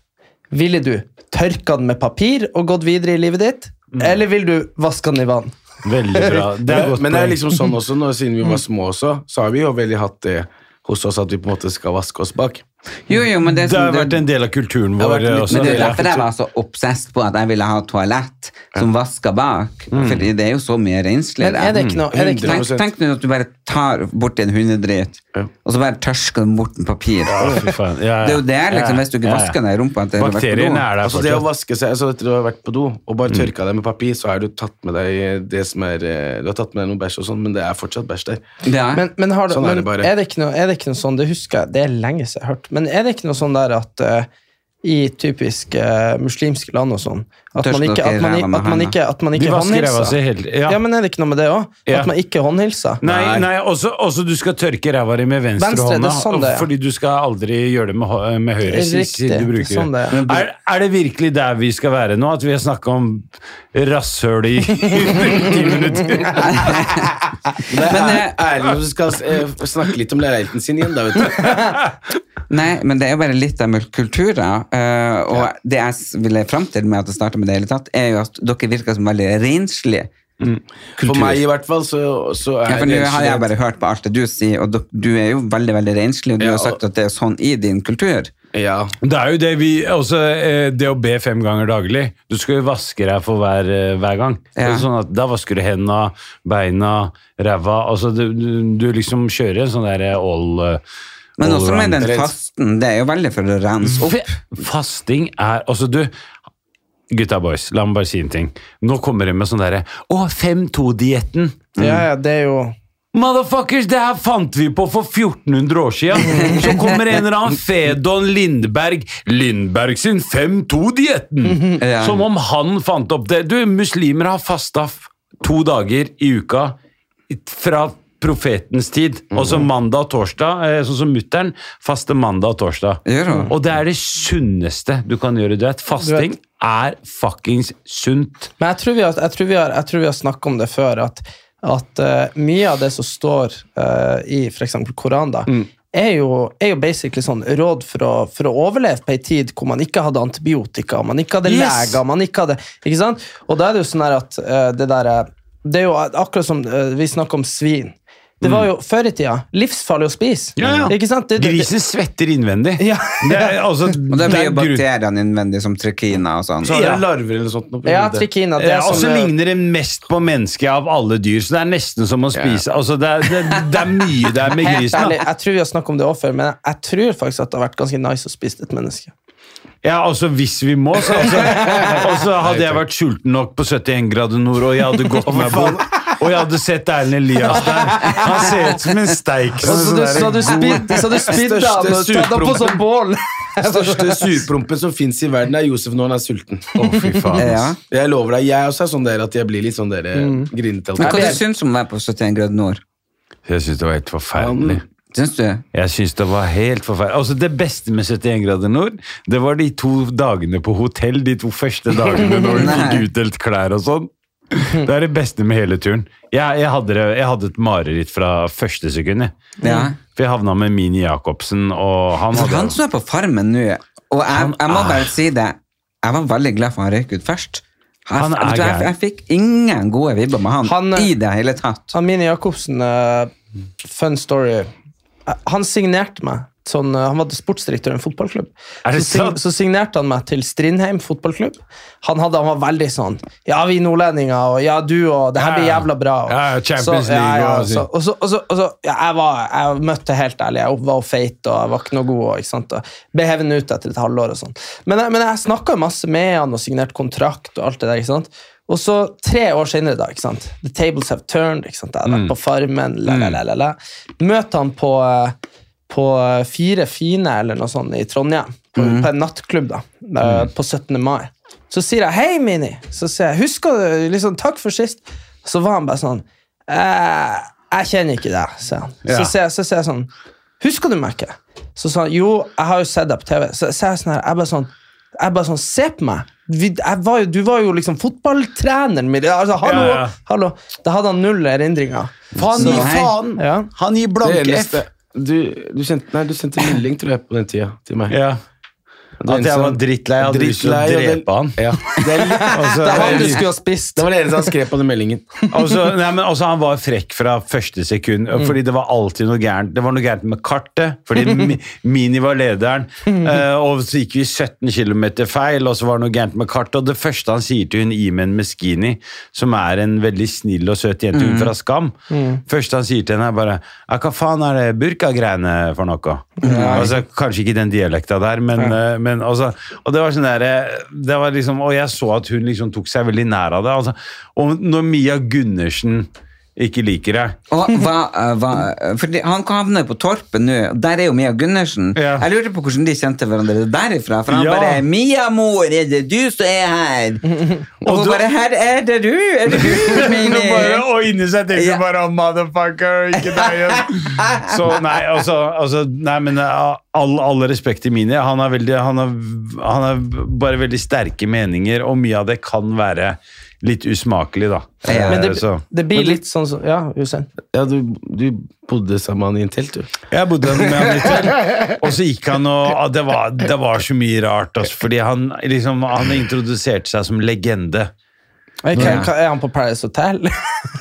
S2: Ville du tørka den med papir og gått videre i livet ditt?
S1: Mm.
S2: Eller vil du vaske den i vann?
S3: Veldig bra. Det er godt
S4: men det er
S3: poeng.
S4: liksom sånn også, når, siden vi var små også, så har vi jo veldig hatt det hos oss at vi på en måte skal vaske oss bak.
S1: Jo, jo, men det,
S3: Det har
S1: som-
S3: vært en del av kulturen
S4: har
S3: vår eh,
S4: vært litt-
S3: også.
S1: men det er jo
S4: Ja.
S1: derfor jeg var så obsesst på at jeg ville ha toalett som vasker bak.
S3: Mm.
S1: Fordi det er jo så mye rensligere.
S2: Men er det ikke noe- er det ikke
S1: tenk,
S4: noe-
S1: tenk nå at du bare tar borti en hundedrit, og så bare tørsker den bort med papir.
S3: Fy faen. Ja, ja.
S1: Det er jo det, liksom, hvis du ikke
S3: Ja, ja.
S1: vasker den i rumpa. at det har vært på do.
S3: Bakteriene er der
S4: Altså det å
S3: fortsatt.
S4: vaske seg, altså etter du har vært på do og bare tørka deg med papir, så har du tatt med deg det som er eh, Du har tatt med deg noe bæsj og sånn, men det er fortsatt bæsj der.
S1: Ja.
S2: Men, men, har, du-
S4: Sånn er
S2: men er,
S4: det bare.
S2: det ikke noe, er det ikke noe sånn, det husker jeg, det er lenge siden jeg har hørt, men er det ikke noe sånn der at eh, i typisk eh, muslimske land og sånn. At
S1: Tørst
S2: man ikke,
S1: dere
S2: at man,
S1: ræva med
S2: at man
S1: henda?
S2: ikke, at man
S3: De
S2: ikke
S3: vasker ræva si
S2: håndhilser.
S3: hele tiden.
S2: Ja.
S3: Ja.
S2: men er det ikke noe med det òg?
S3: Ja.
S2: At man ikke håndhilser?
S3: Nei, nei også, også du skal tørke ræva di med venstre,
S2: Venstre,
S3: hånda,
S2: det er sånn det er.
S3: fordi du skal aldri gjøre det med, hå- med høyre.
S2: Riktig,
S3: siden du
S2: det er
S3: bruker
S2: sånn det er.
S3: er. Er det virkelig der vi skal være nå? At vi har snakka om rasshøl i ti minutter?
S4: Det er
S1: Men, eh,
S4: Erlend som skal eh, snakke litt om leiligheten sin igjen, da, vet du.
S1: Nei, men det er jo bare litt av kulturer. eh, og det jeg s- ville fram til med at jeg startet med det hele tatt, er jo at dere virker som veldig renslige.
S4: For meg i hvert fall, så, så er
S1: Ja, for nå
S4: det
S1: har jeg bare hørt på alt det du sier, og dok- du er jo veldig, veldig renslig, og du
S4: Ja,
S1: har
S4: og-
S1: sagt at det er sånn i din kultur.
S4: ja.
S3: Det er jo det vi også, eh, Det å be fem ganger daglig. Du skal jo vaske deg for hver, eh, hver gang. Det er
S1: Ja.
S3: Sånn at Da vasker du henda, beina, ræva altså, du, du, du liksom kjører en sånn derre all eh,
S1: Men også med
S3: allround.
S1: den fasten, det er jo veldig for å rense opp.
S3: Fe- Fasting er Altså, du Gutta boys, la meg bare si en ting. Nå kommer de med sånn derre Å, 5-2-dietten!
S2: Ja, ja, det er jo
S3: Motherfuckers, det her fant vi på for 1400 år siden. Så kommer en eller annen Fedon Lindberg. Lindberg sin 5-2-dietten!
S1: Ja.
S3: Som om han fant opp det. Du, muslimer har fasta f- to dager i uka fra profetens tid. Også mandag og torsdag, eh, sånn som mutter'n. Faste mandag og torsdag.
S1: Gjør hun?
S3: Og det er det sunneste du kan gjøre. Du vet, fasting er fuckings sunt.
S2: Men jeg tror vi har, jeg tror vi har, jeg tror vi har snakket om det før, at, at eh, mye av det som står eh, i f.eks. Koranen, da,
S3: Mm.
S2: er, jo, er jo basically sånn råd for å, for å overleve på ei tid hvor man ikke hadde antibiotika, man ikke hadde
S3: Yes!
S2: leger man ikke hadde, ikke sant? Og da er det jo sånn her at eh, det der eh, Det er jo akkurat som eh, vi snakker om svin. Det var
S3: Mm.
S2: jo før i tida livsfarlig å spise. Ikke sant? Det- det- det-
S3: Grisen svetter innvendig.
S2: Ja.
S3: Det er, altså,
S1: Og det blir jo
S3: grunn-
S1: bakteriene innvendig som trikina og sånn.
S4: Så har
S3: Ja.
S4: dere larver eller sånt. nå på
S2: Ja,
S4: hodet.
S2: trikina. Det er
S3: Ja, og så
S2: sånn, eh,
S3: ligner det mest på mennesket av alle dyr, så det er nesten som å spise altså, det, er, det, det er mye der med
S2: Helt
S3: grisen.
S2: ærlig,
S3: Da.
S2: jeg tror vi har snakket om det også før, men jeg, jeg tror faktisk at det har vært ganske nice å spise et menneske.
S3: Ja, altså hvis vi må, så altså, Og så hadde jeg vært sulten nok på 71 grader nord, og jeg hadde gått meg bort. Og jeg hadde sett Erlend Elias der. Han ser ut som en steik.
S2: Så
S3: sånn
S2: du,
S3: der-
S2: Altså, så du spidde så du spidde
S4: Største
S2: han og tatt han på sånn bål!
S4: største surprompen som fins i verden, er Josef når han er sulten.
S3: Å, fy faen.
S1: Ja.
S4: Jeg lover deg, jeg også er sånn der at jeg blir litt sånn dere
S3: Mm.
S4: grinete.
S1: Men hva
S4: alltid.
S1: du syns om å være på 71 grader nord?
S3: Jeg syns det var helt forferdelig.
S1: Syns du?
S3: Jeg synes det var helt forferdelig. Altså Det beste med 71 grader nord, det var de to dagene på hotell. De to første dagene når vi fikk
S1: Nei.
S3: utdelt klær og sånn. Det er det beste med hele turen. Jeg, jeg, hadde, det- jeg hadde et mareritt fra første sekund. jeg.
S1: Ja.
S3: For jeg havna med Mini Jacobsen, og han
S1: For
S3: hadde
S1: han som er på farmen nå, og jeg,
S3: Han
S1: jeg må
S3: er-
S1: bare si det, jeg var veldig glad for han røyk ut først. Jeg,
S3: Han er
S1: vet du, jeg,
S3: gæren.
S1: jeg fikk ingen gode vibber med han,
S2: Han, eh,
S1: i det hele tatt.
S2: Amine Jacobsen, eh, fun story. Eh, Han signerte meg. Sånn, eh, han var sportsdirektør i en fotballklubb.
S3: Er det
S2: så, sign-
S3: sant?
S2: så signerte han meg til Strindheim fotballklubb. Han, hadde, han var veldig sånn Ja, vi nordlendinger, og ja, du, og det her blir
S3: Ja.
S2: jævla bra. Og,
S3: Ja, ja, Champions
S2: så, ja,
S3: League,
S2: ja,
S3: og-
S2: så, og så, og så, og så ja, jeg, var, jeg møtte helt ærlig. Jeg var jo feit og jeg var ikke noe god. Og, ikke sant? Og ble hevet ut etter et halvår. og sånn. Men jeg, men jeg snakka masse med han og signerte kontrakt. Og alt det der, ikke sant? Og så tre år senere, da, ikke sant? The tables have turned. ikke sant? Jeg hadde vært
S3: Mm.
S2: på Farmen. La, la, la, la, la. Møter han på, eh, på eh, Fire fine eller noe sånt i Trondheim, på,
S3: Mhm.
S2: på en nattklubb da, eh, på 17. mai. Så sier jeg 'Hei, Mini'. Så sier jeg 'Husker du liksom, Takk for sist'. Så var han bare sånn eh, 'Jeg kjenner ikke deg', sier han.
S3: Ja.
S2: Så sier jeg, så sier jeg sånn 'Husker du meg ikke?' Så sa han 'Jo, jeg har jo sett deg på TV'. Så sier jeg sånn her, jeg bare sånn jeg bare sånn, Se på meg! Vi, jeg var jo, du var jo liksom fotballtreneren min! Altså, hallo,
S3: Ja, ja.
S2: hallo. Da hadde han null erindringer.
S3: Faen
S1: Så- Nei.
S2: Ja.
S3: Han gir
S4: Det eneste du, du, sendte, nei, du sendte melding, tror jeg, på den tida til meg.
S3: Ja.
S4: var
S3: At jeg
S4: en
S3: var
S4: som-
S3: drittlei. Jeg hadde lyst til å
S4: Drittlei, og det-
S3: drepe han.
S4: Ja. Det, er litt,
S3: Altså,
S2: Det er han du
S3: jeg-
S2: skulle ha spist!
S4: det var det eneste han skrev på den meldingen.
S3: Altså, nei, men altså, han var frekk fra første sekund, fordi det var alltid noe gærent. Det var noe gærent med kartet, fordi Mi- Mini var lederen, eh, og så gikk vi 17 km feil, og så var det noe gærent med kartet. Og det første han sier til hun Imen Meskini, som er en veldig snill og søt jente, hun fra Skam, første han sier til henne, er bare «Ja, Hva faen er det burka-greiene for noe? Altså, kanskje ikke den dialekta der, men, eh, men altså Og det var sånn der, eh, det var liksom, og jeg så at hun liksom tok seg veldig nær av det. Altså, og når Mia Gundersen ikke liker deg.
S1: Og hva, eh, hva, eh, for de- han havner på Torpet nå, og der er jo Mia Gundersen.
S3: Ja.
S1: Jeg lurer på hvordan de kjente hverandre derifra. For han
S3: Ja.
S1: bare 'Mia, mor, er det du som er her?' Og hun
S3: du-
S1: bare 'Her er det du! Er det du, Mimi?'
S3: Bare, og inni seg tenker
S1: Ja.
S3: du bare oh, 'motherfucker', ikke deg igjen. Så nei, altså, altså Nei, men eh, all, all respekt til Mini. Han har, veldig, han, har, han har bare veldig sterke meninger, og mye av det kan være litt usmakelig, da.
S1: Ja.
S3: Eh,
S2: Men det,
S3: så.
S2: det blir litt sånn som Ja, Usain.
S4: Ja, du, du bodde sammen i en telt, du.
S3: Jeg bodde med ham litt til, og så gikk han og ah, Det var, det var så mye rart, altså, fordi han, liksom, han introduserte seg som legende.
S2: Ok,
S1: Ja.
S2: hva- Er han på Paradise Hotel?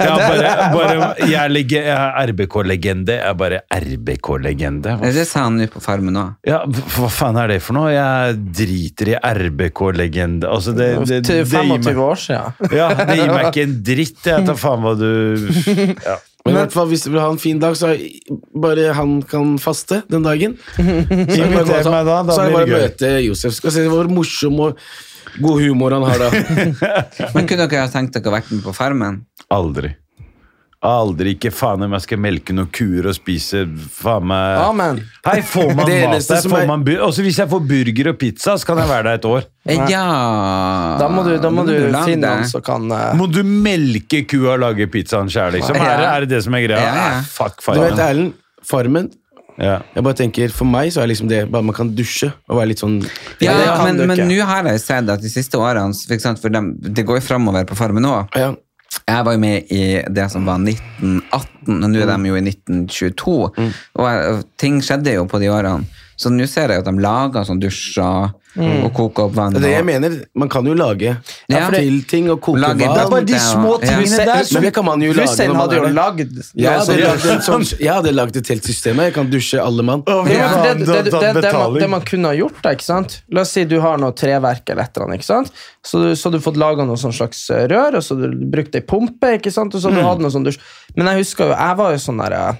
S3: Ja, bare, bare, jeg er, lege- jeg er RBK-legende. Jeg er bare RBK-legende. Hva
S1: Ja, Det sa han nå på Farmen òg.
S3: Ja, hva faen er det for noe? Jeg driter i RBK-legende. Altså, det, det, det,
S2: Til
S3: gir
S2: 25
S3: meg,
S2: år siden.
S3: ja, det gir meg ikke en dritt. Jeg tar faen hva du ja.
S4: Men, i hvert fall, hvis du vil ha en fin dag, så bare han kan faste den dagen. Så er det bare å gå
S3: Inviter
S4: og-
S3: meg da, da
S4: så er det
S3: blir
S4: bare å
S3: det
S4: møte Josef. Skal se hvor morsom og god humor han har da.
S1: Men kunne dere ha tenkt dere å vært med på Farmen?
S3: Aldri. Aldri. Ikke faen om jeg skal melke noen kuer og spise faen meg
S2: Amen.
S3: Hei, får man
S4: Det
S3: mat
S4: eneste
S3: der?
S4: som
S3: Får
S4: er-
S3: man bu også hvis jeg får burger og pizza, så kan jeg være der et år.
S1: Eh, Ja
S2: Da må du, da må du
S1: lage
S2: finne
S1: det.
S2: noen som kan eh,
S3: Må du melke kua og lage pizzaen sjæl, liksom? Er, det- er det det som er greia?
S1: Ja, ja.
S3: Nei, Fuck
S4: Du vet,
S3: farmen.
S4: Erlend, Farmen
S3: Ja.
S4: Jeg bare tenker, For meg så er liksom det bare man kan dusje og være litt sånn
S1: Ja,
S2: det kan
S1: men
S2: du
S1: men
S2: ikke.
S1: nå har jeg sett at de siste årene for, eksempel, for dem, Det går jo framover på Farmen òg.
S4: ja.
S1: Jeg var jo med i det som var 1918, og nå er de jo i 1922.
S2: Mm.
S1: Og jeg- ting skjedde jo på de årene. Så nå ser jeg at de lager sånn dusjer
S2: Mm.
S1: og koker opp vann.
S4: Det er det jeg
S1: og-
S4: mener. Man kan jo lage
S1: Ja.
S4: til ting og koke
S1: Lage
S4: vann.
S1: Det er bare de små
S4: Ja.
S1: tingene der
S4: Men det kan man jo lage.
S2: Hussein
S4: når man
S2: hadde
S4: er
S2: jo
S4: der.
S2: lagd
S4: Jeg hadde
S2: Ja,
S4: lagd en sånn- jeg hadde lagd et helt system. Jeg kan dusje alle mann.
S2: Ja, for det, det, det, det, det, man, det
S3: Betaling.
S2: man kunne ha gjort, da, ikke sant? La oss si du har noe treverk eller et eller annet, ikke sant? Så du, så du fått laga noe sånn slags eh, rør, og så du brukte ei pumpe, ikke sant? Og så
S1: Mm.
S2: du hadde noe sånn dusj. Men jeg husker jo, jeg var jo sånn der eh,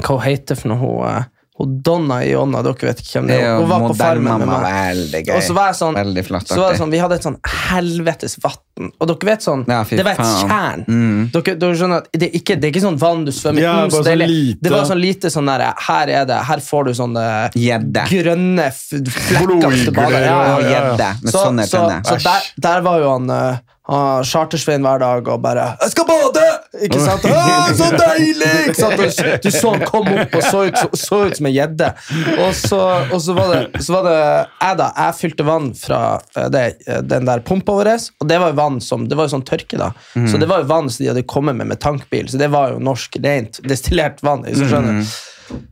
S2: Hva hun heter for noe? Hun, eh, hun Donna Ionna, dere vet ikke hvem det
S1: Det er
S2: er.
S1: jo
S2: Hun var på
S1: moderne
S2: farmen med
S1: mamma,
S2: meg.
S1: veldig gøy.
S2: Og så var jeg sånn,
S1: Veldig flott,
S2: så var
S1: artig.
S2: det sånn Vi hadde et sånn helvetes vann. Og dere vet sånn
S1: Ja, fy
S2: Det var et
S1: faen. Mm.
S2: tjern. Dere, dere skjønner at det er, ikke, det er ikke sånn vann du svømmer i.
S3: Ja,
S2: Mm,
S3: bare
S2: så
S3: sånn
S2: deilig.
S3: lite.
S2: Det var sånn lite sånn der Her er det, her får du sånn eh,
S1: Gjedde.
S2: grønne f- flekker hvis du bader. Ja,
S1: Ja,
S2: ja, ja.
S1: gjedde med
S2: Så,
S1: sånne
S2: så,
S1: tenner.
S2: så der, der var jo han eh, han Chartersvein hver dag og bare 'Jeg skal bade!' Ikke sant? «Å, så deilig! Ikke sant? Og s- Du så han kom opp og så ut, så, så ut som en gjedde. Og, så, og så, var det, så var det jeg, da. Jeg fylte vann fra eh, det, eh, den der pumpa vår, og det var jo vann som Det var jo sånn tørke, da.
S1: Mm.
S2: Så det var jo vann som de hadde kommet med med tankbil, så det var jo norsk, rent destillert vann. Hvis du skjønner.
S1: Mm.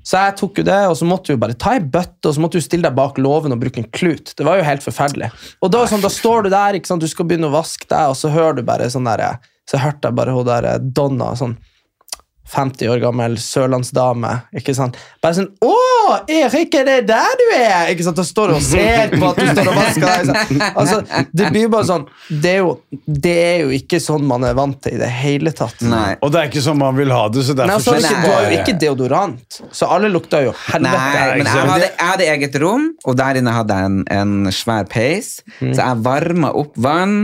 S2: Så jeg tok jo det, og så måtte du jo bare ta ei bøtte og så måtte du stille deg bak låven og bruke en klut. Det var jo helt forferdelig. Og da, er det sånn, da står du der, ikke sant? du skal begynne å vaske deg, og så hører du bare sånn der, så hørte jeg bare hun der eh, Donna, sånn 50 år gammel sørlandsdame. ikke sant? Bare sånn 'Å, Erik, er det der du er?' Ikke sant? Da står du og ser på at du står og vasker deg. sånn. Altså, det blir jo bare sånn det er jo, det er jo ikke sånn man er vant til i det hele tatt.
S1: Nei.
S3: Og det er ikke sånn man vil ha det, så
S2: Nei,
S3: derfor
S2: altså, ikke,
S1: Men det
S2: du har
S1: er-
S2: jo ikke deodorant, så alle lukter jo helvete.
S1: Nei, men jeg
S3: ikke sant?
S1: hadde, jeg hadde eget rom, og der inne hadde jeg en, en svær peis.
S2: Mm.
S1: Så jeg varma opp vann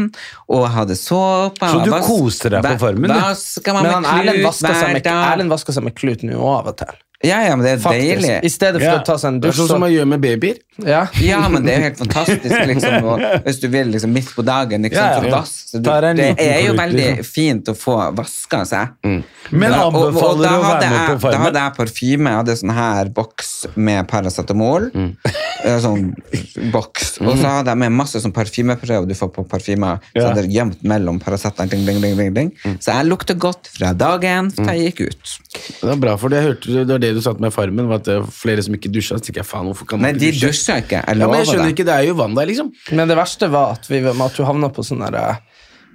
S1: og hadde såpe.
S3: Så du koste deg på Farmen, du?
S1: Vaska meg
S2: Men han
S1: med
S2: Erlend
S1: klut
S2: vasker seg
S1: hver
S2: med,
S1: dag.
S2: Erlend vasker seg med klut nå av og til.
S1: Ja, ja, men det er
S2: Faktisk. I
S1: deilig.
S2: stedet for
S3: Ja.
S2: å ta seg en
S4: Det er
S2: dusj.
S4: sånn som man
S2: Så,
S4: gjør med babyer.
S2: ja.
S1: Ja, men det er jo helt fantastisk liksom, og, hvis du vil liksom, midt på dagen. Ikke
S3: Ja,
S1: sant,
S3: ja.
S1: for vask. Så
S3: Ta deg en
S1: du, det
S3: liten
S1: er jo
S3: klut,
S1: veldig
S3: liksom.
S1: fint å få vaska seg.
S3: Mm. Men
S1: Ja, og- og
S3: anbefaler
S1: da hadde
S3: å være med
S1: jeg-
S3: på Farmen?
S1: Da hadde jeg parfyme. Jeg hadde sånn her boks med paracetamol.
S3: Mm.
S1: Eh, Sånn boks. Og så hadde jeg med masse sånn parfymeprøver du får på parfymer. Så
S3: Ja.
S1: hadde jeg gjemt mellom paracetamol. Ding, ding, ding, ding, ding.
S3: Mm.
S1: Så jeg lukter godt fra dagen til jeg gikk ut.
S4: Det er bra, for det, jeg hørte, det var det du sa til meg i Farmen, var at det var flere som ikke dusja. Så tenker jeg, faen, hvorfor
S3: Mm.
S4: kan man
S1: Nei, de
S4: ikke dusje?
S1: dusjer ikke. Jeg
S4: Ja, men
S1: lover
S4: jeg skjønner
S1: deg.
S4: ikke, det er jo vann der, liksom.
S2: Men det verste var at, vi, at du havna på sånn der, eh,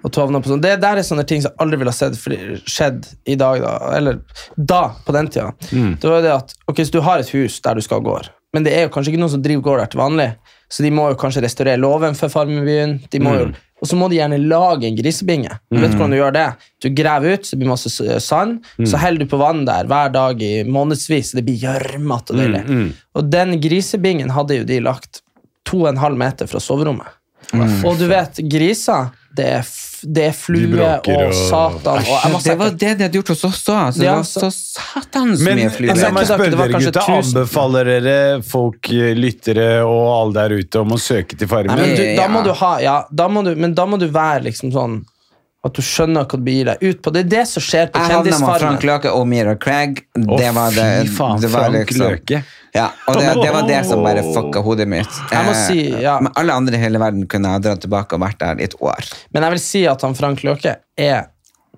S2: at du havna på sånn, Det der er sånne ting som jeg aldri ville ha sett fordi- skjedd i dag, da. Eller da, på den tida. Det var jo det at, ok, så Du har et hus der du skal ha gård, men det er jo kanskje ikke noen som driver gård der til vanlig. Så de må jo kanskje restaurere låven for Farmenbyen. De må jo, Og så må de gjerne lage en grisebinge. Du vet hvordan du gjør det? Du graver ut, så det blir masse s- eh, sand. Så heller du på vann der hver dag i månedsvis, så det blir gjørmete og deilig. Og den grisebingen hadde jo de lagt to og en halv meter fra soverommet. Og du vet, griser, det er f det er flue og,
S3: bråker og-
S2: satan og jeg må si-
S1: Det var det de hadde gjort hos oss òg. Det
S2: Ja,
S1: var
S2: så-
S1: så satans
S3: Men
S1: mye
S2: jeg sa
S3: la
S1: flyvere.
S3: meg
S2: ikke
S3: spørre
S2: det var
S3: dere,
S2: kanskje
S3: gutta.
S2: tusen.
S3: Anbefaler dere folk, eh, lyttere og alle der ute om å søke til
S1: Nei,
S3: Farmen?
S2: Men du, da
S1: Ja.
S2: må du ha ja, da må du, Men da må du være liksom sånn At du skjønner hva du gir deg ut på. Det er det som skjer på
S1: Jeg havna med
S2: Kjendisfarmen.
S1: Frank Løke og Mira Craig. Det
S3: Å,
S1: var det,
S3: fy faen,
S1: det var liksom-
S3: Frank Løke.
S1: Ja, og det, det var det som bare fucka hodet mitt.
S2: Jeg må
S1: Eh,
S2: si, ja.
S1: Men alle andre i hele verden kunne ha dratt tilbake og vært der i et år.
S2: Men jeg vil si at han Frank Løke er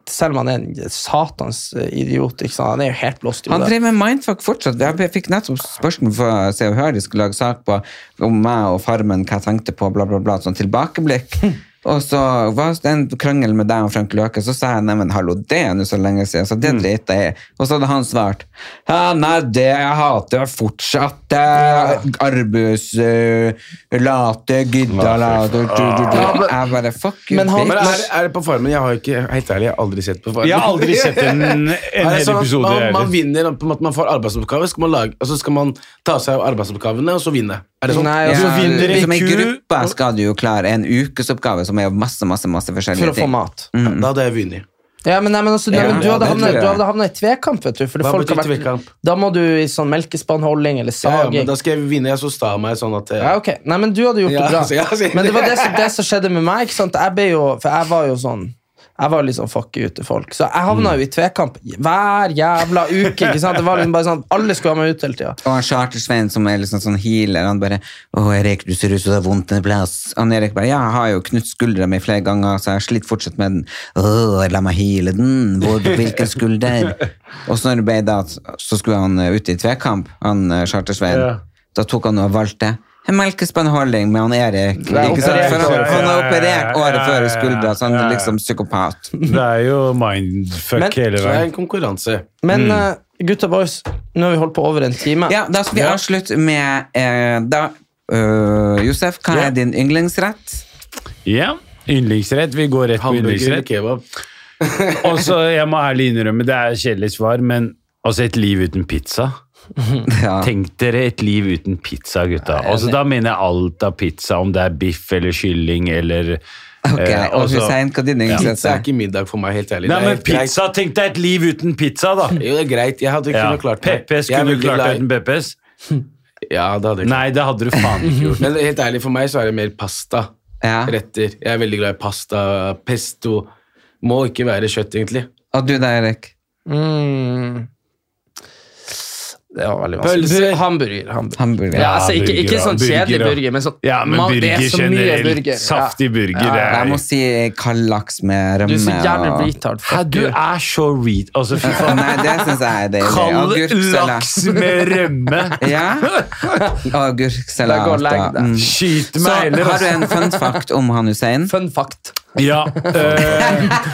S2: selv om han er en satans idiot, ikke sant? han er jo helt blåst i
S1: Han
S2: hodet.
S1: drev med mindfuck fortsatt. Jeg fikk nettopp spørsmål fra Se og Hør, de skulle lage sak på om meg og Farmen, hva jeg tenkte på, bla, bla, bla. Sånn tilbakeblikk.
S2: Hm.
S1: Og så var det en krangel med deg og Frank Løke, så sa jeg neimen hallo, det er nå så lenge siden, så det
S2: Hm.
S1: driter jeg i. Og så hadde han svart ja, nei, det jeg hater fortsatt eh, Arbus, eh, late, gidda, late du, du, du. Jeg bare fuck you.
S2: Ah, Men han-
S4: Men
S1: bitch.
S4: er, er det på Farmen? Jeg har ikke, helt ærlig, jeg har aldri sett på Farmen.
S3: Jeg har aldri sett en, en
S4: Er det
S3: hel
S4: sånn at
S3: episode.
S4: man, man
S3: heller.
S4: vinner på en måte, man får arbeidsoppgaver, skal man lage, og så skal man ta seg av arbeidsoppgavene, og så vinne. Er det sånn?
S2: Nei,
S1: Ja,
S2: altså,
S3: så vinner en
S1: som en
S3: ku,
S1: gruppe skal du jo klare en ukesoppgave som er masse, masse, masse
S2: for
S1: forskjellige
S2: å få mat.
S3: Mm.
S4: Da hadde jeg vunnet.
S2: Ja, men, nei, men, altså, nei,
S1: Ja,
S2: men du,
S1: ja,
S2: hadde
S1: det tror
S2: havnet,
S1: jeg.
S2: du hadde havnet i tvekamp, vet du. Fordi
S4: Hva
S2: folk har
S4: betyr
S2: vært,
S4: tvekamp?
S2: Da må du i sånn melkespannholding eller
S4: Ja,
S3: Ah,
S4: ja,
S2: saging.
S4: men da skal jeg vinne. Jeg så sta meg sånn at
S2: Ja, ok. Nei, men du hadde gjort
S4: Ja,
S2: det bra.
S4: altså, ja, altså.
S2: Men det var det som, det som skjedde med meg. Ikke sant? Jeg ble jo, for jeg var jo sånn jeg var liksom fuck you til folk. Så jeg
S4: Mm.
S2: havna jo i tvekamp hver jævla uke. ikke sant? Det var liksom bare sånn, Alle skulle ha meg ut hele tida.
S1: Og han Charter-Svein som er liksom sånn healer, han bare 'Å, Erik, du ser ut som det er vondt en plass'. Han Erik bare 'Ja, jeg har jo knutt skuldra mi flere ganger, så jeg sliter fortsatt med den'. 'Å, la meg heale den. Hvor, hvilken skulder?' og så når det ble da, at- så skulle han eh, ut i tvekamp, han eh, Charter-Svein.
S4: Ja.
S1: Da tok han og valgte en melkespannholding med han Erik.
S2: er
S1: Ikke sant?
S2: operert
S1: For
S3: året
S1: han, han har
S3: før.
S1: operert året før i skuldra, så han
S3: Ja,
S1: er
S3: ja.
S1: liksom psykopat.
S3: Det er jo mindfuck
S2: Men-
S3: hele
S4: Så det er
S3: veien.
S4: en konkurranse.
S2: Men eh, gutta boys, nå har vi holdt på over en time.
S1: Ja, da skal vi avslutte med eh, da, øh, Josef, hva
S3: Ja.
S1: er din yndlingsrett?
S3: Ja, Yndlingsrett. Vi går rett på
S4: Hamburger eller
S3: yndlingsrett.
S4: kebab.
S3: Og så, jeg må ærlig innrømme, det er kjedelig svar, men altså et liv uten pizza.
S1: Ja.
S3: Tenk dere et liv uten pizza, gutta. Altså, da mener jeg alt av pizza, om det er biff eller kylling eller
S1: Ok,
S3: eh,
S1: og
S3: altså-
S1: Hussein, hva er din yndlingsrett?
S4: Pizza er
S1: er?
S4: ikke middag for meg, helt
S3: Nei,
S4: ærlig. Det er
S3: men
S4: helt greit.
S3: pizza! Tenk deg et liv uten pizza, da!
S4: Jo, det er greit. Jeg hadde
S3: Ja.
S4: kunnet klart det.
S3: Peppes,
S4: Jeg er
S3: kunne du
S4: veldig
S3: klart
S4: glad
S3: deg
S4: i-
S3: uten Peppes?
S4: Ja, det hadde jeg klart.
S3: Nei, det hadde du faen ikke gjort.
S4: Men helt ærlig, for meg så er det mer pasta.
S1: Ja.
S4: Retter. Jeg er veldig glad i pasta, pesto. Må ikke være kjøtt, egentlig.
S1: Og du da, Erik?
S2: Mm. Det var veldig vanskelig.
S4: Pølser.
S2: Bu- Hamburger. hamburger.
S1: Hamburger.
S2: Ja, altså, ikke, ikke
S3: burger,
S2: sånn
S3: ja.
S2: kjedelig
S3: Burger, ja.
S2: burger, men sånn
S3: Ja, men
S2: man- det
S3: burger
S2: er så mye
S3: generelt.
S2: burger.
S3: Saftig burger. det er-
S1: Jeg må si kald laks med
S2: Ja. Du
S1: rømme.
S2: er så jævlig
S1: og-
S2: retard.
S3: Hæ,
S2: Fuck
S3: du
S2: you.
S3: er så read... Altså, fy faen.
S1: Nei, det syns jeg er deilig.
S3: Kald
S1: Agurksalat.
S3: laks med rømme!
S1: Ja.
S2: Da går
S1: Agurksalat.
S2: legg
S1: da.
S2: deg.
S1: Mm.
S3: Skyt
S1: Så
S3: meg heller,
S1: har du
S3: altså!
S1: en fun fact om han Hussein?
S2: Fun fact.
S3: Ja. eh,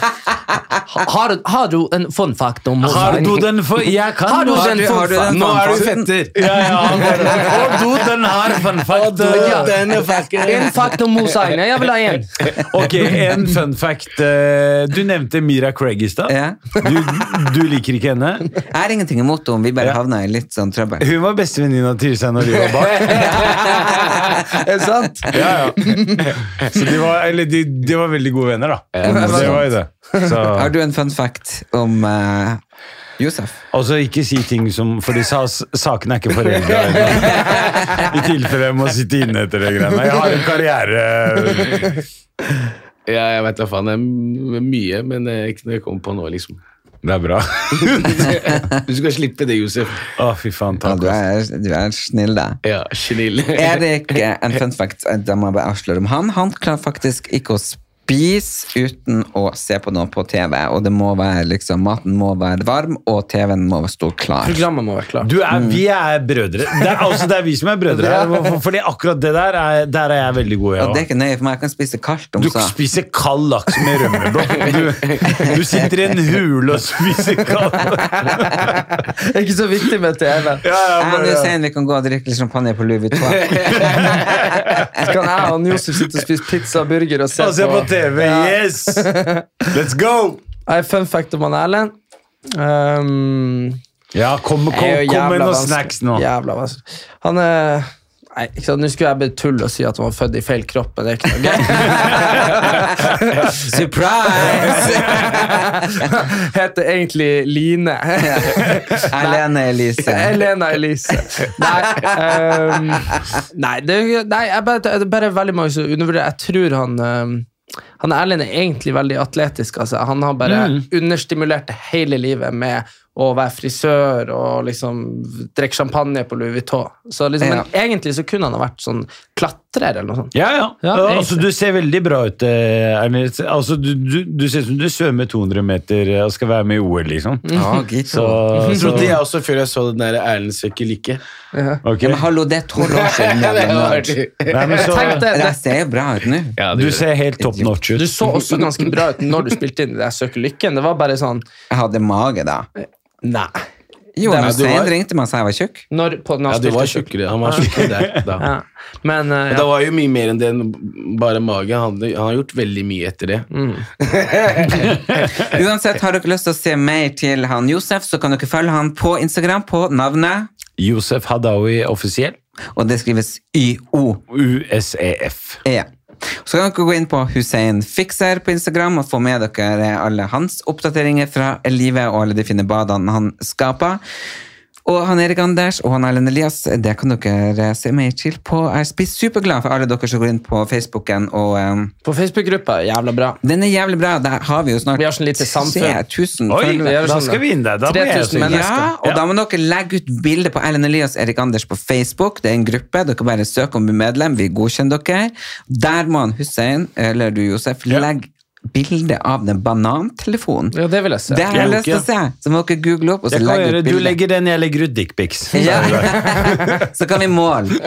S2: Har, har du en fun fact om
S3: har du den for Jeg kan
S2: Har du
S3: nå.
S2: den for-
S1: har du den
S4: Nå er du
S1: fun
S4: fetter!
S3: Ja, ja. han har den. Å, du, den har fun fact.
S2: Ja. En fact om Mosein. Jeg vil ha en.
S3: Ok, en fun fact. eh, Du nevnte Mira Craig i stad.
S1: Ja.
S3: Du, du liker ikke henne.
S1: Jeg har ingenting imot henne, vi bare
S3: Ja.
S1: havna i litt sånn trøbbel.
S3: Hun var bestevenninna til seg når de var barn.
S1: Er det sant?
S3: Ja, ja. Så de var, eller de, de var veldig gode venner, da. Det var jo det. Så.
S1: Har du en fun fact om eh, Josef?
S3: Altså, ikke si ting som For de sa s- sakene er ikke foreldra. I tilfelle jeg må sitte inne etter det greiene. Jeg har en karriere
S4: Ja, jeg vet da faen. Det er m- mye, men eh, ikke når jeg kommer på nå, liksom.
S3: Det er bra.
S4: Du skal slippe det, Josef.
S3: Å, fy faen.
S1: Ja,
S3: Takk.
S1: du, er, du er snill, da.
S4: Ja, snill.
S1: Erik, eh, en fun fact eh, da må jeg bare avsløre om han. Han klarer faktisk ikke å spise uten å se på noe på TV. Og det må være liksom, maten må være varm, og TV-en må stå klar.
S2: Programmet må være klart.
S3: Du er, vi er brødre. Det er, altså, det er vi som er brødre her. for- Fordi akkurat det der er, der er jeg veldig god i.
S1: Og det
S3: Ja.
S1: er ikke nøye for meg, jeg kan spise kaldt om
S3: Du
S1: så.
S3: spiser kald laks med rømme, bro. Du, du sitter i en hule og spiser kald
S2: Det er ikke så viktig med TV.
S3: ja, ja,
S1: Jeg og
S3: bare-
S1: Hussein, vi kan gå og drikke litt champagne på Louis Vuitton.
S2: Så kan jeg og Josef sitte og spise pizza og burger og se
S3: Og se på TV. Yes! Let's go!
S2: Jeg har fun fact om han Erlend. Um,
S3: Ja, kom, kom,
S2: er jo
S3: kom
S2: jævla
S3: med noen
S2: vanskelig.
S3: snacks nå.
S2: Jævla vanskelig. Han er Nei, ikke sant? Nå skulle jeg bare tulle og si at han var født i feil kropp, men det er ikke noe gøy.
S1: Surprise!
S2: Heter egentlig Line.
S1: Helene Elise.
S2: Elena Elise. Nei, ehm, nei, det, nei jeg bare, det er bare veldig mange som undervurderer Jeg tror han ehm, Han Erlend er egentlig veldig atletisk. Altså. Han har bare understimulert det hele livet med å være frisør og liksom drikke champagne på Louis Vuitton. Så liksom,
S1: Ja.
S2: Men egentlig så kunne han ha vært sånn klatrer eller noe sånt.
S3: Ja, ja.
S2: Ja,
S3: Ja,
S2: egentlig.
S3: altså, du ser veldig bra ut, eh, Ernest. Altså, du, du, du ser ut som du svømmer 200 meter eh, og skal være med i OL, liksom.
S1: Ja, gitt.
S3: Så,
S4: Det
S3: så
S4: trodde jeg også før jeg så den der Erlend søker like.
S3: ok.
S1: Ja, men hallo, det er tolv år siden. jeg ble nerd.
S3: Nei, men så,
S2: Tenk det,
S1: Det
S2: det
S1: der ser jo bra ut nå.
S3: du ser helt top notch
S2: Du
S3: ut.
S2: så også ganske bra ut når du spilte inn i det der Søker lykken. Det var bare sånn
S1: Jeg hadde mage da.
S2: Nei.
S1: Jo, men
S4: Nei, men du
S1: Stein
S4: var-
S1: ringte meg og sa jeg var tjukk.
S2: Når, på, når
S4: Ja,
S2: han
S4: du var
S2: spilte-
S4: tjukkere. Han var tjukkere der da.
S2: Ja. Men eh,
S4: Og
S2: ja.
S4: Det var jo mye mer enn det enn bare mage. Han, han har gjort veldig mye etter det.
S1: Uansett, har dere lyst til å se mer til han Josef, så kan dere følge han på Instagram på navnet,
S3: Josef Hadaoui offisiell. E
S1: og det skrives YO.
S3: USEF.
S1: Ja. Så kan dere gå inn på Hussein Fikser på Instagram og få med dere alle hans oppdateringer fra livet og alle de fine badene han skaper. Og han Erik Anders og han Erlend Elias, det kan dere se mer til på. Jeg blir superglad for alle dere som går inn på Facebooken. Og um,
S2: På Facebook-gruppa, jævla bra.
S1: den er jævlig bra. Der har vi jo snart
S2: Vi har sånn lite samfunn.
S1: 3000
S3: Oi,
S1: følgere.
S2: gjør
S3: da
S2: sånn, da.
S3: skal vi inn der. Da må jeg
S2: 3000
S3: synge.
S2: mennesker.
S1: Ja, og da må dere legge ut bilde på Erlend Elias Erik Anders på Facebook. Det er en gruppe. Dere bare søker om å bli medlem. Vi godkjenner dere. Der må han Hussein, eller du Josef, legge bilde av den banantelefonen.
S2: Ja, det vil jeg se.
S1: Det har jeg
S3: Jeg
S1: lyst til å se. Så må dere google opp, og så
S3: Jeg kan
S1: legge ut
S3: gjøre, du
S1: bilde.
S3: legger den, jeg legger ut dickpics.
S1: Ja. Så kan vi måle.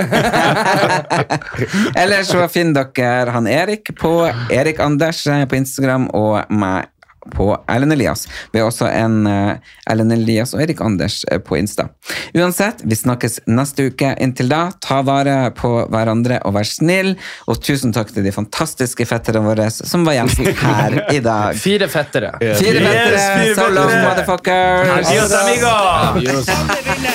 S1: Eller så finner dere han Erik på Erik Anders på Instagram og meg på Erlend Elias. Vi har også en eh, Erlend Elias og Erik Anders eh, på Insta. Uansett, vi snakkes neste uke. Inntil da, ta vare på hverandre og vær snill. Og tusen takk til de fantastiske fetterne våre som var gjest her i dag.
S2: Fire fettere.
S1: Fire fettere!
S3: fire
S1: So long,
S3: fettere.
S1: motherfuckers!
S3: Adios, amigos!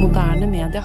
S5: Moderne media.